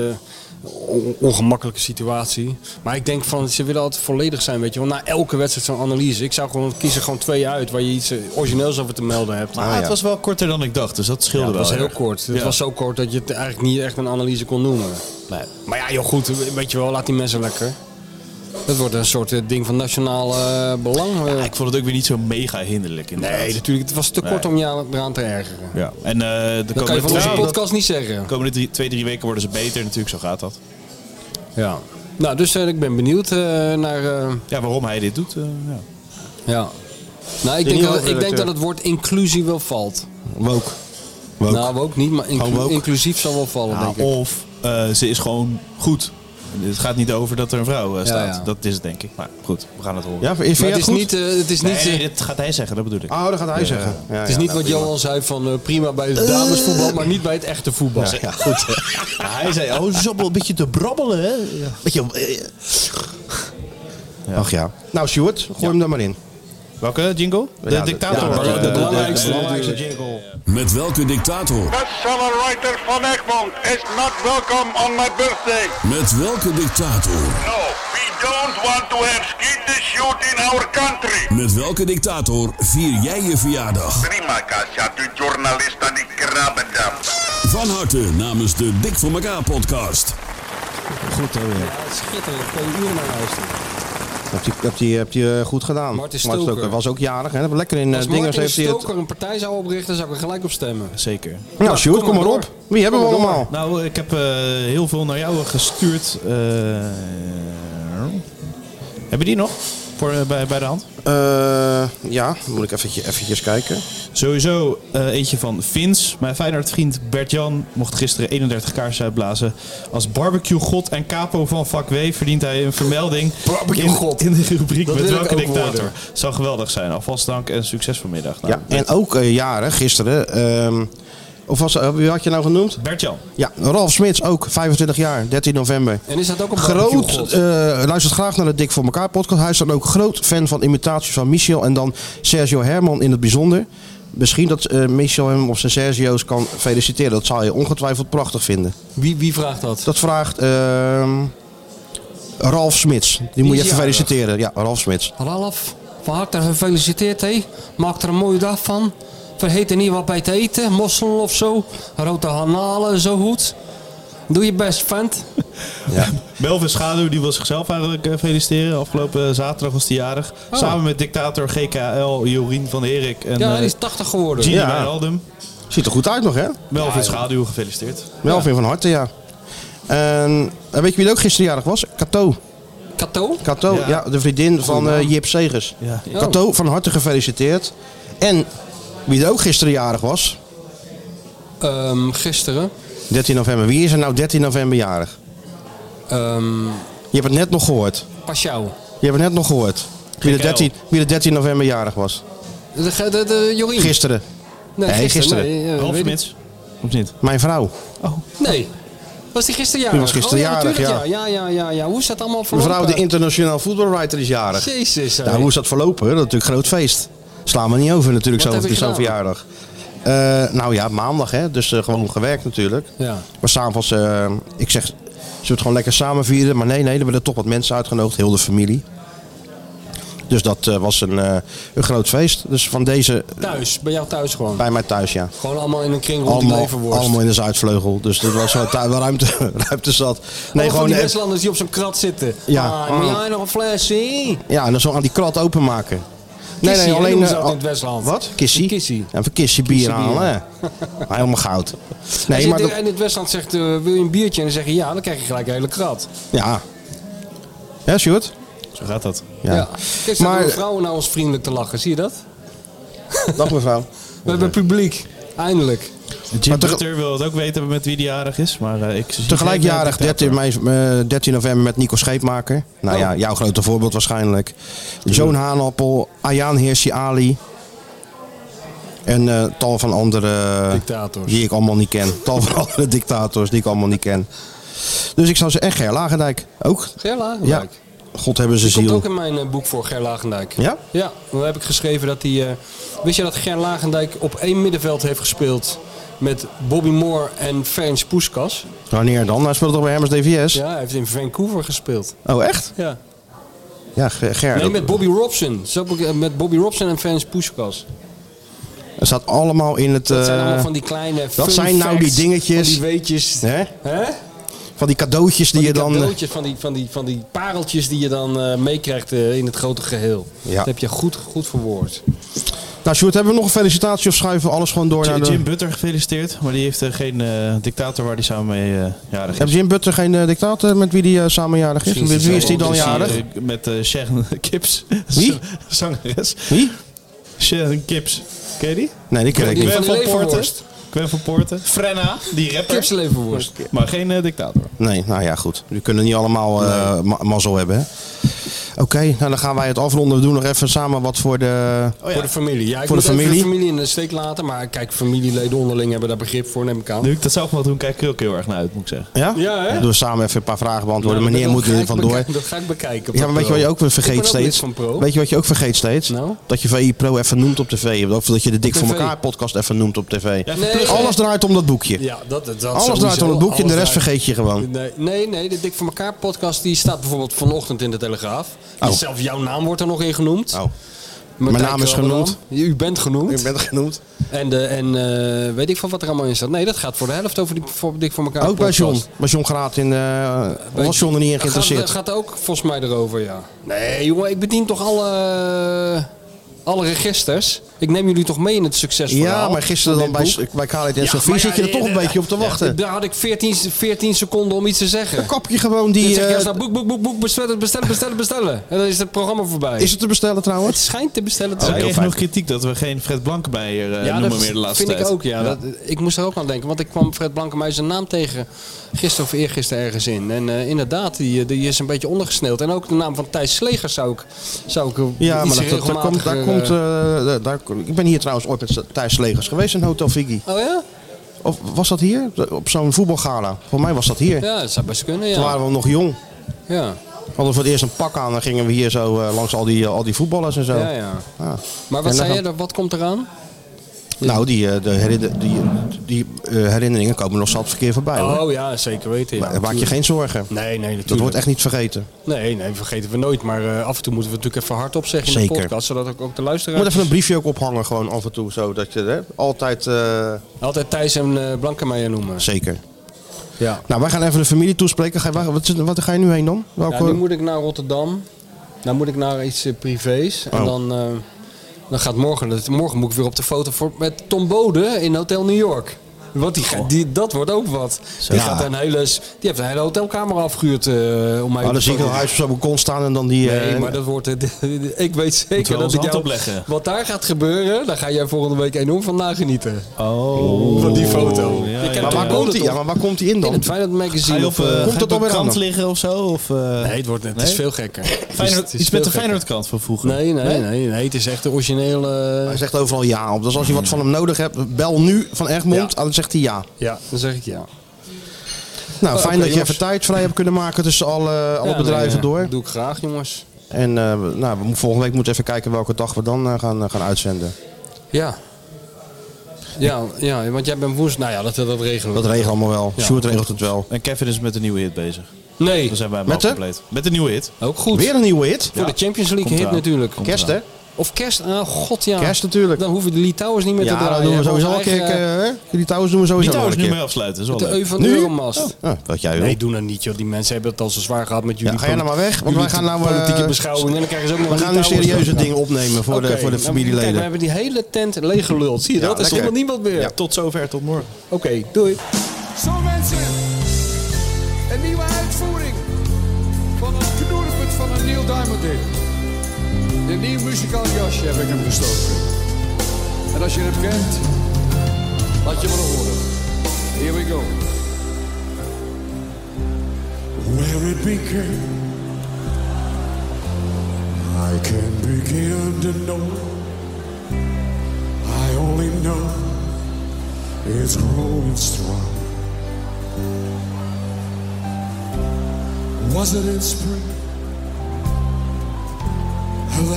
S6: on- ongemakkelijke situatie. Maar ik denk van, ze willen altijd volledig zijn, weet je wel. Na elke wedstrijd zo'n analyse. Ik zou gewoon kiezen gewoon twee uit waar je iets eh, origineels over te melden hebt.
S2: Maar
S5: Ah,
S2: het
S5: ja.
S2: was wel korter dan ik dacht, dus dat scheelde
S6: Ja, het
S2: wel.
S6: was heel
S2: erg.
S6: kort. Het
S2: Ja.
S6: was zo kort dat je het eigenlijk niet echt een analyse kon noemen.
S2: Nee.
S6: Maar ja, joh, goed, weet je wel, laat die mensen lekker. Het wordt een soort eh, ding van nationaal eh, belang. eh.
S2: Ja, ik vond het ook weer niet zo mega hinderlijk inderdaad.
S6: nee, natuurlijk, het was te kort om je eraan te ergeren.
S2: Ja. En eh, de
S6: Dat kan je
S2: komende,
S6: van onze
S2: drie,
S6: podcast niet zeggen.
S2: de komende drie- twee, drie weken worden ze beter natuurlijk, zo gaat dat.
S6: Ja. Nou, dus eh, ik ben benieuwd eh, naar... eh,
S2: Ja, waarom hij dit doet, eh, ja.
S6: ja. Nou, ik denk,
S5: nieuwe
S6: dat, ik denk
S5: redacteur.
S6: dat het woord inclusie wel valt.
S5: Woke. Woke.
S6: Nou, ook niet, maar inclu-
S5: Gewoon woke.
S6: inclusief zal wel vallen,
S2: Nou,
S6: denk ik.
S2: of eh, ze is gewoon goed. Het gaat niet over dat er een vrouw eh, staat.
S6: ja.
S2: Dat is het denk ik. Maar goed, we gaan het horen.
S5: Ja, vind je
S6: Maar
S5: het
S6: het is
S5: goed?
S6: niet... eh, het is niet Ah,
S2: Nee,
S6: eh,
S2: nee, dat gaat hij zeggen, dat bedoel ik.
S5: Oh, dat gaat hij zeggen. Ja,
S6: Het is
S5: ja,
S6: niet
S5: nou,
S6: wat
S5: prima. Eh.
S6: Johan zei van eh, prima bij het damesvoetbal, maar niet bij het echte voetbal.
S5: Ja, goed.
S2: hij zei, oh, zo een beetje te brabbelen, hè?
S5: Beetje... eh, Ach ja. Nou, Sjoerd, gooi hem dan maar in.
S2: Welke jingle? De
S5: Ja, de-
S2: dictator.
S5: ja, de-
S2: Eh,
S5: de- de- de-
S6: belangrijkste.
S2: belangrijkste jingle.
S10: Met welke dictator?
S9: But Writer van Egmond is not welcome on my birthday.
S10: Met welke dictator?
S9: No, we don't want to have skeeter shoot in our country.
S10: Met welke dictator vier jij je verjaardag?
S9: Prima, Kasia, de journalist aan die krabbendam.
S10: Van harte namens de Dik voor elkaar podcast.
S2: Goed, hè, weer.
S6: Schitterend, kan je uren naar luisteren.
S5: Nou, Heb je, heb je, heb je eh, goed gedaan.
S6: Martin
S5: Martin
S6: Stoker.
S5: was ook jarig. Hè? Lekker in
S6: Als
S5: eh, dingen.
S6: Martin
S5: Heeft hij het...
S6: Stoker een partij zou oprichten, zou ik er gelijk op stemmen.
S2: Zeker.
S5: Nou, Sjoerd,
S6: kom
S5: kom maar
S6: maar
S5: op.
S6: door.
S5: Wie hebben we
S6: Kom maar
S5: allemaal?
S2: Nou, ik heb eh, heel veel naar jou gestuurd. Eh, heb je die nog? Voor, eh, bij, bij de hand?
S5: Eh, ja, moet ik eventjes, eventjes kijken.
S2: Sowieso eh, eentje van Vins. Mijn Feyenoord-vriend Bert-Jan mocht gisteren 31 kaarsen uitblazen. Als barbecue-god en capo van vak W verdient hij een vermelding
S6: Barbecue-god.
S2: in, in de rubriek
S6: Dat
S2: met
S6: wil ik
S2: welke
S6: ook
S2: dictator.
S6: worden.
S2: Zou geweldig zijn. Alvast dank en succes vanmiddag. Nou,
S5: Ja, en ook eh, jarig gisteren. ehm, of was, eh, wie had je nou genoemd?
S2: Bert-Jan.
S5: Ja, Ralf Smits ook, 25 jaar, 13 november.
S6: En is dat ook een
S5: Groot,
S6: barbecue-god?
S5: eh, luistert graag naar de Dik voor elkaar podcast. Hij is dan ook groot fan van imitaties van Michel en dan Sergio Herman in het bijzonder. Misschien dat eh, Michel hem op zijn Sergio's kan feliciteren. Dat zou je ongetwijfeld prachtig vinden.
S6: Wie, wie vraagt dat?
S5: Dat vraagt ehm, Ralf Smits. Die, moet je
S6: is
S5: even
S6: jarig.
S5: feliciteren. Ja, Ralf Smits.
S6: Ralf, van harte gefeliciteerd hé. Maak er een mooie dag van. Vergeet er niet wat bij te eten, mosselen of zo. Rode hanalen, zo goed. Doe je best, vent.
S2: Melvin Schaduw die wil zichzelf eigenlijk eh, feliciteren. Afgelopen eh, zaterdag was hij jarig.
S6: Oh.
S2: Samen met dictator GKL Jorien van Erik. En,
S6: Ja,
S2: eh,
S6: die is 80 geworden.
S2: Gini
S6: Ja.
S2: Wijnaldum.
S5: Ziet er goed uit nog, hè?
S2: Melvin
S5: Ja, joh.
S2: Schaduw, gefeliciteerd.
S5: Melvin van harte, ja. En eh, weet je wie er ook gisteren jarig was? Kato.
S6: Kato?
S5: Kato, ja.
S6: Ja.
S5: de vriendin van eh, Jip Segers.
S2: Ja.
S6: Oh.
S5: Kato, van harte gefeliciteerd. En wie er ook gisteren jarig was,
S6: Ehm, gisteren.
S5: 13 november. Wie is er nou 13 november jarig?
S6: ehm,
S5: Je hebt het net nog gehoord.
S6: Paschal.
S5: Je hebt het net nog gehoord. Wie de,
S6: Gekke
S5: 13, wie de 13 november jarig was.
S6: De, de, de, de Jorien.
S5: Gisteren.
S6: Nee,
S5: Nee, gisteren.
S6: gisteren. Nee, eh, weet ik.
S2: Of niet?
S5: Mijn vrouw.
S6: Nee. Was die gisteren jarig?
S5: Die was gisteren
S6: Oh, ja,
S5: jarig,
S6: natuurlijk, ja. Ja, ja, ja, ja. Hoe is dat allemaal
S5: Mijn
S6: verlopen?
S5: vrouw, de internationaal voetbalwriter, is jarig.
S6: Jezus. hé.
S5: Nou, hoe is dat verlopen? Dat is natuurlijk een groot feest. Slaan we niet over natuurlijk,
S6: Wat
S5: zo-
S6: heb je
S5: zo'n
S6: gedaan?
S5: verjaardag. Eh, nou ja, maandag hè, dus eh, gewoon gewerkt natuurlijk.
S6: Ja.
S5: Maar s'avonds, eh ik zeg, zullen we het gewoon lekker samen vieren? Maar nee, nee, er werden toch wat mensen uitgenodigd, heel de familie. Dus dat eh, was een, eh, een groot feest. Dus van deze,
S6: Thuis. Bij jou thuis gewoon.
S5: bij mij thuis ja.
S6: Gewoon allemaal in een kring rond die
S5: Allemaal,
S6: leverworst.
S5: allemaal in de Zuidvleugel, dus dat was wel thui- wel ruimte, ruimte zat.
S6: Nee,
S5: Nee,
S6: gewoon
S5: gewoon
S6: die
S5: even-
S6: Westlanders die op zo'n krat zitten.
S5: Ja.
S6: Ah, moet jij nog een flesje?
S5: ja, en dan zo aan die krat openmaken. Nee, nee,
S6: Kissie, hè,
S5: alleen...
S6: noemen ze
S5: eh,
S6: dat in het Westland.
S5: Wat? Kissie?
S6: Kissie.
S5: Even kissie bier
S6: Kissie bier.
S5: halen, hè? Ah, Helemaal goud.
S6: Nee,
S5: Nee, maar dat-
S6: in het Westland zegt, eh, wil je een biertje? En dan zeg je ja, dan krijg je gelijk een hele krat.
S5: Ja. Ja, Sjoerd?
S2: Zo gaat dat.
S5: Ja.
S6: Kijk, staan
S5: Maar-
S6: de vrouwen nou ons vriendelijk te lachen. Zie je dat?
S5: Dag mevrouw.
S6: We hebben publiek. Eindelijk.
S2: Jim
S5: Maar teg-
S2: Butter wil het ook weten met wie die jarig is. Maar eh, ik zie
S5: Tegelijk
S2: geen, eh,
S5: jarig,
S2: dictator.
S5: 13, mei- eh, 13 november met Nico Scheepmaker. Nou
S2: Oh.
S5: ja, jouw grote voorbeeld waarschijnlijk. Joan Haanappel, Ayaan Hirsi Ali. En eh, tal van andere... eh,
S6: Dictators.
S5: Die ik allemaal niet ken. Tal van andere dictators die ik allemaal niet ken. Dus ik zou ze... En Ger Lagendijk ook.
S6: Ger Lagendijk.
S5: Ja. God hebben ze
S6: Oh, Die komt
S5: ziel.
S6: ook in mijn eh, boek voor, Ger Lagendijk.
S5: Ja?
S6: Ja, dan heb ik geschreven dat hij... eh, wist je dat Ger Lagendijk op één middenveld heeft gespeeld... met Bobby Moore en Ferenc Puskas?
S5: Wanneer dan? Hij speelt toch bij Hermes DVS?
S6: Ja, hij heeft in Vancouver gespeeld.
S5: Oh, echt?
S6: Ja.
S5: Ja, Ger. Ger,
S6: Nee,
S5: dat-
S6: met Bobby Robson. Zo heb ik, eh, Met Bobby Robson en Ferenc Puskas.
S5: dat staat allemaal in het...
S6: Dat zijn
S5: eh,
S6: allemaal van die kleine
S5: dat
S6: fun
S5: zijn nou
S6: facts,
S5: die dingetjes.
S6: Van die weetjes.
S5: Hè?
S6: Hè?
S5: Van die cadeautjes die, je dan... eh,
S6: Cadeautjes van die, van, die, van die pareltjes die je dan eh, meekrijgt eh, in het grote geheel.
S5: Ja.
S6: Dat heb je goed, goed verwoord.
S5: Nou, Sjoerd, hebben we nog een felicitatie of schuiven we alles gewoon door naar
S2: Jim,
S5: de...
S2: Jim Butter gefeliciteerd. Maar die heeft eh, geen eh, dictator waar die samen mee eh, jarig
S5: Heb
S2: is.
S5: Jim Butter geen eh, dictator met wie die eh, samen jarig is? Met wie is die dan jarig?
S2: eh, Met eh Sharon Kips.
S5: Wie?
S2: Zangeres.
S5: Wie?
S2: Sharon Kips. Ken je die?
S5: Nee, die ken ik
S6: Die
S5: niet.
S6: van
S2: Gwen van
S6: de
S2: Poorten.
S6: leverworst.
S2: Gwen van Poorten. Frenna, die rapper.
S6: Kipsleverworst.
S2: Maar geen eh, dictator.
S5: Nee, nou ja, goed. We kunnen niet allemaal eh ma- mazzel hebben, hè? Oké, nou dan gaan wij het afronden. We doen nog even samen wat voor de...
S6: Voor de familie. Oh Ja, ik
S5: Oh Voor de
S6: moet even
S5: familie?
S6: de familie in de steek laten. Maar kijk, familieleden onderling hebben daar begrip voor, neem ik aan.
S2: Nu ik dat zelf mag doen, kijk ik er ook heel erg naar uit, moet ik zeggen.
S5: Ja?
S6: Ja, hè?
S5: Doen we samen even een paar vragen
S6: Nou,
S5: beantwoorden.
S6: dat-
S5: Meneer
S6: dat
S5: moet
S6: ga
S5: er
S6: ik
S5: vandoor.
S6: bekijken- Dat ga ik bekijken. op
S5: Ja,
S6: dat
S5: maar weet je wat je
S6: pro.
S5: ook weer
S6: Ik
S5: vergeet
S6: ben ook lid
S5: steeds?
S6: van pro.
S5: Weet je wat je ook vergeet steeds?
S6: Nou?
S5: Dat je VI Pro even noemt op tv. Of dat je de Dik
S6: Op
S5: voor
S6: tv.
S5: elkaar podcast even noemt op tv.
S2: Ja,
S6: Nee.
S5: Alles draait om dat boekje.
S6: Ja, dat, dat, dat
S5: Alles draait
S6: sowieso.
S5: om het boekje en de
S6: Alles
S5: rest
S6: draait-
S5: vergeet je gewoon.
S6: Nee, nee, nee, de Dik voor elkaar podcast die staat bijvoorbeeld vanochtend in de Telegraaf. Dus
S5: Oh.
S6: Zelf jouw naam wordt er nog in genoemd.
S5: Oh.
S6: Martijn
S5: Mijn naam is
S6: Krabbenam.
S5: genoemd.
S6: U bent genoemd.
S5: bent genoemd.
S6: En, de, en eh, weet ik van wat er allemaal in staat. Nee, dat gaat voor de helft over die voor, Dik voor elkaar
S5: Ook bij
S6: podcast.
S5: John. Maar John Graat in. eh was John er niet in geïnteresseerd?
S6: Gaat, gaat ook volgens mij erover, ja. Nee, jongen, ik bedien toch alle, alle registers. Ik neem jullie toch mee in het succesverhaal.
S5: ja, maar gisteren dan
S6: van dit
S5: bij,
S6: boek?
S5: bij Khalid en
S6: Ja,
S5: Sophie
S6: maar ja,
S5: zit je er
S6: nee,
S5: toch een
S6: nee,
S5: beetje op te wachten.
S6: Daar had ik 14, 14 seconden om iets te zeggen.
S5: Kap je gewoon die.
S6: Dan zeg je
S5: eh,
S6: als nou boek, boek, boek, boek, bestellen, bestellen, bestellen, bestellen. En dan is het programma voorbij.
S5: is het te bestellen
S6: Het
S5: trouwens?
S6: schijnt te bestellen te
S2: Zij
S6: zijn.
S2: kreeg nog kritiek dat we geen Fred Blankenbeijer eh
S6: Ja,
S2: noemen
S6: dat
S2: meer de laatste
S6: vind
S2: tijd.
S6: ik ook, ja. Dat, ik moest er ook aan denken, want ik kwam Fred Blankenmeij zijn naam tegen gisteren of eergisteren ergens in. En eh, inderdaad, die, die is een beetje ondergesneeld. En ook de naam van Thijs Slegers zou ik, zou ik eh,
S5: Ja,
S6: iets
S5: maar dat, dat komt, daar
S6: regelmatiger,
S5: komt.
S6: eh,
S5: eh, daar- daar, ik ben hier trouwens ooit met Thijs Legers geweest in Hotel Figi.
S6: oh ja?
S5: Of was dat hier? Op zo'n voetbalgala. Voor mij was dat hier.
S6: Ja, dat zou best kunnen,
S5: Toen
S6: ja.
S5: waren we nog jong.
S6: Ja,
S5: Hadden we voor het eerst een pak aan. Dan gingen we hier zo eh, langs al die, eh, al die voetballers en zo.
S6: ja, ja.
S5: Ah.
S6: Maar
S5: En dan
S6: wat zei
S5: gaan-
S6: je, dan- wat komt eraan?
S5: Nou, die, eh, de herinner- die, die eh, herinneringen komen nog zat verkeer voorbij. hoor.
S6: Oh ja, zeker weten. Ja,
S5: Maar maak je
S6: natuurlijk.
S5: geen zorgen.
S6: Nee, nee,
S5: Dat wordt
S6: natuurlijk.
S5: echt niet vergeten.
S6: Nee, nee, vergeten we nooit. Maar eh, af en toe moeten we natuurlijk even hardop zeggen in
S5: Zeker.
S6: de podcast, zodat ook, ook de
S5: Je
S6: luisteraar...
S5: moet even een briefje ook ophangen, gewoon af en toe. Zo, dat je hè, altijd. eh,
S6: Altijd Thijs en eh Blankenmeijer noemen.
S5: zeker.
S6: Ja.
S5: Nou, wij gaan even de familie toespreken. Ga je, waar- wat, is- wat ga je nu heen dan?
S6: Ja, nu moet ik naar Rotterdam. Dan moet ik naar iets eh, privés. En
S5: Oh.
S6: dan, eh, dan gaat morgen... dat- Morgen moet ik weer op de foto voor, met Tom Bode in Hotel New York. Want die, ga-
S2: Oh.
S6: die, dat wordt ook wat. Die,
S5: Ja.
S6: gaat een hele, s- die heeft een hele hotelkamer afgehuurd eh, om mij
S5: Oh,
S6: op de
S5: dan zie ik
S6: foto-
S5: een huis op zo'n balkon staan en dan die...
S6: Nee,
S5: eh,
S6: maar dat wordt het. Ik weet
S5: Moeten we
S6: zeker dat
S5: ons
S6: ik
S5: hand
S6: jou...
S5: opleggen?
S6: Wat daar gaat gebeuren, daar ga jij volgende week enorm van nagenieten.
S2: Oh.
S6: Van die foto.
S2: Ja, ja,
S6: Ik heb
S2: ja. Maar
S6: de
S2: waar
S6: code
S2: komt die-
S6: toch?
S2: ja, maar waar komt die in dan?
S6: In het Feyenoord
S2: Ga
S6: magazine.
S2: je op,
S6: of,
S2: eh,
S6: eh,
S2: ga je op de krant
S6: dan?
S2: liggen of zo? Of, eh,
S6: Nee, het wordt net. Het is
S2: nee?
S6: veel gekker. Het is-
S2: Feyenoord,
S6: het is
S2: iets met de
S6: veel gekker.
S2: Feyenoordkant van vroeger.
S6: Nee, nee, nee, nee, Het is echt de originele...
S5: Hij zegt overal ja op. Dus als je wat van hem nodig hebt, bel nu van Egmond. Dan zegt hij ja.
S6: Ja, dan zeg ik ja.
S5: Nou,
S6: Oh,
S5: fijn
S6: oké,
S5: dat je
S6: jongens.
S5: even tijd vrij hebt kunnen maken tussen alle, alle
S6: Ja,
S5: bedrijven
S6: nee, ja.
S5: door.
S6: Doe ik graag, jongens.
S5: En eh, nou, we moeten- volgende week moeten we even kijken welke dag we dan eh, gaan, eh, gaan uitzenden.
S6: Ja. Ja, ja, want jij bent woens. Nou ja, dat, dat regelen we.
S5: Dat regelen we allemaal wel.
S6: Ja.
S5: Sjoerd regelt het wel.
S2: En Kevin is met een nieuwe hit bezig.
S6: Nee.
S2: Dan zijn wij
S6: Met
S2: met
S6: de?
S2: compleet. Met een nieuwe hit.
S6: Ook goed.
S5: Weer een nieuwe hit?
S6: Voor de Champions League hit natuurlijk.
S5: Kerst, hè?
S6: Of kerst, ah god ja.
S5: Kerst natuurlijk.
S6: Dan hoeven de Litouwers niet meer te
S5: Ja,
S6: draaien.
S5: dat doen we
S6: Onze
S5: sowieso een keer.
S6: eigen,
S5: eh, hè? Die touwens doen we sowieso
S2: Die touwens
S5: wel een
S2: nu
S5: keer.
S2: mee afsluiten, is wel
S6: Met de
S2: leuk.
S6: EU van
S5: Nu?
S6: de Euromast.
S5: Ja, wat jij wil.
S6: eh, Oh. Nee, doe nou niet joh. Die mensen hebben het al zo zwaar gehad met jullie
S5: Ja, ga jij nou maar weg, want
S6: jullie
S5: wij gaan nou... eh,
S6: politieke beschouwing. En dan krijgen ze ook nog
S5: We
S6: een
S5: gaan nu
S6: Litouwers
S5: serieuze
S6: erop.
S5: dingen opnemen voor de,
S6: Oké,
S5: voor de
S6: nou, Kijk, we
S5: familieleden.
S6: hebben die hele tent leeggeluld. Zie je
S5: Ja,
S6: dat? Er is
S5: lekker.
S6: helemaal niemand meer.
S5: Ja,
S2: tot zover, tot morgen.
S6: Oké, doei.
S11: Zo mensen, een nieuwe uitvoering van het knoerpunt van een Neil Diamond Day. Een nieuw muzikaal jasje heb ik hem gestoken. En als je hem kent, laat je maar horen. Here we go.
S12: Where it began, I can begin to know. I only know it's growing strong. Was it in spring?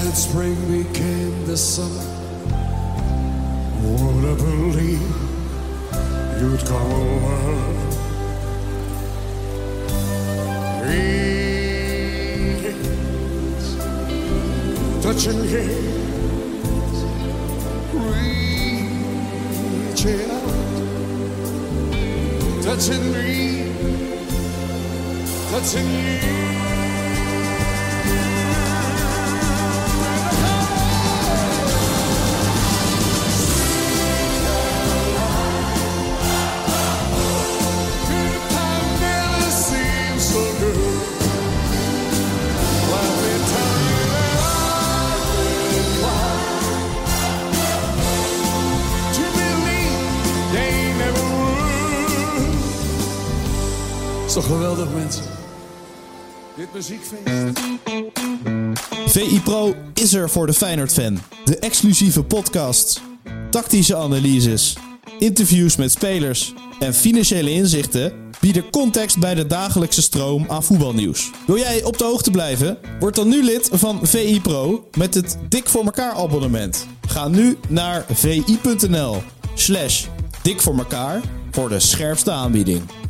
S12: That spring became the summer. Would I believe you'd come along? Greetings, touching hands, reaching out, touching me, touching you. Never seems so good. Let me tell you that I've tried to believe they never would.
S11: Het is toch geweldig mensen. Dit muziekfeest.
S2: VI Pro is er voor de Feyenoord-fan. De exclusieve podcast, tactische analyses, interviews met spelers en financiële inzichten bieden context bij de dagelijkse stroom aan voetbalnieuws. Wil jij op de hoogte blijven? Word dan nu lid van VI Pro met het Dik voor elkaar abonnement. Ga nu naar vi.nl slash dik voor elkaar voor de scherpste aanbieding.